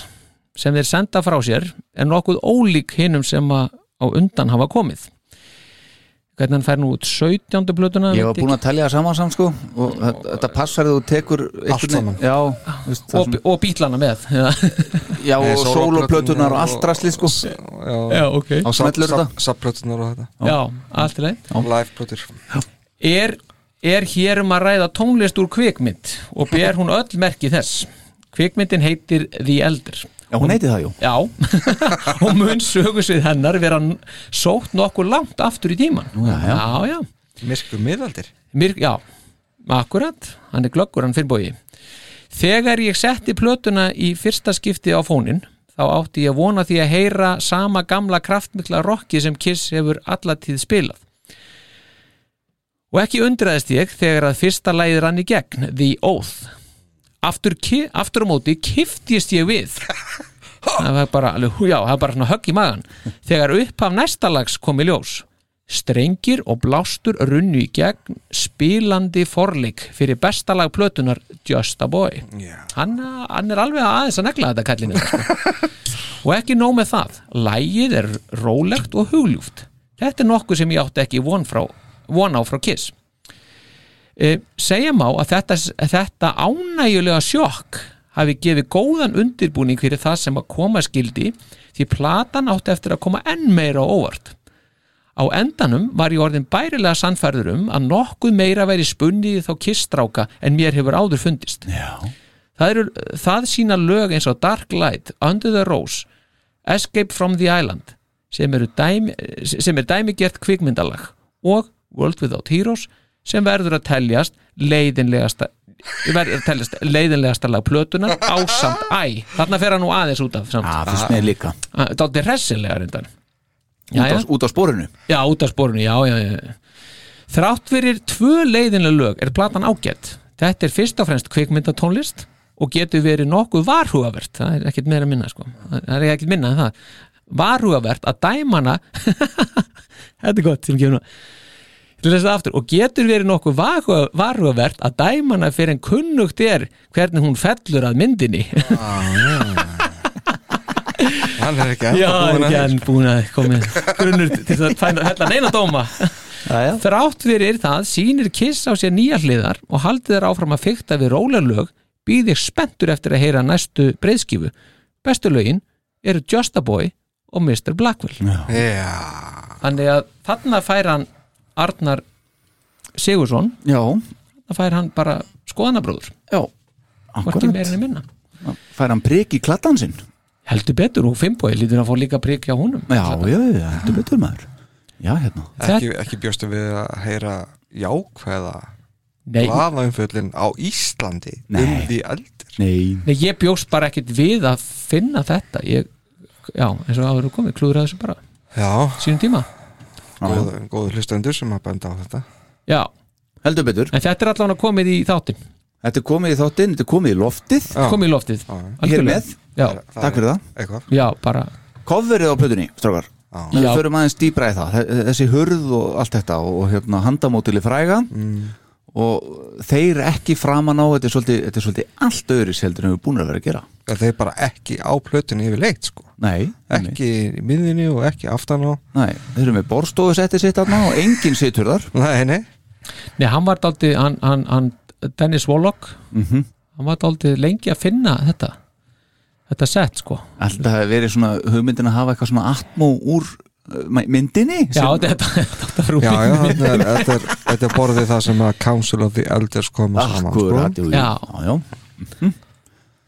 Speaker 5: sem þeir senda frá sér er nokkuð ólík hinum sem að á undan hafa komið hvernig hann fær nú út 17. plötuna
Speaker 4: Ég var búin að telja það saman saman sko og þetta- þetta passar þegar þú tekur einhvern
Speaker 6: saman.
Speaker 4: veginn- Já, þú veist, það
Speaker 5: og,
Speaker 4: sem,
Speaker 5: og bítlana með *laughs* já,
Speaker 4: já og sóloplötunar og allt rastli sko
Speaker 6: Já
Speaker 5: ok
Speaker 4: Á smellur þetta
Speaker 6: Subplötunar og þetta
Speaker 5: já, allt í leið
Speaker 6: Live plötur
Speaker 5: er, er hér um að ræða tónlist úr kvikmynd og ber hún öll merki þess kvikmyndin heitir The Elder
Speaker 4: Já, hún heiti það jú
Speaker 5: já, *laughs* og mun sögusvið hennar vera n- sótt nokkuð langt aftur í tíman
Speaker 4: Nú, já, já.
Speaker 5: já, já.
Speaker 6: Myrkur miðaldir
Speaker 5: Myrk, já, akkurat hann er glöggur, hann fyrrbógi þegar ég setti plötuna í fyrsta skipti á fónin þá átti ég vona því að heyra sama gamla kraftmikla rocki sem Kiss hefur allatíð spilað og ekki undraðist ég þegar að fyrsta læðir hann í gegn The Oath aftur, ki- aftur á móti kiftist ég við það var bara, alveg, hú, já, það var bara svona högg í magan þegar upphaf næsta lags kom í ljós strengir og blástur runnu í gegn spilandi forleik fyrir bestalag plötunar Just a Boy
Speaker 6: Já.
Speaker 5: hann, hann er alveg aðeins að negla þetta kallinu sko. og ekki nóg með það lægið er rólegt og hugljúft þetta er nokkuð sem ég átti ekki von, frá, von á frá Kiss e, segja má að þetta, þetta ánægjulega sjokk hafi gefið góðan undirbúning fyrir það sem að koma skildi því platan átti eftir að koma enn meira á óvart á endanum var ég orðin bærilega sannfærður um að nokkuð meira væri spunnið í þá kistráka en mér hefur áður fundist
Speaker 4: Já
Speaker 5: það, eru, það sína lög eins og Dark Light, Under the Rose Escape from the Island sem, eru dæmi, sem er dæmigert kvikmyndalag og World Without Heroes sem verður að teljast leiðinlegasta Ég verð að teljast leiðinlegasta lag plötunar ásamt æ Þarna fer hann nú aðeins út af samt
Speaker 4: Það fyrst mér líka
Speaker 5: Dátti hressilega reyndar
Speaker 4: út sko. á, út á spórinu
Speaker 5: Já, út af spórinu, já, já, já. Þrátt fyrir tvö leiðinlega lög er platan ágætt. Þetta er fyrst og fremst kvikmyndatónlist og getur verið nokkuð varhugavert. Það er ekkert meira að minna, sko. Það er ekkert minna en það. Varhugavert að dæmana *laughs* Þetta er gott sem kemur nú. Ég ætla að lesa það aftur. Og getur verið nokkuð varhuga- varhugavert að dæmana fyrir en kunnugt er hvernig hún fellur að myndinni.
Speaker 6: Hann er ekki
Speaker 5: Já,
Speaker 6: ennþá
Speaker 5: er
Speaker 6: búinn að
Speaker 5: ekki enn búin að koma með grunnur til að fæna hella neina dóma Þrátt fyrir það sýnir Kiss á sér nýja hliðar og haldið þær áfram að fykta við rólarlög býð ég spenntur eftir að heyra næstu breyðskifu Bestu lögin eru Just a Boy og Mr. Blackwell
Speaker 6: Já,
Speaker 5: Þannig að þarna fær hann Arnar Sigursson
Speaker 4: Já,
Speaker 5: þarna fær hann bara skoðanabróður
Speaker 4: já
Speaker 5: hvorki
Speaker 4: Akkurat,
Speaker 5: meira en minna
Speaker 4: fær hann prik í kladdan sinn
Speaker 5: Heldur betur og Fimboi lítur að fá líka prikja húnum
Speaker 4: Já, já, já, heldur betur maður Já, hérna
Speaker 6: ekki, ekki bjóstu við að heyra jákvæða
Speaker 5: Nei,
Speaker 6: blaðaumfjöllin á Íslandi um
Speaker 4: Nei.
Speaker 6: því eldir
Speaker 4: Nei,
Speaker 5: Nei, ég bjóst bara ekkit við að finna þetta ég, Já, eins og áður og komið klúðraði þessu bara,
Speaker 6: Já,
Speaker 5: sínum tíma
Speaker 6: góð, góð hlustendur sem að benda á þetta
Speaker 5: Já,
Speaker 4: heldur betur
Speaker 5: en þetta er allan að komið í þáttin
Speaker 4: Þetta er komið í þáttinn, þetta er komið í loftið
Speaker 6: Já.
Speaker 5: komið í loftið
Speaker 4: Hér
Speaker 5: algjörlega.
Speaker 4: með,
Speaker 5: já,
Speaker 4: takk fyrir það
Speaker 6: Eitthvað
Speaker 5: já, bara
Speaker 4: Kofverið á plötunni, strákar Við
Speaker 5: Já.
Speaker 4: förum aðeins dýbra í það Þe- Þessi hurð og allt þetta og hérna handamótili fræga
Speaker 6: Mm.
Speaker 4: og þeir ekki framan á þetta er svolítið, þetta er svolítið allt öðris heldur en við erum búin að vera að gera
Speaker 6: Það er bara ekki á plötunni yfirleitt sko
Speaker 4: Nei, einmitt.
Speaker 6: Ekki í miðinni og ekki aftan á
Speaker 4: Nei, þeir eru með borstofusetti sitt aðna og enginn situr þar
Speaker 6: Nei, nei
Speaker 5: Nei, hann var daldið, hann, hann, hann Dennis Wallock
Speaker 4: Mhm.
Speaker 5: hann var daldið lengi að finna þetta þetta sett, sko
Speaker 4: Alltaf hefur verið svona hugmyndin að hafa eitthvað svona atmó úr uh, ma- myndinni
Speaker 5: Já,
Speaker 4: sem-
Speaker 5: þetta, þetta var
Speaker 6: Já, já,
Speaker 5: úr
Speaker 6: þetta er, þetta er, þetta er borðið það sem að Council of the Elders koma saman
Speaker 4: Akkurat,
Speaker 6: sko.
Speaker 4: jú, jú.
Speaker 5: Já.
Speaker 4: já,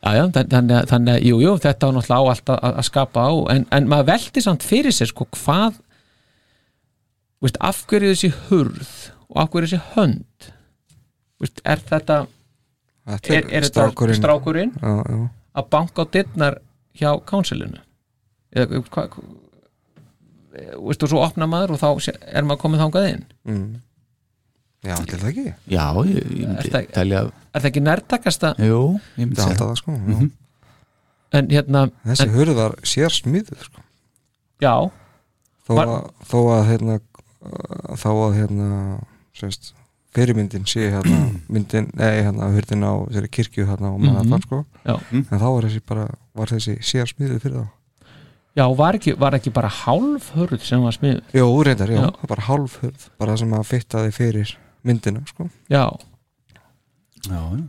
Speaker 5: Já, já, þann- þannig, að- þannig að, jú, jú, þetta var náttúrulega á allt að, að skapa á, en, en maður veldi samt fyrir sér, sko, hvað veist, af hverju þessi hurð og af hverju þessi hönd veist, er þetta
Speaker 6: Þetta
Speaker 5: er, er þetta strákurinn
Speaker 6: Já, já.
Speaker 5: að banka á dittnar hjá kánsilinu eða hvað hva, veist, og svo opna maður og þá sé- er maður komið þangað inn
Speaker 6: Mm. já, til það ekki
Speaker 4: já, ég, ég myndi
Speaker 5: Ertu ekki-
Speaker 4: telja
Speaker 5: er það ekki nærtakasta
Speaker 4: Jú, ég myndi
Speaker 6: Þetta er
Speaker 4: segja
Speaker 6: alltaf það sko mm -hmm.
Speaker 5: en hérna,
Speaker 6: Þessi
Speaker 5: en,
Speaker 6: hurð var sér smíðuð sko.
Speaker 5: já,
Speaker 6: þó,
Speaker 5: Var-
Speaker 6: að, þó að hérna uh, þá að hérna sérst, fyrirmyndin sé hérna
Speaker 5: *clears throat*
Speaker 6: myndin, nei hérna hurðin á þeirri kirkju hérna og manna þann sko
Speaker 5: Mhm. Já.
Speaker 6: en þá var þessi bara, var þessi sér smíðuð fyrir þá
Speaker 5: já, var ekki, var ekki bara hálf hurð sem var smið
Speaker 6: Jó, reyndar, já,
Speaker 5: Já.
Speaker 6: það var hálf hurð bara það sem að fittaði fyrir myndina sko.
Speaker 5: já,
Speaker 4: Já, já.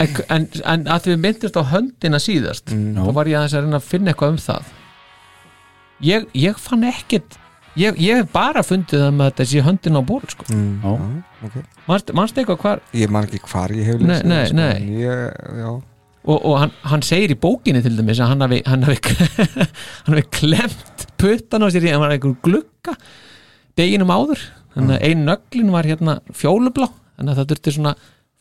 Speaker 5: en, en, en að því við myndist á höndina síðast þá var ég aðeins að reyna að finna eitthvað um það ég, ég fann ekkit ég, ég hef bara fundið það með þessi höndina á borð sko.
Speaker 6: mm.
Speaker 4: Já.
Speaker 6: okay.
Speaker 5: manstu, manstu eitthvað hvar
Speaker 6: Ég man ekki hvar ég hef
Speaker 5: Nei,
Speaker 6: lesið
Speaker 5: nei,
Speaker 6: sko,
Speaker 5: nei.
Speaker 6: en Ég, já,
Speaker 5: og, og hann, hann segir í bókinni til dæmis að hann hafi, hann hafi, *laughs* hann hafi klemt puttan á sér í hann var einhver glugga deginum áður þannig að ein nöglin var hérna fjólublá þannig að það þurfti svona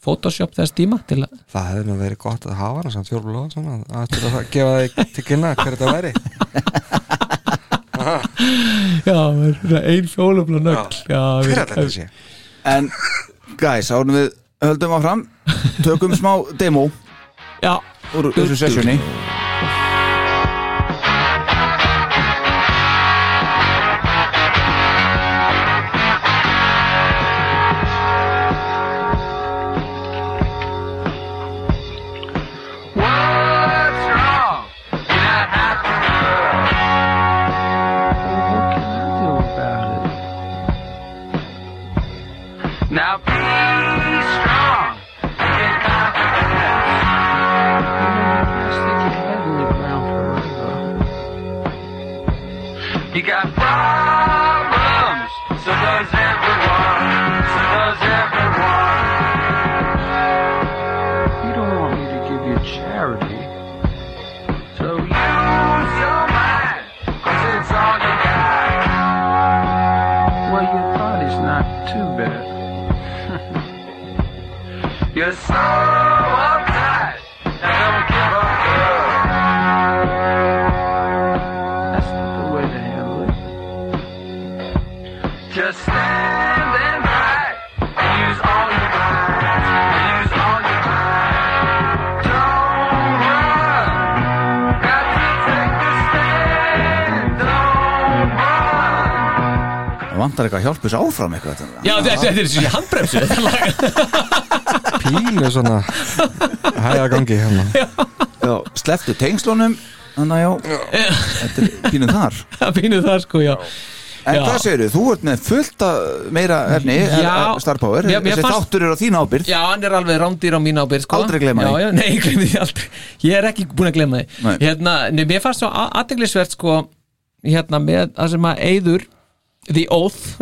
Speaker 5: Photoshop þess tíma til að
Speaker 6: það hefði nú verið gott að hafa hana samt fjólulega svona, að til að það- gefa það til kynna hver þetta væri
Speaker 5: já, ein fjólublá nögl já,
Speaker 6: Hver er þetta sé?
Speaker 4: En, guys, ánum við höldum áfram Tökum smá demo
Speaker 5: já,
Speaker 4: úr þessu sessjoni
Speaker 10: What's wrong? You're not happy, girl. What can I do about it? Now be strong. Be confident. *laughs* You're so uptight. I never give up, girl. That's not the way to handle it. Just stand and fight and use all your mind. And use all your mind. Don't run. Got to take the stand. Don't run.
Speaker 4: Það vantar eitthvað hjálpus áfram eitthvað þetta.
Speaker 5: Já, þetta þetta er svona handbremsu þetta lag.
Speaker 6: Pínu *laughs* svona Hæða gangi hérna
Speaker 4: Já, sleftu tengslunum Þannig að já, þetta er pínum þar
Speaker 5: *laughs* Það finnur það sko, já
Speaker 4: En
Speaker 5: Já.
Speaker 4: hvað segirðu, þú ert með fullt að meira efni, eh,
Speaker 5: Já.
Speaker 4: starpower
Speaker 5: Mér- mér
Speaker 4: Þessi
Speaker 5: fannst-
Speaker 4: þáttur er á þín ábyrð
Speaker 5: Já, hann er alveg rándýr á mín ábyrð sko.
Speaker 4: Aldrei gleyma
Speaker 5: já,
Speaker 4: því.
Speaker 5: já, *laughs* Nei, ég glemdi því aldrei Ég er ekki búin að gleyma því
Speaker 4: Nei.
Speaker 5: hérna, nei, Mér fannst svo aðteglisvert sko, hérna, með það sem að eyður The Oath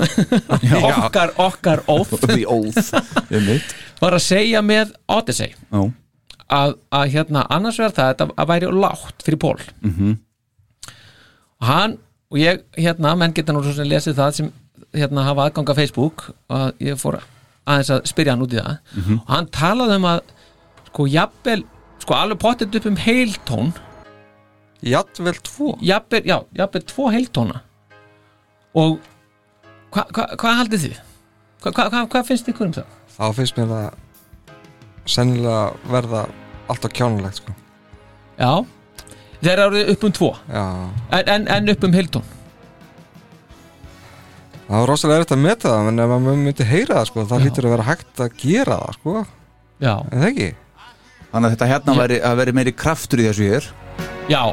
Speaker 5: Okkar, okkar Oath
Speaker 4: *laughs* The Oath um mitt
Speaker 5: var að segja með Odyssey
Speaker 4: Já,
Speaker 5: að, að hérna, annars vegar það að það væri lágt fyrir Pól -hmm. og hann og ég, hérna, menn geta nú svo sem lesið það sem hérna hafa aðganga Facebook og ég fór aðeins að spyrja hann út í það og hann talaði um að sko jafnvel, sko alveg pottet upp um heiltón
Speaker 6: Jadvel 2
Speaker 5: jafnvel, já, jafnvel tvo heiltóna og hvað hva, hva haldið þið? Hvað hva, hva, hva finnst ykkur um það?
Speaker 6: Þá finnst mér það Sennilega verða Alltaf kjánulegt sko
Speaker 5: Já, þeir eru upp um tvo
Speaker 6: Já
Speaker 5: en, en, en upp um heiltón
Speaker 6: Það var rosalega erfitt að meta það En ef maður myndi heyra það sko Það hlýtur að vera hægt að gera það sko En
Speaker 5: Já,
Speaker 6: það ekki
Speaker 4: þannig að þetta hérna væri, að veri meiri kraftur í þessu hér
Speaker 5: já,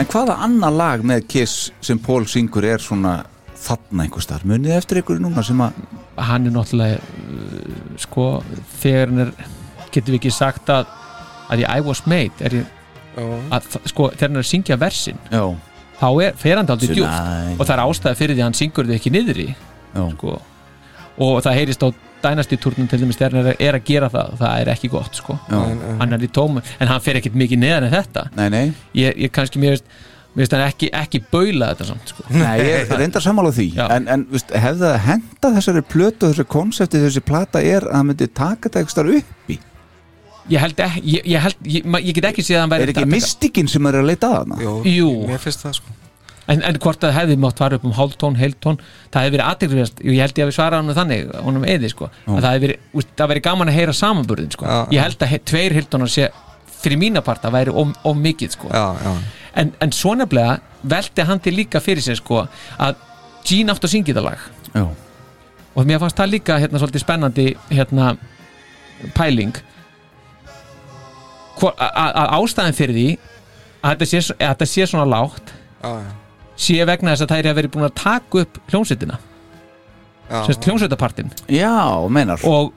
Speaker 4: En hvaða annað lag með Kiss sem Pól syngur er svona þarna einhver starf? Munið þið eftir ykkur núna sem að
Speaker 5: hann er náttúrulega uh, sko, þegar hann er getum við ekki sagt að að ég I was made er ég, að, þ- sko, þegar hann er að syngja versin
Speaker 4: Já,
Speaker 5: þá er ferandi aldrei
Speaker 4: Tonight.
Speaker 5: djúft og það er ástæða fyrir því að hann syngur þau ekki niðri
Speaker 4: já,
Speaker 5: sko. og það heyrist á dænastíturnum til dæmis þegar hann er, er að gera það það er ekki gott sko.
Speaker 4: já
Speaker 5: hann er í tóma en hann fer ekkit mikið neðan en þetta
Speaker 4: Nei, nei,
Speaker 5: ég, ég kannski mér veist, mér veist hann ekki, ekki baula þetta samt sko.
Speaker 4: nei, ég er reyndar sammála því
Speaker 5: Já.
Speaker 4: En, en veist, hefði það henda þessari plötu og þessu konsepti þessi plata er að það myndi taka þetta einhver starf upp í
Speaker 5: ég held ekki ég, ég, held, ég, ma- ég get ekki séð að hann væri
Speaker 4: Er ekki
Speaker 5: að-
Speaker 4: mystikinn sem er að leita að hana?
Speaker 6: Jú,
Speaker 5: Jú.
Speaker 6: Mér finnst það sko
Speaker 5: En, en hvort það hefði mátt fara upp um hálftón, heiltón það hefði verið aðteglifjast, ég held ég hefði svarað hann þannig, honum eði sko að það hefði verið, úst, það verið gaman að heyra samanburðin sko.
Speaker 6: Já,
Speaker 5: ég held að he, tveir heiltónar sé fyrir mína parta væri of, of mikið sko.
Speaker 6: Já, já
Speaker 5: en, en svo nefnilega velti hann til líka fyrir sér sko að Gene átt að syngja það lag
Speaker 4: Já,
Speaker 5: og mér fannst það líka hérna svolítið spennandi hérna pæling Hvor- a- a- að ástæðan fyrir því að þetta sé, svo- að þetta sé svona lágt
Speaker 6: Já, já
Speaker 5: sé vegna þess að þær hefur verið búin að taka upp hljómsveitina,
Speaker 6: Já,
Speaker 5: sérst hljómsveitapartin
Speaker 4: já meinar
Speaker 5: og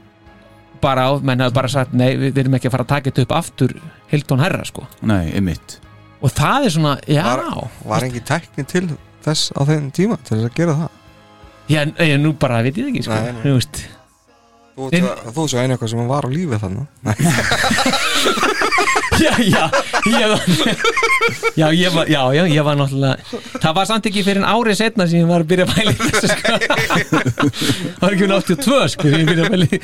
Speaker 5: bara á, menn hafði bara sagt nei, við erum ekki að fara að taka þetta upp aftur Hilton Herra sko
Speaker 4: Nei, einmitt
Speaker 5: og það er svona, já
Speaker 6: Var, var engin tækni til þess á þeim tíma til þess að gera það
Speaker 5: ég, ég, nú bara veit ég ekki sko,
Speaker 6: Nei, nei.
Speaker 5: þú veist
Speaker 6: Þú,
Speaker 5: En-
Speaker 6: þú, þú svo einu eitthvað sem var á lífi *laughs* þannig
Speaker 5: já, já, ég var já, ég var, já, já, ég var náttúrulega það var samt ekki fyrir en árið setna sem ég var að byrja að bæla í þessu sko það var ekki um 82 sko þegar ég byrja að bæla í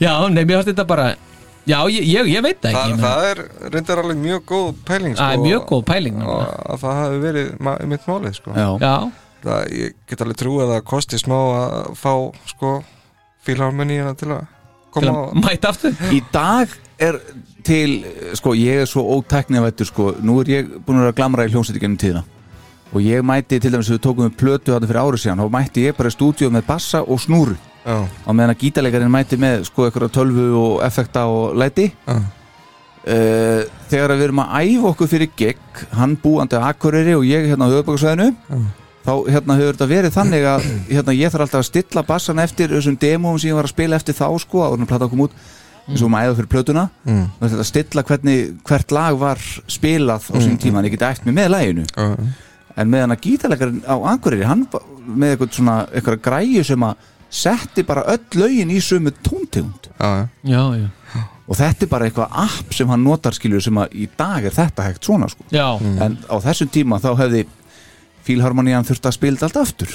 Speaker 5: já, nei, mér fannst þetta bara já, ég, ég, ég veit það
Speaker 6: Þa,
Speaker 5: ekki ég meina-
Speaker 6: Það er reyndar alveg mjög góð pæling sko,
Speaker 5: Það er mjög góð pæling
Speaker 6: og
Speaker 5: nefnilega.
Speaker 6: að það hafi verið ma- mitt málið sko.
Speaker 4: Já,
Speaker 5: Já,
Speaker 6: það, ég get alveg trú að það kosti smá að fá sko fílharmoníina til að
Speaker 5: til
Speaker 6: koma
Speaker 5: að mæta aftur
Speaker 4: Í dag er til, eh, sko, ég er svo ótæknivættur, sko, nú er ég búin að vera að glamra í hljómsveitir gennum tíðina og ég mæti, til dæmis, við tókum við plötu þarna fyrir ári síðan, þá mætti ég bara í stúdíu með bassa og snúru
Speaker 6: á já,
Speaker 4: á meðan að gítalegarinn mæti með, sko, eitthvað tölvu og effekta og læti
Speaker 6: já,
Speaker 4: uh, þegar við erum að æfa okkur fyrir gig hann búandi að Akureyri og ég hérna á höfubakasvæðinu þá hérna hefur þetta verið þannig að hérna, ég þarf alltaf að stilla bassan eftir þessum demóum sem ég var að spila eftir þá sko áður en plata kom út eins og maður æða fyrir plötuna mm. og þetta stilla hvernig hvert lag var spilað á sín tíma en ég geti æft mig með laginu
Speaker 6: já.
Speaker 4: en meðan að gítalegarinn á Akureyri hann var með eitthvað svona eitthvað græju sem að setti bara öll lögin í sömu tóntegund
Speaker 6: já.
Speaker 5: Já, já,
Speaker 4: og þetta er bara eitthvað app sem
Speaker 6: Mm.
Speaker 4: hann notar skilur sem að í dag er þetta hægt svona sko.
Speaker 5: já,
Speaker 4: en á þessum tíma þá hefði fílharmonían þurfti að spila þetta aftur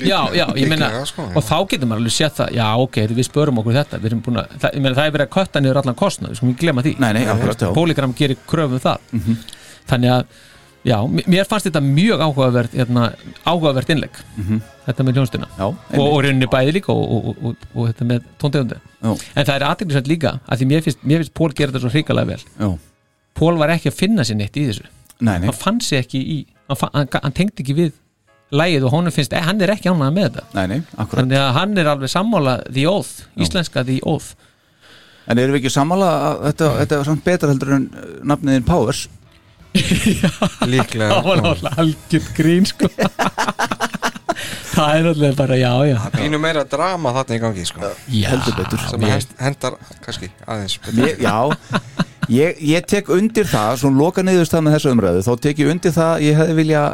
Speaker 5: já, já, ég meina
Speaker 6: Líklega, sko, já.
Speaker 5: og þá getur maður alveg séð það, já ok, við spörum okkur þetta við erum búin að, það, ég meina það er verið að kötta niður allan kostnað, við skulum ekki glemma því
Speaker 4: Nei,
Speaker 5: *laughs*
Speaker 4: nei, akkurat, já.
Speaker 5: Polygram gerir kröfum það
Speaker 4: Mhm.
Speaker 5: þannig að, já, m- mér fannst þetta mjög áhugavert, hérna, áhugavert innlegg þetta með hljónstuna
Speaker 4: Mhm. Já,
Speaker 5: og, og rauninni bæði líka og, og, og, og, og þetta með tóntegundi
Speaker 4: Já.
Speaker 5: en það er aðteglisvægt líka, að því mér finnst, mér finnst Pól gera þetta svo hrikalega vel
Speaker 4: já,
Speaker 5: Pól var ekki að finna sér neitt í þessu
Speaker 4: nei, nei,
Speaker 5: hann fann sig ekki í hann, fann, hann, hann tengdi ekki við lægið og honum finnst, eh, hann er ekki ánægða með þetta
Speaker 4: nei, nei akkurat
Speaker 5: þannig að hann er alveg sammála The Oath, íslenska The Oath
Speaker 4: En erum við ekki sammála að þetta, þetta er samt betra heldur en eh, nafnið þinn Powers
Speaker 6: líklega
Speaker 5: *laughs* það var náttúrulega algjörn grín *laughs* sko það er náttúrulega bara já, já
Speaker 6: Ínu meira drama þarna í gangi sko,
Speaker 5: já
Speaker 4: Heldur betur.
Speaker 6: sem
Speaker 5: ég-
Speaker 6: að hent- hendar kannski aðeins betur.
Speaker 4: Ég- Já, ég, ég tek undir það svona loka niðurst það með þessu umræðu þá tek ég undir það, ég hefði vilja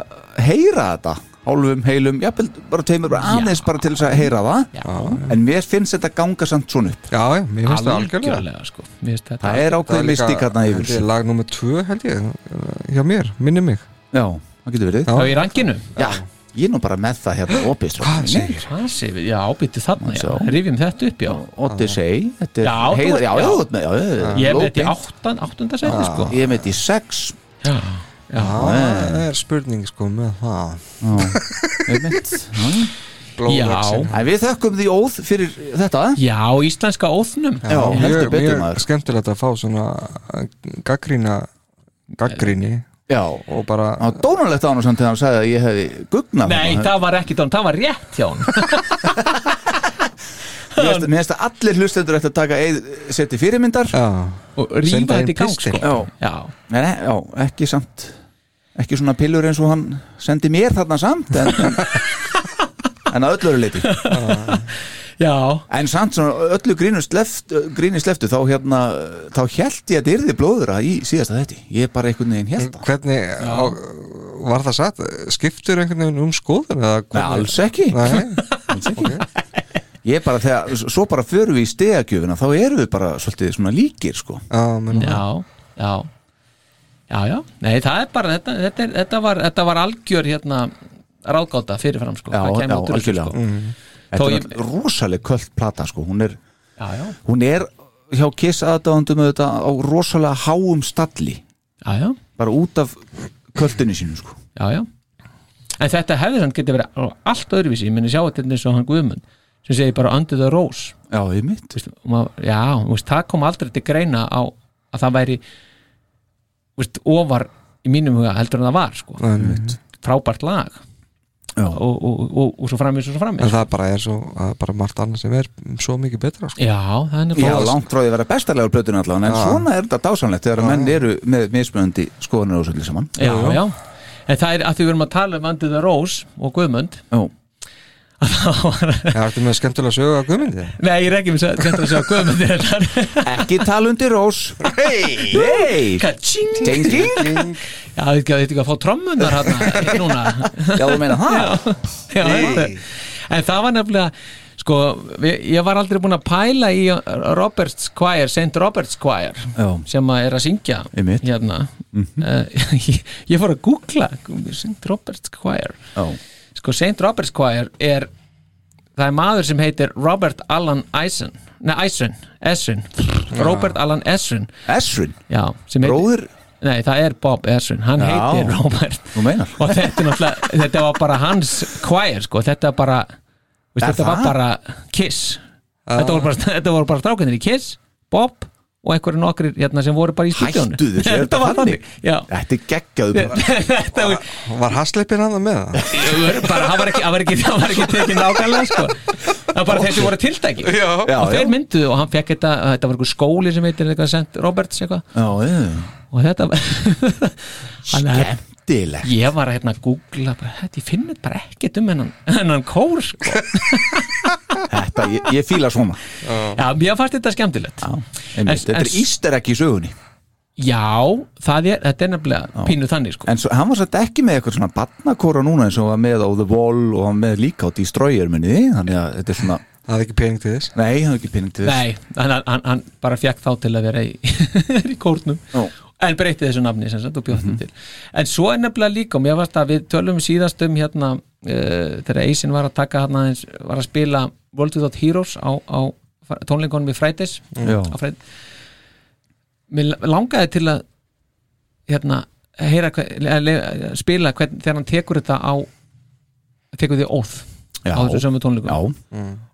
Speaker 4: heyra þetta, hálfum, heilum jafnvel, bara tveimur, bara
Speaker 5: Já.
Speaker 4: aðeins bara til þess að heyra það
Speaker 5: Já.
Speaker 4: en mér finnst þetta ganga samt svona upp
Speaker 6: Já, já, mér finnst það algjörlega
Speaker 5: algjörlega sko Mér finnst þetta
Speaker 4: það er ákveðin mistík hérna yfir
Speaker 6: Þetta er lag nummer 2 held ég hjá mér, minni mig
Speaker 4: já, það getur verið
Speaker 6: Já.
Speaker 5: þá í ranginu
Speaker 4: já, ég er nú bara með það hérna opið
Speaker 6: Hvað segir?
Speaker 5: Hvað sé við? Já, ábyttu þarna, já.
Speaker 4: Svo.
Speaker 5: Rifjum þetta upp, já.
Speaker 4: Odyssey, þetta er
Speaker 5: Já, þú
Speaker 4: heiðar-
Speaker 5: ert-
Speaker 4: já,
Speaker 5: já.
Speaker 4: já, þú ert með- já, já,
Speaker 5: Ég er með
Speaker 4: low
Speaker 5: þetta í
Speaker 4: beint.
Speaker 5: áttan, áttunda seti, sko.
Speaker 4: ég er með þetta í sex
Speaker 5: Já, já.
Speaker 6: Það er spurning sko með það
Speaker 4: einmitt.
Speaker 6: Blóðvöxin
Speaker 4: en við þökkum því óð fyrir þetta
Speaker 5: Já, íslenska óþnum.
Speaker 4: Já, heldur
Speaker 6: Mjög,
Speaker 4: betur
Speaker 6: mjög
Speaker 4: maður
Speaker 6: skemmtilegt að fá svona gaggrína gaggríni
Speaker 4: Já,
Speaker 6: og bara
Speaker 4: Það var dónalegt á hann samt þegar hann sagði að ég hefði gugnað
Speaker 5: Nei, það var ekki dán, það var rétt hjá hann.
Speaker 4: Mér finnst- mér finnst að allir hlustendur ætti að taka eð, seti fyrirmyndar
Speaker 6: Já,
Speaker 5: *laughs* Og rífa
Speaker 6: Senda
Speaker 5: þetta í
Speaker 6: þeim
Speaker 5: gang,
Speaker 6: pistil.
Speaker 5: sko.
Speaker 4: Já.
Speaker 5: Já,
Speaker 4: Nei, nei, já, ekki samt Ekki svona pillur eins og hann sendi mér þarna samt En, en, en að öllu eru leiti
Speaker 5: já,
Speaker 4: En samt svona öllu grínu sleft, grínu sleftu Þá hérna, þá held ég að þetta yrði blóðura í síðasta þetta Ég bara einhvern veginn held það
Speaker 6: hvernig á, var það satt? Skiptur einhvern veginn um skoðun? eða
Speaker 4: Nei,
Speaker 6: hvernig-
Speaker 4: alls ekki *laughs*
Speaker 6: Nei,
Speaker 4: Ég bara þegar, svo bara förum við í stegagjöfina Þá erum við bara svolítið svona líkir sko
Speaker 6: já, menn
Speaker 5: já, já. Já, já. Nei, það er bara, þetta, þetta, er, þetta, var, þetta var algjör hérna ráðgáta fyrirfram, sko.
Speaker 4: Já,
Speaker 5: Hvað kæmi
Speaker 4: já,
Speaker 5: út úr þessu,
Speaker 4: algjörlega.
Speaker 5: sko.
Speaker 4: Þetta
Speaker 5: Þó
Speaker 4: er
Speaker 5: ég-
Speaker 4: ég... rosaleg kvöld plata sko Hún er
Speaker 5: Já, já,
Speaker 4: hún er hjá Kiss aðdáðandum þetta á rosalega háum stalli
Speaker 5: já, já.
Speaker 4: bara út af kvöldinu sínu sko.
Speaker 5: já, já en þetta hefði hann getið verið á- allt öðruvísi ég meni sjá þetta eins og hann Guðmund sem segi bara under the rose
Speaker 4: já, ég mitt
Speaker 5: veist, og maður, já, þú veist, það kom aldrei til greina á að það væri þú veist, ofar í mínum huga heldur en það var sko.
Speaker 6: Einmitt.
Speaker 4: Mm.
Speaker 5: frábært lag
Speaker 4: Já.
Speaker 5: og, og, og, og, og svo framins og svo
Speaker 6: En
Speaker 5: framins
Speaker 6: það bara er svo, það er bara margt annað sem er svo mikið betra sko.
Speaker 5: já, það er
Speaker 4: Já,
Speaker 5: nefnilega-
Speaker 4: langt frá því að vera bestarlegur plötun allavega, en
Speaker 6: Já.
Speaker 4: svona er þetta dásanlegt þegar menn eru með mismunandi skoðanir og svolítið saman
Speaker 5: já, já, en það er að því við erum að tala um under the rose og Guðmund
Speaker 4: Já,
Speaker 5: þá var-
Speaker 6: Það ertu með skemmtilega sögu að guðmyndi
Speaker 5: nei, ég er ekki með að segja Guðmund er þetta
Speaker 4: ekki talundi rós Nei,
Speaker 5: Ka-ching!
Speaker 4: tenging
Speaker 5: Já, þetta ekki að þetta ekki að fá
Speaker 4: *laughs*
Speaker 5: trommunar hérna núna
Speaker 4: Já, þú meina það
Speaker 5: Já, þetta er- En það var nefnilega sko, við- ég var aldrei búin að pæla í Robert's Choir, St. Robert's Choir
Speaker 4: Já.
Speaker 5: sem að er að syngja
Speaker 4: Einmitt. Mhm.
Speaker 5: hérna uh, *laughs* ég, ég fór að googla St. Robert's Choir
Speaker 4: Já,
Speaker 5: sko, St. Robert's Choir er það er maður sem heitir Robert Allan Eisen Nei, Eisen, Essen Robert Allan Essen
Speaker 4: Esrin,
Speaker 5: Já, sem heitir
Speaker 4: bróður
Speaker 5: Nei, það er Bob Ersvin, hann
Speaker 4: Já.
Speaker 5: heitir Robert
Speaker 4: Þú meinar.
Speaker 5: Og þetta, er náttúrulega- þetta var bara hans choir, sko, þetta var bara veist,
Speaker 4: Er
Speaker 5: Þetta
Speaker 4: það?
Speaker 5: var
Speaker 4: Ah.
Speaker 5: bara Kiss þetta, voru bara, þetta voru bara strákanir í Kiss, Bob og einhverju nokkrir hérna sem voru bara í stúdíónu
Speaker 4: Hættu þessu, er
Speaker 5: *laughs* Þetta
Speaker 4: þetta
Speaker 5: var
Speaker 4: þannig?
Speaker 5: þannig, já
Speaker 4: Þetta er geggjaðu bara
Speaker 5: Þetta var,
Speaker 6: Var hasleipin hann með það?
Speaker 5: það voru bara, það var ekki, það var ekki, það var ekki tekið nákvæmlega, sko Það var bara þeir sem voru tiltæki *laughs* já.
Speaker 4: Já,
Speaker 5: Og
Speaker 4: já,
Speaker 5: þeir mynduðu og hann fekk þetta, þetta var einhver skóli sem heitir eitthvað sent Roberts eitthvað
Speaker 4: já, já.
Speaker 5: Og þetta var *laughs* Þannig að-
Speaker 4: Skemmtilegt
Speaker 5: ég var að hérna að googla bara, þetta, ég finn þetta bara ekkert um hennan, hennan kór sko.
Speaker 4: Þetta, ég, ég fíla svona
Speaker 5: já, mér fannst þetta skemmtilegt
Speaker 4: Já, einmitt,
Speaker 5: En-
Speaker 4: þetta er
Speaker 5: en-
Speaker 4: íster ekki í sögunni
Speaker 5: já, það er, þetta er nefnilega pínu þannig sko.
Speaker 4: En svo, hann var satt ekki með eitthvað svona barnakóra núna eins og hann var með á The Wall og hann var með líka á Destroyer minni þannig að þetta er svona,
Speaker 6: Það er ekki pening til þess
Speaker 4: nei, hann er ekki pinning til þess
Speaker 5: nei, hann, hann, hann bara fekk þá til að vera *laughs* í, í kórnum
Speaker 4: Já.
Speaker 5: en breytti þessu nafni sem sagt og bjóð
Speaker 4: Mhm.
Speaker 5: þetta til en svo er nefnilega líka, og mér varst að við tölum síðast um hérna uh, þegar Eisin var að taka hérna aðeins, var að spila World Without Heroes á, á tónleikonum í Fridays
Speaker 4: Já.
Speaker 5: á Fridays mér langaði til að hérna heyra, hve- le- le- spila hvern, þegar hann tekur þetta á tekur því óð
Speaker 4: Já.
Speaker 5: á þessu sömu tónleikum
Speaker 4: Já.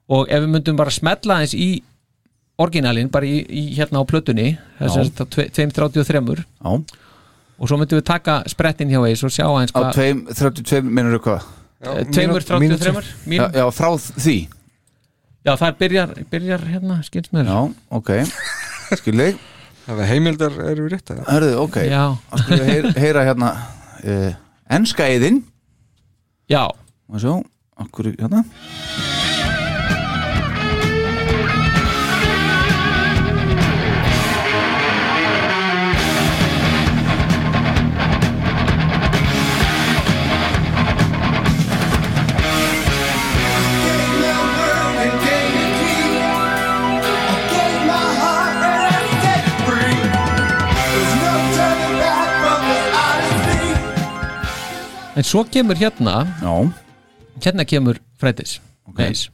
Speaker 5: og ef við myndum bara smetla aðeins í orginalin, bara í, í hérna á plötunni
Speaker 4: Já.
Speaker 5: þess að 2.33
Speaker 4: Já.
Speaker 5: og svo myndum við taka sprettin hjá eis og sjá aðeins
Speaker 4: á
Speaker 5: hvað
Speaker 4: tveim, 32 minnur hvað
Speaker 5: Eh, tveimur
Speaker 4: já,
Speaker 5: 33 mínútur.
Speaker 4: já, frá því
Speaker 5: já það byrjar, byrjar hérna skilst mér
Speaker 4: já, ok, skilði
Speaker 6: Ef heimildar eru við rétt að
Speaker 4: hörðu, ok,
Speaker 5: Já.
Speaker 4: þá skulum við heyra, heyra hérna uh, enska eðin
Speaker 5: já,
Speaker 4: og sjá, okkur hérna
Speaker 5: en svo kemur hérna
Speaker 4: já,
Speaker 5: hérna kemur Fredis okay. Eis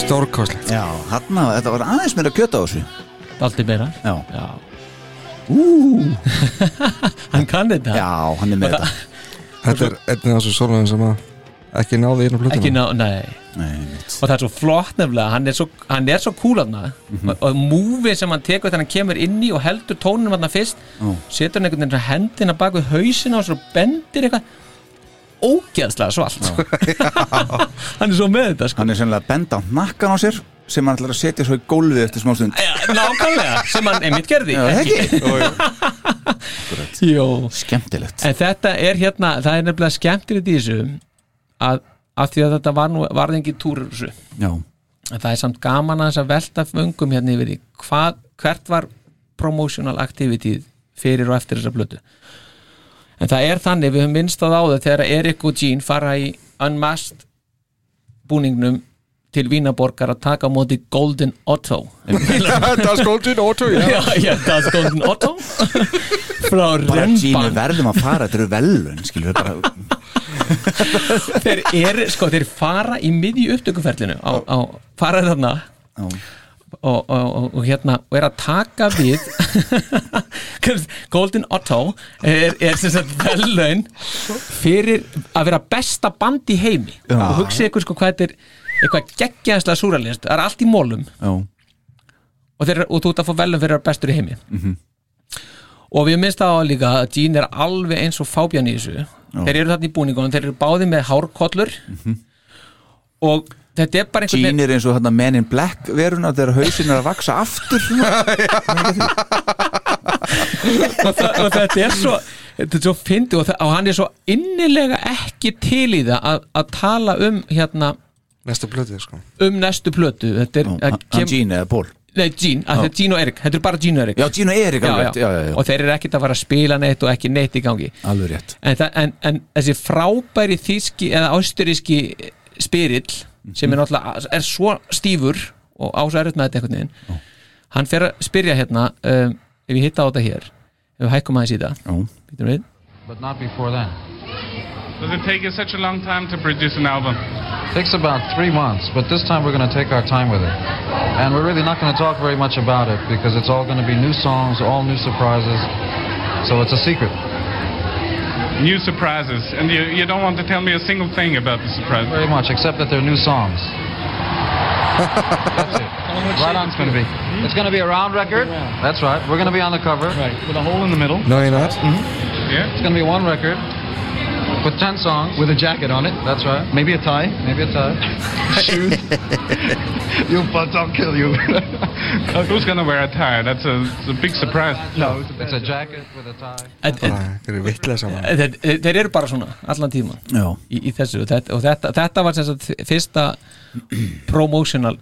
Speaker 6: Stórkoslegt
Speaker 4: já, hérna þetta var aðeins meira kjöt á þessu
Speaker 5: Daldi meira
Speaker 4: já,
Speaker 5: já. *laughs* hann kann þetta
Speaker 4: já, hann er með þetta
Speaker 6: Þetta er einn af þessu sólöfum sem að ekki náði inn á plötuna
Speaker 5: ekki ná, nei
Speaker 4: Nei, mitt.
Speaker 5: og það er svo flott nefnilega hann er svo, hann er svo cool aðna
Speaker 4: Mhm.
Speaker 5: og múfi sem hann tekur þegar hann kemur inn í og heldur tónunum aðna fyrst
Speaker 4: Já.
Speaker 5: setur hann einhvern veginn svona hendina bak við hausina og svo bendir eitthvað ógeðslega svalt *laughs* hann er svo með þetta sko
Speaker 4: hann er sennilega að benda á nakkan á sér sem hann ætlar að setja svo í gólfið eftir smá stund
Speaker 5: Já, nákvæmlega, sem hann einmitt gerði
Speaker 4: Já, ekki?
Speaker 5: Jó.
Speaker 4: skemmtilegt
Speaker 5: en þetta er hérna, það er nefnilega skemmtilegt í þessu að, að því að þetta var nú varði engin túrur þessu
Speaker 4: já,
Speaker 5: en það er samt gaman að þess að velta fengum hérna yfir því hvað, hvert var promotional activity fyrir og eftir þessa blötu en það er þannig, við höfum minnst það á það þegar Erik og Jean fara í unmasked búningnum til Vínaborgar að taka á móti Golden Otto
Speaker 6: Það er skóldin ótú,
Speaker 5: *laughs* já, já, það er Golden Otto frá
Speaker 4: bara Gínu
Speaker 5: Rembrandt
Speaker 4: verðum að fara, þetta eru velun skilur við bara,
Speaker 5: þeir, er, sko, þeir fara í miðju upptökuferlinu á, á fara þarna
Speaker 4: já,
Speaker 5: og, og, og, og hérna og er að taka við *laughs* Golden Otto er, er sem sagt velun fyrir að vera besta band í heimi
Speaker 4: Já.
Speaker 5: og hugsið ykkur sko hvað þetta er eitthvað geggjaðslega súralist, það er allt í mólum
Speaker 4: já,
Speaker 5: og, þeir, og þú ert að fá velun fyrir að vera bestur í heimi
Speaker 4: Mhm.
Speaker 5: og við minnst það á líka að Jean er alveg eins og fábjan í þessu þeir eru þarna í búningunum, þeir eru báði með hárkollur og þetta er bara einhvern
Speaker 4: Mhm. Jean er eins og hérna Men in Black veruna þegar hausin er að vaksa aftur
Speaker 5: og, það, og þetta er svo þetta er svo fyndi og, það- og hann er svo innilega ekki til í það að, að tala um hérna
Speaker 6: Næsta plötið, sko
Speaker 5: um næstu plötu þetta er,
Speaker 4: hann hann Jean eða Paul
Speaker 5: nei, Jean, að þetta er Jean og Erik þetta er bara Jean og Erik
Speaker 4: já, Jean og Erik
Speaker 5: já,
Speaker 4: alveg
Speaker 5: já.
Speaker 4: rétt, já, já, já,
Speaker 5: og þeir eru ekkert að fara að spila neitt og ekki neitt í gangi
Speaker 4: alveg rétt
Speaker 5: en, það, en, en þessi frábæri þíski eða ásturíski spyrill sem er náttúrulega er svo stífur og ásærið með þetta einhvern veginn hann fer að spyrja hérna um, ef ég hitta á þetta hér ef við hækkum aðeins í það
Speaker 4: Já.
Speaker 5: Býtum við
Speaker 9: But not before then.
Speaker 11: Does it take you such a long time to produce an album?
Speaker 9: Takes about three months, but this time we're going to take our time with it. And we're really not going to talk very much about it because it's all going to be new songs, all new surprises. So it's a secret.
Speaker 11: New surprises, and you, you don't want to tell me a single thing about the surprise.
Speaker 9: Very much, except that they're
Speaker 11: *laughs*
Speaker 9: new songs. That's it. Right on, it's going to be. It's going to be a round record. That's right. We're going to be on the cover.
Speaker 11: Right, with a hole in the middle.
Speaker 6: No, you're not
Speaker 11: Yeah.
Speaker 9: It's going to be one record with ten songs. With a jacket on it. That's right. Maybe a tie. Maybe a tie. Shoes.
Speaker 12: you butts, I'll kill you.
Speaker 11: Who's gonna wear a tie? That's a, it's a big surprise.
Speaker 9: No, it's a jacket with a tie.
Speaker 6: Þeir eru vitlega saman
Speaker 5: þeir, þeir eru bara svona allan tíman
Speaker 4: Já.
Speaker 5: í, í þessu og þetta, og þetta, þetta var sem sagt f- fyrsta promotional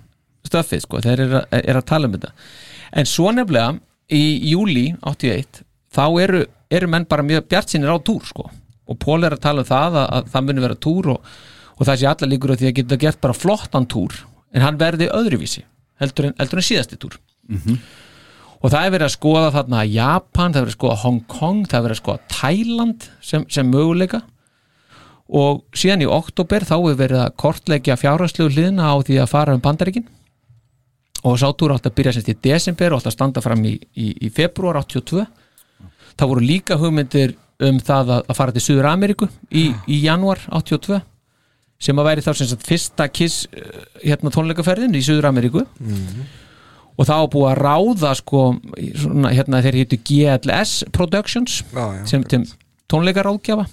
Speaker 5: stöfið sko, þeir eru að- eru að tala um þetta en svo nefnilega í júli 81 þá eru, eru menn bara mjög bjartsinir á túr sko og Pól er að tala um það að, að það muni vera túr og, og það sé allar líkur á því að geta gert bara flottan túr en hann verði öðruvísi heldur en, heldur en síðasti túr og það er verið að skoða þarna Japan, það er verið að skoða Hong Kong það er verið að skoða Thailand sem, sem möguleika og síðan í oktober þá er verið að kortleggja fjárhastlegu hliðina á því að fara um bandarikin og sátúr átt að byrja semst í desember og átt að standa fram í, í, í februar 82 það voru líka hugmyndir um það að, að fara til Suður Ameríku í, í januar 82 sem að væri þá sem sagt fyrsta kiss eh, hérna tónleikaferðin í Suður Ameríku
Speaker 6: Mhm.
Speaker 5: og það var búið að ráða sko, í svona, hérna þeir hétu GLS Productions
Speaker 6: Já, já,
Speaker 5: sem til tónleikaráðgjafa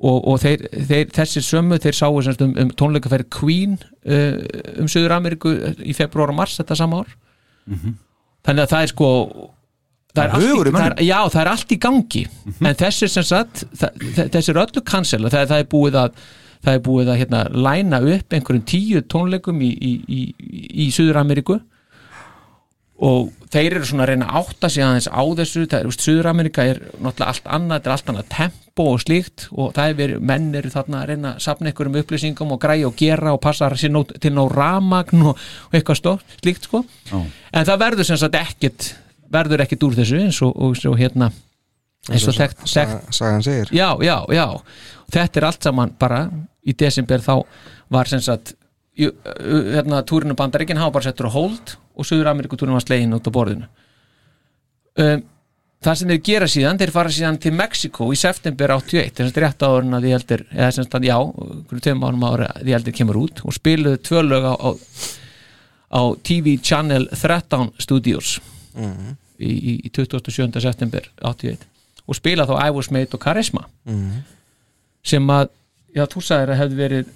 Speaker 5: og, og þeir, þeir, þessir sömu þeir sáu semst um, um tónleikaferð Queen uh, um Suður Ameríku í februar og mars þetta sama ár þannig að það er sko það er
Speaker 4: Það er hugur
Speaker 5: allt
Speaker 4: í
Speaker 5: í, það er,
Speaker 4: mönnum. Mhm.
Speaker 5: já, það er allt í gangi en þessir sem sagt það- þe- þessir öllu cancel það, það er búið að það er búið að hérna, læna upp einhverjum tíu tónleikum í, í, í, í Suður-Ameríku og þeir eru svona að reyna að átta sig aðeins á þessu, það er, veist, Suður-Ameríka er náttúrulega allt annað, þetta er allt annað tempo og slíkt og það er verið, menn eru þarna að reyna að safna einhverjum upplýsingum og græja og gera og passa sér nó, til ná ramagn og, og eitthvað stórt, slíkt sko
Speaker 4: Já.
Speaker 5: en það verður sem sagt ekkit verður ekkit úr þessu eins og, og, og hérna eins og þekkt, þekkt
Speaker 6: sagan segir
Speaker 5: já, já, já, þetta er allt saman bara í desember þá var sem sagt jú- ö- hérna, túrinu bandaríkinn hafa bara settur á hold og Suður Ameríku túrinu var slegin út á borðinu um, það sem þeir gera síðan, þeir fara síðan til Mexiko í september 81, þess að rétt áður en að því heldur, eða sem sagt, já, hverju tveim árum ára því heldur kemur út og spiluðu tvö lög á, á, á TV Channel 13 Studios
Speaker 6: Mhm.
Speaker 5: í, í, í 27. september 81 og spila þá I Was Made og Charisma
Speaker 6: Mhm.
Speaker 5: sem að, já, þú sagðir að hefði verið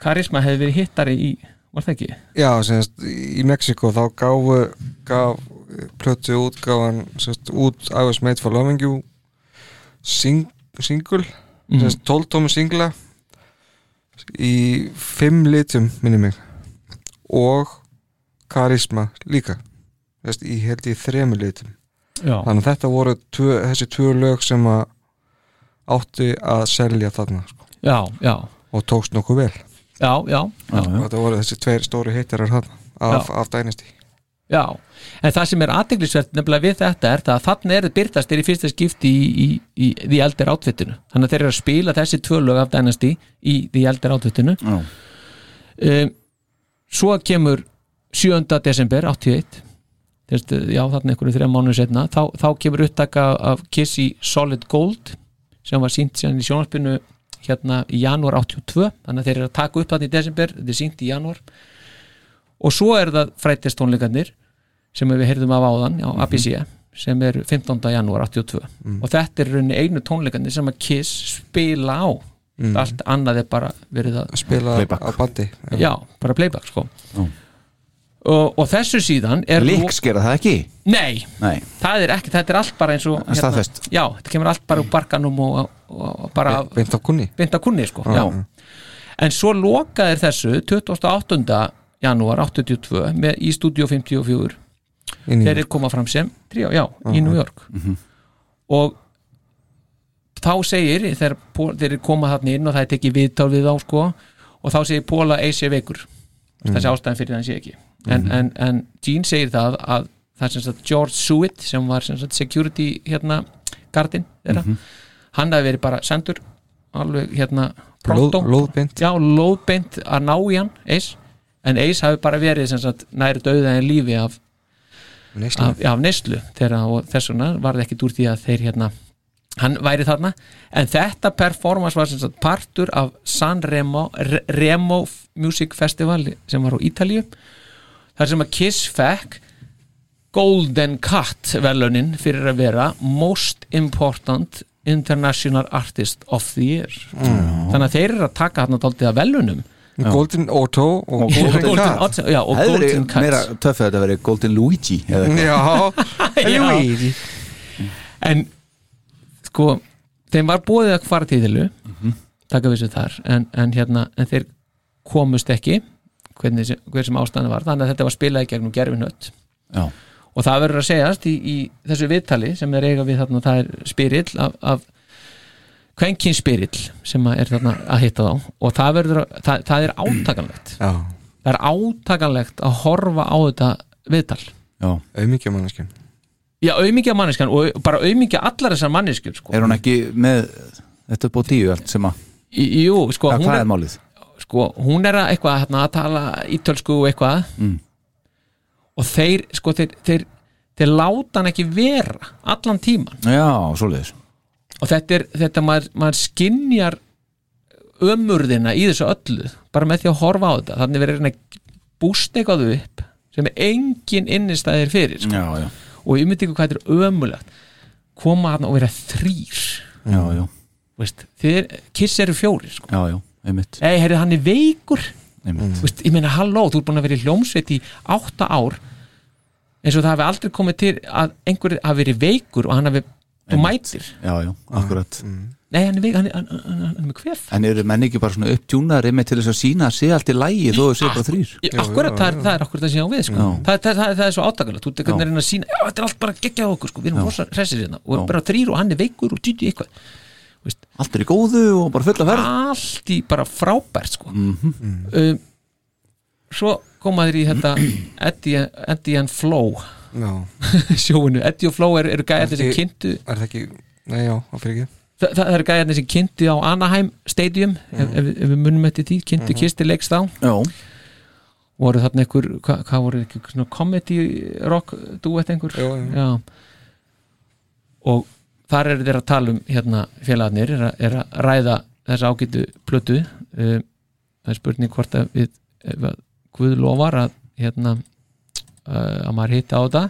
Speaker 5: Charisma hefði verið hittari í, var það ekki?
Speaker 6: Já, semst, í Mexiko þá gáfu gaf eh, plötu útgáfan semst, út I was made for loving you sing, single
Speaker 5: Mhm.
Speaker 6: semst, 12 tómi singla í fimm litum minni mig og karisma líka semst, í held í þremu litum
Speaker 5: Já.
Speaker 6: þannig að þetta voru tvö, þessi tvö lög sem að átti að selja þarna sko.
Speaker 5: Já, já.
Speaker 6: og tókst nokkuð vel
Speaker 5: Já, já, já.
Speaker 6: Og þetta voru þessi tveir stóru hittarar þarna af, af Dynasty
Speaker 5: Já, en það sem er aðteglisvert nefnilega við þetta er það að þarna eru byrtast er í fyrsta skipti í, í, í The Elder Outfitinu þannig að þeir eru að spila þessi tvö lög af Dynasty í The Elder Outfitinu
Speaker 4: Já.
Speaker 5: um, Svo kemur 7. desember 81 Þeirst, já, þarna einhverju þrejum mánuðu setna þá, þá kemur upptaka af Kiss í Solid Gold sem var sínt síðan í sjónarspinu hérna í janúar 82 þannig að þeir eru að taka upp þarna í desember þetta er sínt í janúar og svo er það frættistónleikarnir sem við heyrðum af áðan á ABC sem er 15. janúar 82
Speaker 6: Mhm.
Speaker 5: og þetta er í rauninni einu tónleikarnir sem að Kiss spila á
Speaker 6: Mhm.
Speaker 5: allt annað er bara verið að
Speaker 6: spila Playback. á bandi.
Speaker 5: já, bara playback sko
Speaker 4: Já.
Speaker 5: og, og þessu síðan er
Speaker 4: Líks gera það ekki
Speaker 5: Nei,
Speaker 4: Nei.
Speaker 5: það er ekki, þetta er allt bara eins og hérna-
Speaker 4: Staðfest.
Speaker 5: Já, þetta kemur allt bara úr barkanum og, og, og bara
Speaker 6: Beint af kunni
Speaker 5: Beint af kunni, sko,
Speaker 6: Já.
Speaker 5: já En svo lokaðir þessu 28. janúar 82 með, í Studio 54
Speaker 6: Í New
Speaker 5: Þeir
Speaker 6: York.
Speaker 5: eru koma fram sem tríó, já,
Speaker 6: Já.
Speaker 5: í New York og þá segir þegar Paul- þeir eru koma þarna inn og það er tekið viðtal við þá sko og þá segir Póla eis sé veikur
Speaker 6: Mm.
Speaker 5: þessi ástæðan fyrir hann sé ekki en,
Speaker 6: Mhm.
Speaker 5: en, en Gene segir það að það er sem sagt George Suet sem var sem sagt security hérna gardinn þeirra
Speaker 6: Mhm.
Speaker 5: hann hafi verið bara sendur alveg hérna
Speaker 6: Lóð-
Speaker 5: prontó.
Speaker 6: lóðbeint.
Speaker 5: já, lóðbeint að ná í hann eis en eis hafi bara verið sem sagt nær döða en lífi af
Speaker 6: Neyslu.
Speaker 5: af, af neyslu þeirra, og þess vegna var það ekkit úr því að þeir hérna hann væri þarna en þetta performance var sem sagt partur af San Remo, Re- Remo Music Festival sem var á Ítalíu þar sem að Kiss fekk Golden Cat velunin fyrir að vera Most Important International Artist of the Year
Speaker 6: Mm.
Speaker 5: þannig að þeir eru að taka hann að dálítið að velunum
Speaker 4: Já.
Speaker 6: Golden Otto og,
Speaker 4: Og Golden-
Speaker 6: Cat.
Speaker 4: Hefði verið meira töff að þetta verið Golden Luigi eða *laughs* eitthvað.
Speaker 6: Já,
Speaker 5: Luigi En sko þeim var bóðið að fara til þilu taka vissu þar en, en, hérna, en þeir komust ekki hvernig, sem- hver sem ástæðan var þannig að þetta var spilað í gegnum gerfinött
Speaker 4: Já.
Speaker 5: og það verður að segjast í, í þessu viðtali sem er eiga við þarna það er spirill af, af kvenkin spirill sem að er þarna að hitta þá og það, verður, að- það, það er átakanlegt
Speaker 6: Já.
Speaker 5: það er átakanlegt að horfa á þetta viðtal
Speaker 6: auðmikið manneskjum
Speaker 5: Já, auðmikið manneskan og bara auðmikið allar þessar manneskjur sko.
Speaker 4: Er hún ekki með þetta upp á tíu allt sem að
Speaker 5: Í- Jú, sko,
Speaker 4: Já,
Speaker 5: hún,
Speaker 4: hvað er
Speaker 5: er,
Speaker 4: málið?
Speaker 5: sko hún er að eitthvað hérna, að tala ítölsku og eitthvað
Speaker 4: Mm.
Speaker 5: og þeir, sko, þeir, þeir, þeir láta hann ekki vera allan tíman
Speaker 4: Já, svoleiðis
Speaker 5: og þetta er, þetta maður, maður skinjar ömurðina í þessu öllu bara með því að horfa á þetta þannig verið að reyna að bústa eitthvað upp sem engin innistæðir fyrir sko.
Speaker 4: já, já.
Speaker 5: og ég myndi ekki hvað þetta er ömulegt koma hann og vera þrýr
Speaker 4: Já, já,
Speaker 5: veist, þeir, kiss eru fjórir sko.
Speaker 4: já, já, einmitt
Speaker 5: ei, heyrðu, hann er veikur
Speaker 4: Einmitt.
Speaker 5: veist, ég meina, halló, þú er búin að vera í hljómsveit í átta ár eins og það hafi aldrei komið til að einhver hafi verið veikur og hann hafi þú mætir,
Speaker 4: Já, já, akkurat
Speaker 5: nei, hann er veikur hann, er- hann, hann, hann, hann er með kvef
Speaker 4: En eru menn ekki bara svona upptjúnaðar einmitt til þess að sína að sé allt í lægi þó að sé bara þrýr
Speaker 5: Í- akkurat, það, er, það er akkurat það sem ég á við sko.
Speaker 4: Já.
Speaker 5: það, það, það, það er svo átakalegt, þú tekur
Speaker 4: Já.
Speaker 5: að reyna að sína já, þetta er allt bara geggjað á okkur, sko. við erum
Speaker 4: Já.
Speaker 5: rosa hressir hérna og
Speaker 4: Já.
Speaker 5: erum bara þrýr og hann er veikur og dýti eitthvað
Speaker 4: Allt er í góðu og bara fulla verð
Speaker 5: allt í bara frábært sko.
Speaker 6: Mhm.
Speaker 5: um, svo koma þeir í
Speaker 6: *clears throat*
Speaker 5: þetta Eddie, Eddie and Flow *laughs*
Speaker 6: Já.
Speaker 5: sjóinu, Eddie og Flow eru, eru gæðarnir sem
Speaker 6: Ekki-
Speaker 5: kynntu
Speaker 6: Er það ekki, nei já, það fyrir ekki
Speaker 5: það, það eru gæðarnir sem kynntu á Anaheim Stadium ef, ef, við- ef við munum eftir því, kynntu
Speaker 6: Mhm.
Speaker 5: kisti leiks þá
Speaker 4: Já,
Speaker 5: voru þarna einhver, hva, hvað voru einhver svona comedy rock duet einhver
Speaker 6: Jú, jú.
Speaker 5: Já. og þar eru þeir að tala um hérna félagarnir er, að- er að ræða þessa ágætu plötu um, það er spurning hvort að við ef að Guð lofar að hérna uh, að maður hitta á þetta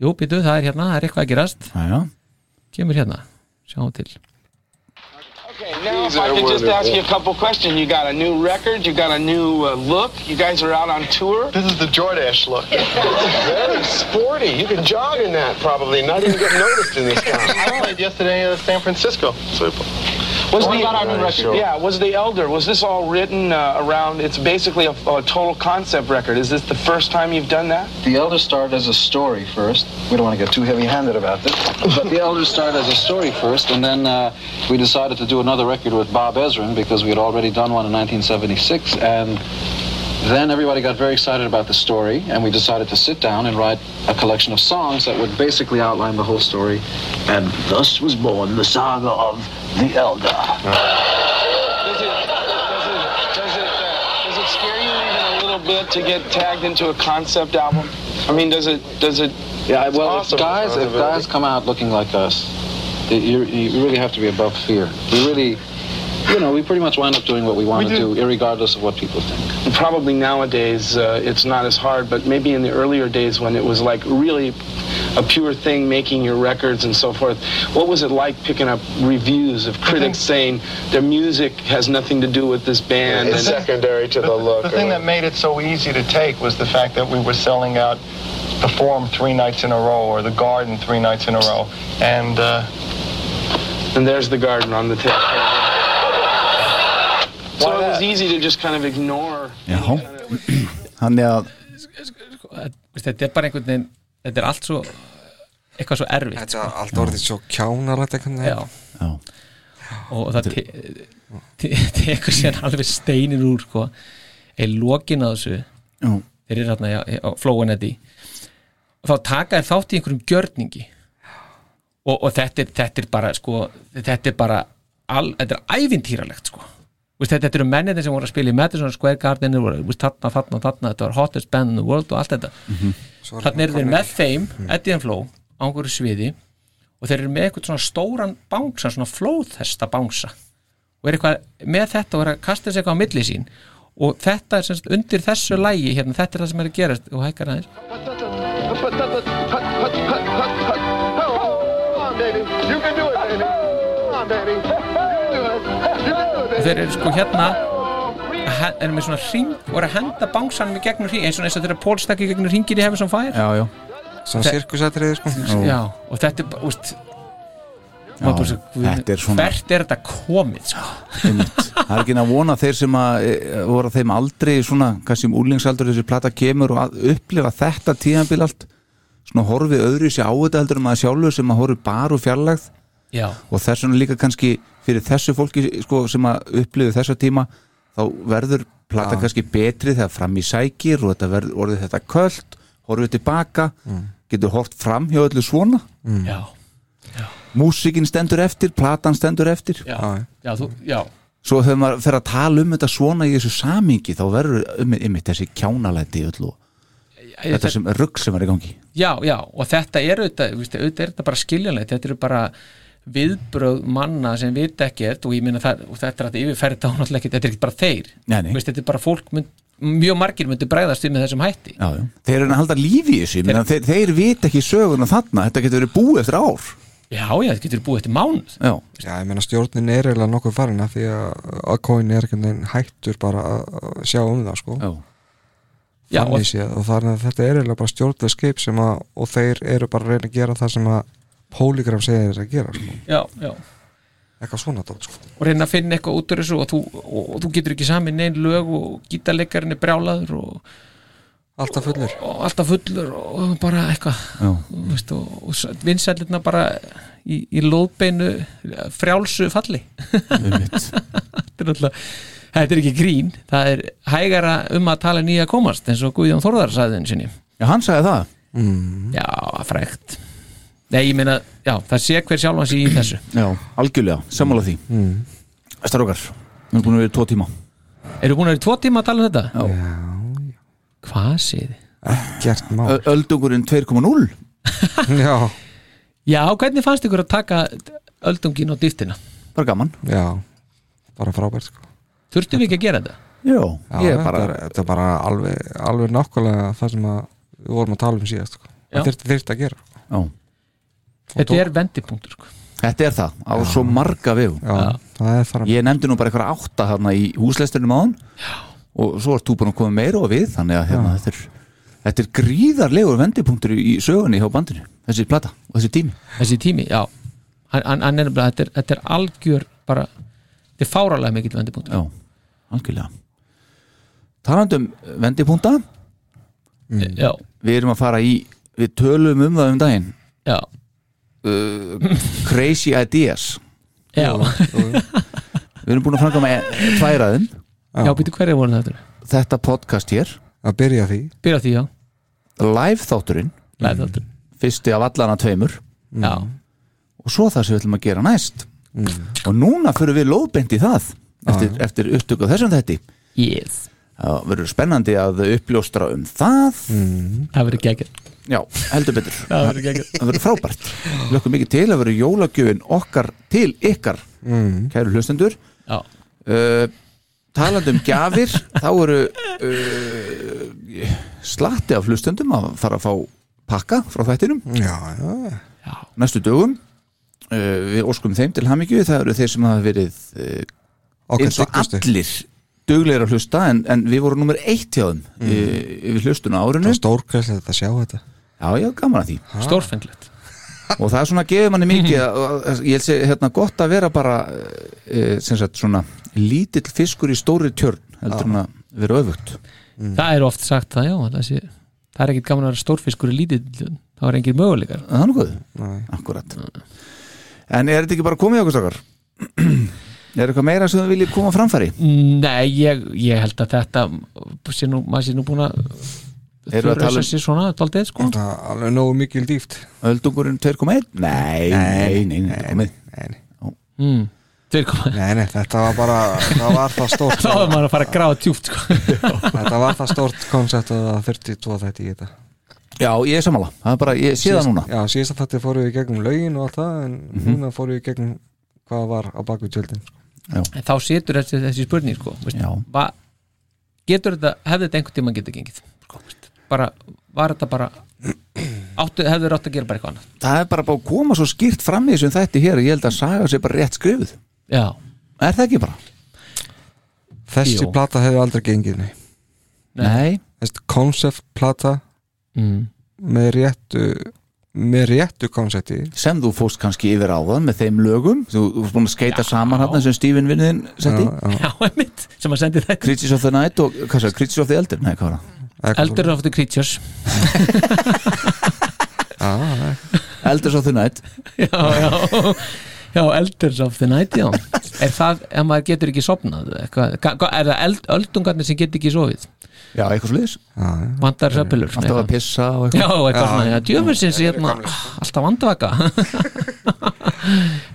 Speaker 5: jú, býtu, það er hérna, það er eitthvað að gerast
Speaker 4: já, já
Speaker 5: kemur hérna, sjáum til
Speaker 12: Now, if I could just ask you a couple questions. You got a new record, you got a new uh, look, you guys are out on tour. This is the Jordash *laughs* look.
Speaker 13: Very sporty. You can jog in that probably, not even get noticed in this
Speaker 12: *laughs*
Speaker 13: town. I played yesterday in San Francisco. Super.
Speaker 12: uh, Was
Speaker 13: Oh,
Speaker 12: the,
Speaker 13: you got our new record.
Speaker 12: Yeah, was the Elder, was this all written uh, around, it's basically a, a total concept record. Is this the first time you've done that?
Speaker 13: The Elder started as a story first. We don't want to get too heavy-handed about this, but The Elder started as a story first, and then uh, we decided to do another record with Bob Ezrin because we had already done one in 1976, and then everybody got very excited about the story, and we decided to sit down and write a collection of songs that would basically outline the whole story, and thus was born the saga of The Elder.
Speaker 12: Does it scare you even a little bit to get tagged into a concept album? I mean, does it, does it,
Speaker 13: Yeah, well, if guys, if guys come out looking like us, y- you, you really have to be above fear. We really, you know, we pretty much wind up doing what we want to do, irregardless of what people think.
Speaker 12: Probably nowadays uh, it's not as hard, but maybe in the earlier days when it was like really a pure thing making your records and so forth, what was it like picking up reviews of critics saying their music has nothing to do with this band?
Speaker 13: It's secondary
Speaker 12: to the look.
Speaker 13: The thing that made it so easy to take was the fact that we were selling out the Forum three nights in a row or the Garden three nights in a row, and. Uh,
Speaker 12: and there's the garden on the tape. so it was easy to just kind of ignore.
Speaker 4: Já, þannig að
Speaker 5: Veist, Sko, þetta er bara einhvern veginn þetta er allt svo eitthvað svo erfitt
Speaker 6: Þetta er allt orðið svo kjánalegt einhvern
Speaker 5: Já. og það te- te- *laughs* tekur síðan alveg steinin úr sko, eða lokin að þessu
Speaker 4: Já.
Speaker 5: þeir eru hérna já, á flóin þetta og þá taka þeir þátt í einhverjum gjörningi og, og þetta, er, þetta er bara sko, þetta er bara al, þetta er ævintýralegt sko Vist, þetta, þetta eru menninni sem voru að spila í Madison Square Garden voru, vist, þarna, þarna, þarna, þetta var hottest band in the world og allt þetta
Speaker 4: Mhm.
Speaker 6: Svo er
Speaker 5: þarna
Speaker 6: það
Speaker 5: eru þeir
Speaker 6: komið-
Speaker 5: með þeim Eddie and Flow á einhverju sviði og þeir eru með eitthvað svona stóran bánsa svona flóðhesta bánsa og er eitthvað með þetta og er að kasta þessi eitthvað á milli sín og þetta er semst undir þessu lægi hérna, þetta er það sem er að gerast og hækkar aðeins
Speaker 13: Come on, baby. You can do it, baby. Come on, baby. You can do it. You can do it,
Speaker 5: og þeir eru sko hérna að he- er með svona hring og er að henda bangsanum í gegnum hring eins og eins og þegar Pól stakk í gegnum hringin í hefur sem fær
Speaker 4: já, já
Speaker 6: Svona
Speaker 5: Þe-
Speaker 6: sirkusatriði, sko.
Speaker 5: Já. og þetta er bara, úst
Speaker 4: Já, þetta er svona-
Speaker 5: hvert er þetta komið sko.
Speaker 4: það er ekki að vona að þeir sem að e, voru á þeim aldrei svona, kannski um úlingsaldur þessi plata kemur og að upplifa þetta tíðanbíl allt svona horfið öðru sér á þetta heldur en maður sjálfur sem að horfið bara og fjarlægð
Speaker 5: Já.
Speaker 4: og þess vegna líka kannski fyrir þessu fólki sko, sem að upplifu þessa tíma þá verður plata
Speaker 6: Já.
Speaker 4: kannski betri þegar fram í sækir og þetta verður orðið þetta köld, horfið tilbaka
Speaker 6: Mm.
Speaker 4: getur hort fram hjá öllu svona
Speaker 6: Mm.
Speaker 5: Já.
Speaker 4: músikin stendur eftir, platan stendur eftir
Speaker 5: já, já, þú, já
Speaker 4: svo þegar maður fer að tala um þetta svona í þessu samingi þá verður um, um, þessi kjánalæti í öllu
Speaker 5: ég-
Speaker 4: þetta sem rugg sem er í gangi
Speaker 5: Já, já, og þetta er auðvitað, víst, auðvitað er þetta bara skiljanlegt, þetta eru bara viðbröð manna sem vita ekkert og ég meina það, og þetta er að yfirferði þá náttúrulega ekkert, þetta er ekkert bara þeir
Speaker 4: Nei, nei.
Speaker 5: Víst, þetta er bara fólk, mynd, mjög margir myndi bregðast við með þessum hætti
Speaker 4: já, já. þeir eru að halda lífi í þessu þeir, þeir, þeir vita ekki söguna þarna þetta getur verið búið eftir ár
Speaker 5: Já, já, þetta getur búið eftir mánuð
Speaker 4: Já,
Speaker 6: Já, ég meina stjórnin er eiginlega nokkuð farin af því að aðkóin er einhvern veginn hættur bara að að sjá um það sko.
Speaker 4: Já.
Speaker 5: Já,
Speaker 6: og,
Speaker 5: og-
Speaker 6: og þannig að þetta er eiginlega bara stjórnlega skip sem að, og þeir eru bara að reyna að gera það sem að Polygram segir þeir að gera sko.
Speaker 5: Já, já
Speaker 6: Eitthvað svona dót sko.
Speaker 5: og reyna að finna eitthvað út úr þessu og þú, og, og þú getur ekki samin neinn lög og gítarleikarinn er brjálaður og
Speaker 6: alltaf fullur
Speaker 5: og, og alltaf fullur og bara eitthvað
Speaker 4: Já.
Speaker 5: Þú veist, og, og vinsælirna bara í, í lóðbeinu frjálsu falli þetta er alltaf þetta er ekki grín, það er hægara um að tala nýja komast eins og Guðjón Þórðar sagði þinn sinni
Speaker 4: Já, hann sagði það
Speaker 6: mm.
Speaker 5: Já, frægt Nei, ég meina, já, það sé hver sjálfan sig í þessu
Speaker 4: Já, algjörlega, sammála því
Speaker 6: mm.
Speaker 4: Strákar, við erum búin að vera í tvo tíma
Speaker 5: Eru búin að vera í tvo tíma að tala um þetta?
Speaker 4: Já,
Speaker 5: Hvað séð?
Speaker 6: Gert mál
Speaker 4: Öldungurinn 2.0
Speaker 6: *laughs* Já
Speaker 5: Já, hvernig fannst ykkur að taka öldungin og dýftina?
Speaker 4: Bara gaman
Speaker 6: Já, bara frábært sko.
Speaker 5: Þurftum við ekki að gera þetta?
Speaker 4: Já,
Speaker 6: Já,
Speaker 4: ég er
Speaker 6: þetta,
Speaker 4: bara
Speaker 6: er, þetta er bara alveg, alveg nákvæmlega það sem að við vorum að tala um síðast sko.
Speaker 5: Já.
Speaker 6: það þyrfti þyrfti að gera sko.
Speaker 4: Já.
Speaker 5: Þetta er vendipunktur sko.
Speaker 4: Þetta er það, á svo marga við
Speaker 6: Já, það er þar
Speaker 4: Ég nefndi nú bara eitthvað átta þarna í húsleisturinn á hann og svo ert þú búin að koma meira og við þannig að hérna, þetta, er, þetta er gríðarlegur vendipunktur í sögunni hjá bandinu þessi plata og þessi tími
Speaker 5: Þessi tími, já Hann, hann, hann er bara, þetta er, þetta er algjör bara, þetta er fáralega mikill vendipunktur
Speaker 4: Já, algjörlega Talandi um vendipunkta
Speaker 5: Já,
Speaker 4: við erum að fara í við tölum um það um daginn
Speaker 5: já,
Speaker 4: uh, Crazy Ideas
Speaker 5: já
Speaker 4: Við erum búin að framkvæma e- tvær af þeim
Speaker 5: *laughs* Já, býttu hverja voru þetta?
Speaker 4: Þetta podcast hér
Speaker 6: að byrja því
Speaker 5: Byrja á því, já,
Speaker 4: Live þátturinn
Speaker 5: Live þáttur.
Speaker 4: Fyrsti af allana tveimur
Speaker 5: já
Speaker 4: Og svo það sem við ætlum að gera næst Og núna fyrir við lóðbeint í það Eftir, eftir upptöku á þessum þetti
Speaker 5: Yes
Speaker 4: Það verður spennandi að uppljóstra um það
Speaker 5: Það verður geggjart
Speaker 4: Já, heldur betur
Speaker 5: Það verður geggjart
Speaker 4: Það verður frábært Lökkum mikið til að verður jólagjöfin okkar til ykkar Kæru hlustendur
Speaker 5: Já,
Speaker 4: uh, Talandi um gjafir Þá eru uh, Slatti af hlustendum að fara að fá pakka frá þættinum
Speaker 6: Já, já,
Speaker 4: næstu dögum uh, við óskum þeim til hamingju það eru þeir sem hafa verið uh,
Speaker 6: Okkar
Speaker 4: eins og
Speaker 6: dyggustu.
Speaker 4: allir duglegir að hlusta en, en við vorum nummer eitt hjá þeim mm. yfir hlustuna á árinu
Speaker 6: það er stórkvæslega að sjá þetta
Speaker 4: já já gaman að því
Speaker 5: stórfenglegt
Speaker 4: og það er svona gefur manni mikið að, að, að, ég held sé hérna gott að vera bara uh, sem sagt svona lítill fiskur í stóri tjörn heldur hann að vera öfugt
Speaker 5: Það er oft sagt það, já Það, sé, það er ekkit gaman að vera stórfiskur í lítið Það var engir möguleikar
Speaker 4: það er nokkuð
Speaker 6: Nei.
Speaker 4: akkurat en er þetta ekki bara komið okkur stakar *clears throat* er eitthvað meira sem þú viljið koma á framfæri
Speaker 5: Nei, ég, ég held að þetta sé nú, maður sé nú búin að
Speaker 4: Erum við að tala um-
Speaker 5: þurrausa sér svona, daldið sko
Speaker 6: Það er alveg nógu mikil dýft
Speaker 4: Öldungurinn 2.1? Nei, nei, nei, nei, nei, nei.
Speaker 6: nei, nei.
Speaker 5: mm. Tveir koma *laughs*
Speaker 6: nei, nei, þetta var bara það var það stórt
Speaker 5: Þá er maður að fara að gráða tjúft sko
Speaker 6: þetta var það stórt koncept að það þurfti tvo þetta í þetta
Speaker 4: Já, ég er sammála, það er bara, ég sé það núna
Speaker 6: Já, síðast að þetta fóru í gegnum lögin og allt það en núna fóru í gegnum hvað var á bakvið tjöldin sko.
Speaker 5: En þá setur þessi, þessi spurning sko veist,
Speaker 4: Já,
Speaker 5: va, Getur þetta, hefði þetta einhvern tímann getið gengið sko, veist, bara, Var þetta bara áttu, Hefði rátt að gera bara eitthvað annað
Speaker 4: það er bara bara að koma svo skýrt fram í þessum þætti hér og ég held að saga sér bara rétt skrifuð
Speaker 5: Já,
Speaker 4: Er það ekki bara?
Speaker 6: Þessi
Speaker 5: Jú.
Speaker 6: plata hefði aldrei gengið nei.
Speaker 4: Nei
Speaker 6: Þessi concept plata
Speaker 5: Mm.
Speaker 6: með réttu með réttu konsepti
Speaker 4: sem þú fóst kannski yfir áðan með þeim lögum þú, þú fórst búin að skeita saman hann sem Stephen vinniðin setti
Speaker 5: já, einmitt, sem að sendi þetta
Speaker 4: Creatures of the Night og hvað sér, Creatures of the Elder Nei, hvað var það?
Speaker 5: Eldur of the Creatures *laughs*
Speaker 4: Elders of the Night
Speaker 5: Já, já Já, Elders of the Night, já Er það, ef maður getur ekki sopnað eitthvað, ga- ga- Er það eld, öldungarnir sem getur ekki sofið?
Speaker 4: Já, eitthvað sliðis
Speaker 5: Vantar söpilur
Speaker 4: Alltaf að pissa og eitthvað.
Speaker 5: Já, eitthvað
Speaker 4: Já.
Speaker 5: svona, já, djöfusins hérna, Alltaf
Speaker 4: *laughs*
Speaker 5: vandvaka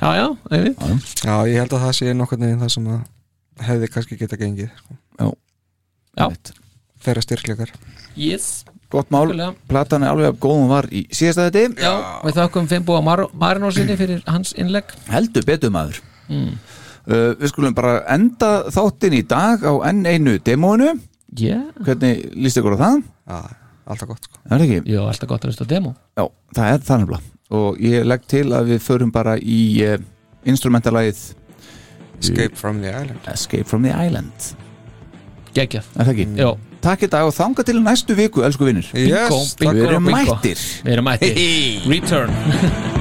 Speaker 5: Já, já, einmitt
Speaker 6: Já, ég held að það sé nokkurn veginn það sem að hefði kannski geta gengið
Speaker 4: Já,
Speaker 5: Já.
Speaker 6: Þeirra styrkleikar
Speaker 5: Yes
Speaker 4: Gott mál,
Speaker 5: Algjörlega.
Speaker 4: platan er alveg að góðum var í síðasta þetta
Speaker 5: Já, við þakkum Fimbo að Mar Marino sinni fyrir hans innlegg
Speaker 4: Heldur betur maður
Speaker 5: Mm.
Speaker 4: uh, Við skulum bara enda þáttinn í dag á enn einu demóinu
Speaker 5: Yeah.
Speaker 4: Hvernig líst ykkur á það?
Speaker 6: Já, alltaf gott sko.
Speaker 4: Er það ekki?
Speaker 5: Jó, alltaf gott að hlusta á demo
Speaker 4: Já, það er það nefnilega og ég legg til að við förum bara í uh, instrumentalagið
Speaker 6: Escape from the Island
Speaker 4: Escape from the Island
Speaker 5: Gekkjað
Speaker 4: Er það ekki?
Speaker 5: Já
Speaker 4: Takk í dag og þanga til næstu viku, elsku vinnir
Speaker 5: Bingo, bingo,
Speaker 4: Við erum *laughs*
Speaker 5: bingo.
Speaker 4: mættir
Speaker 5: Við erum mættir Return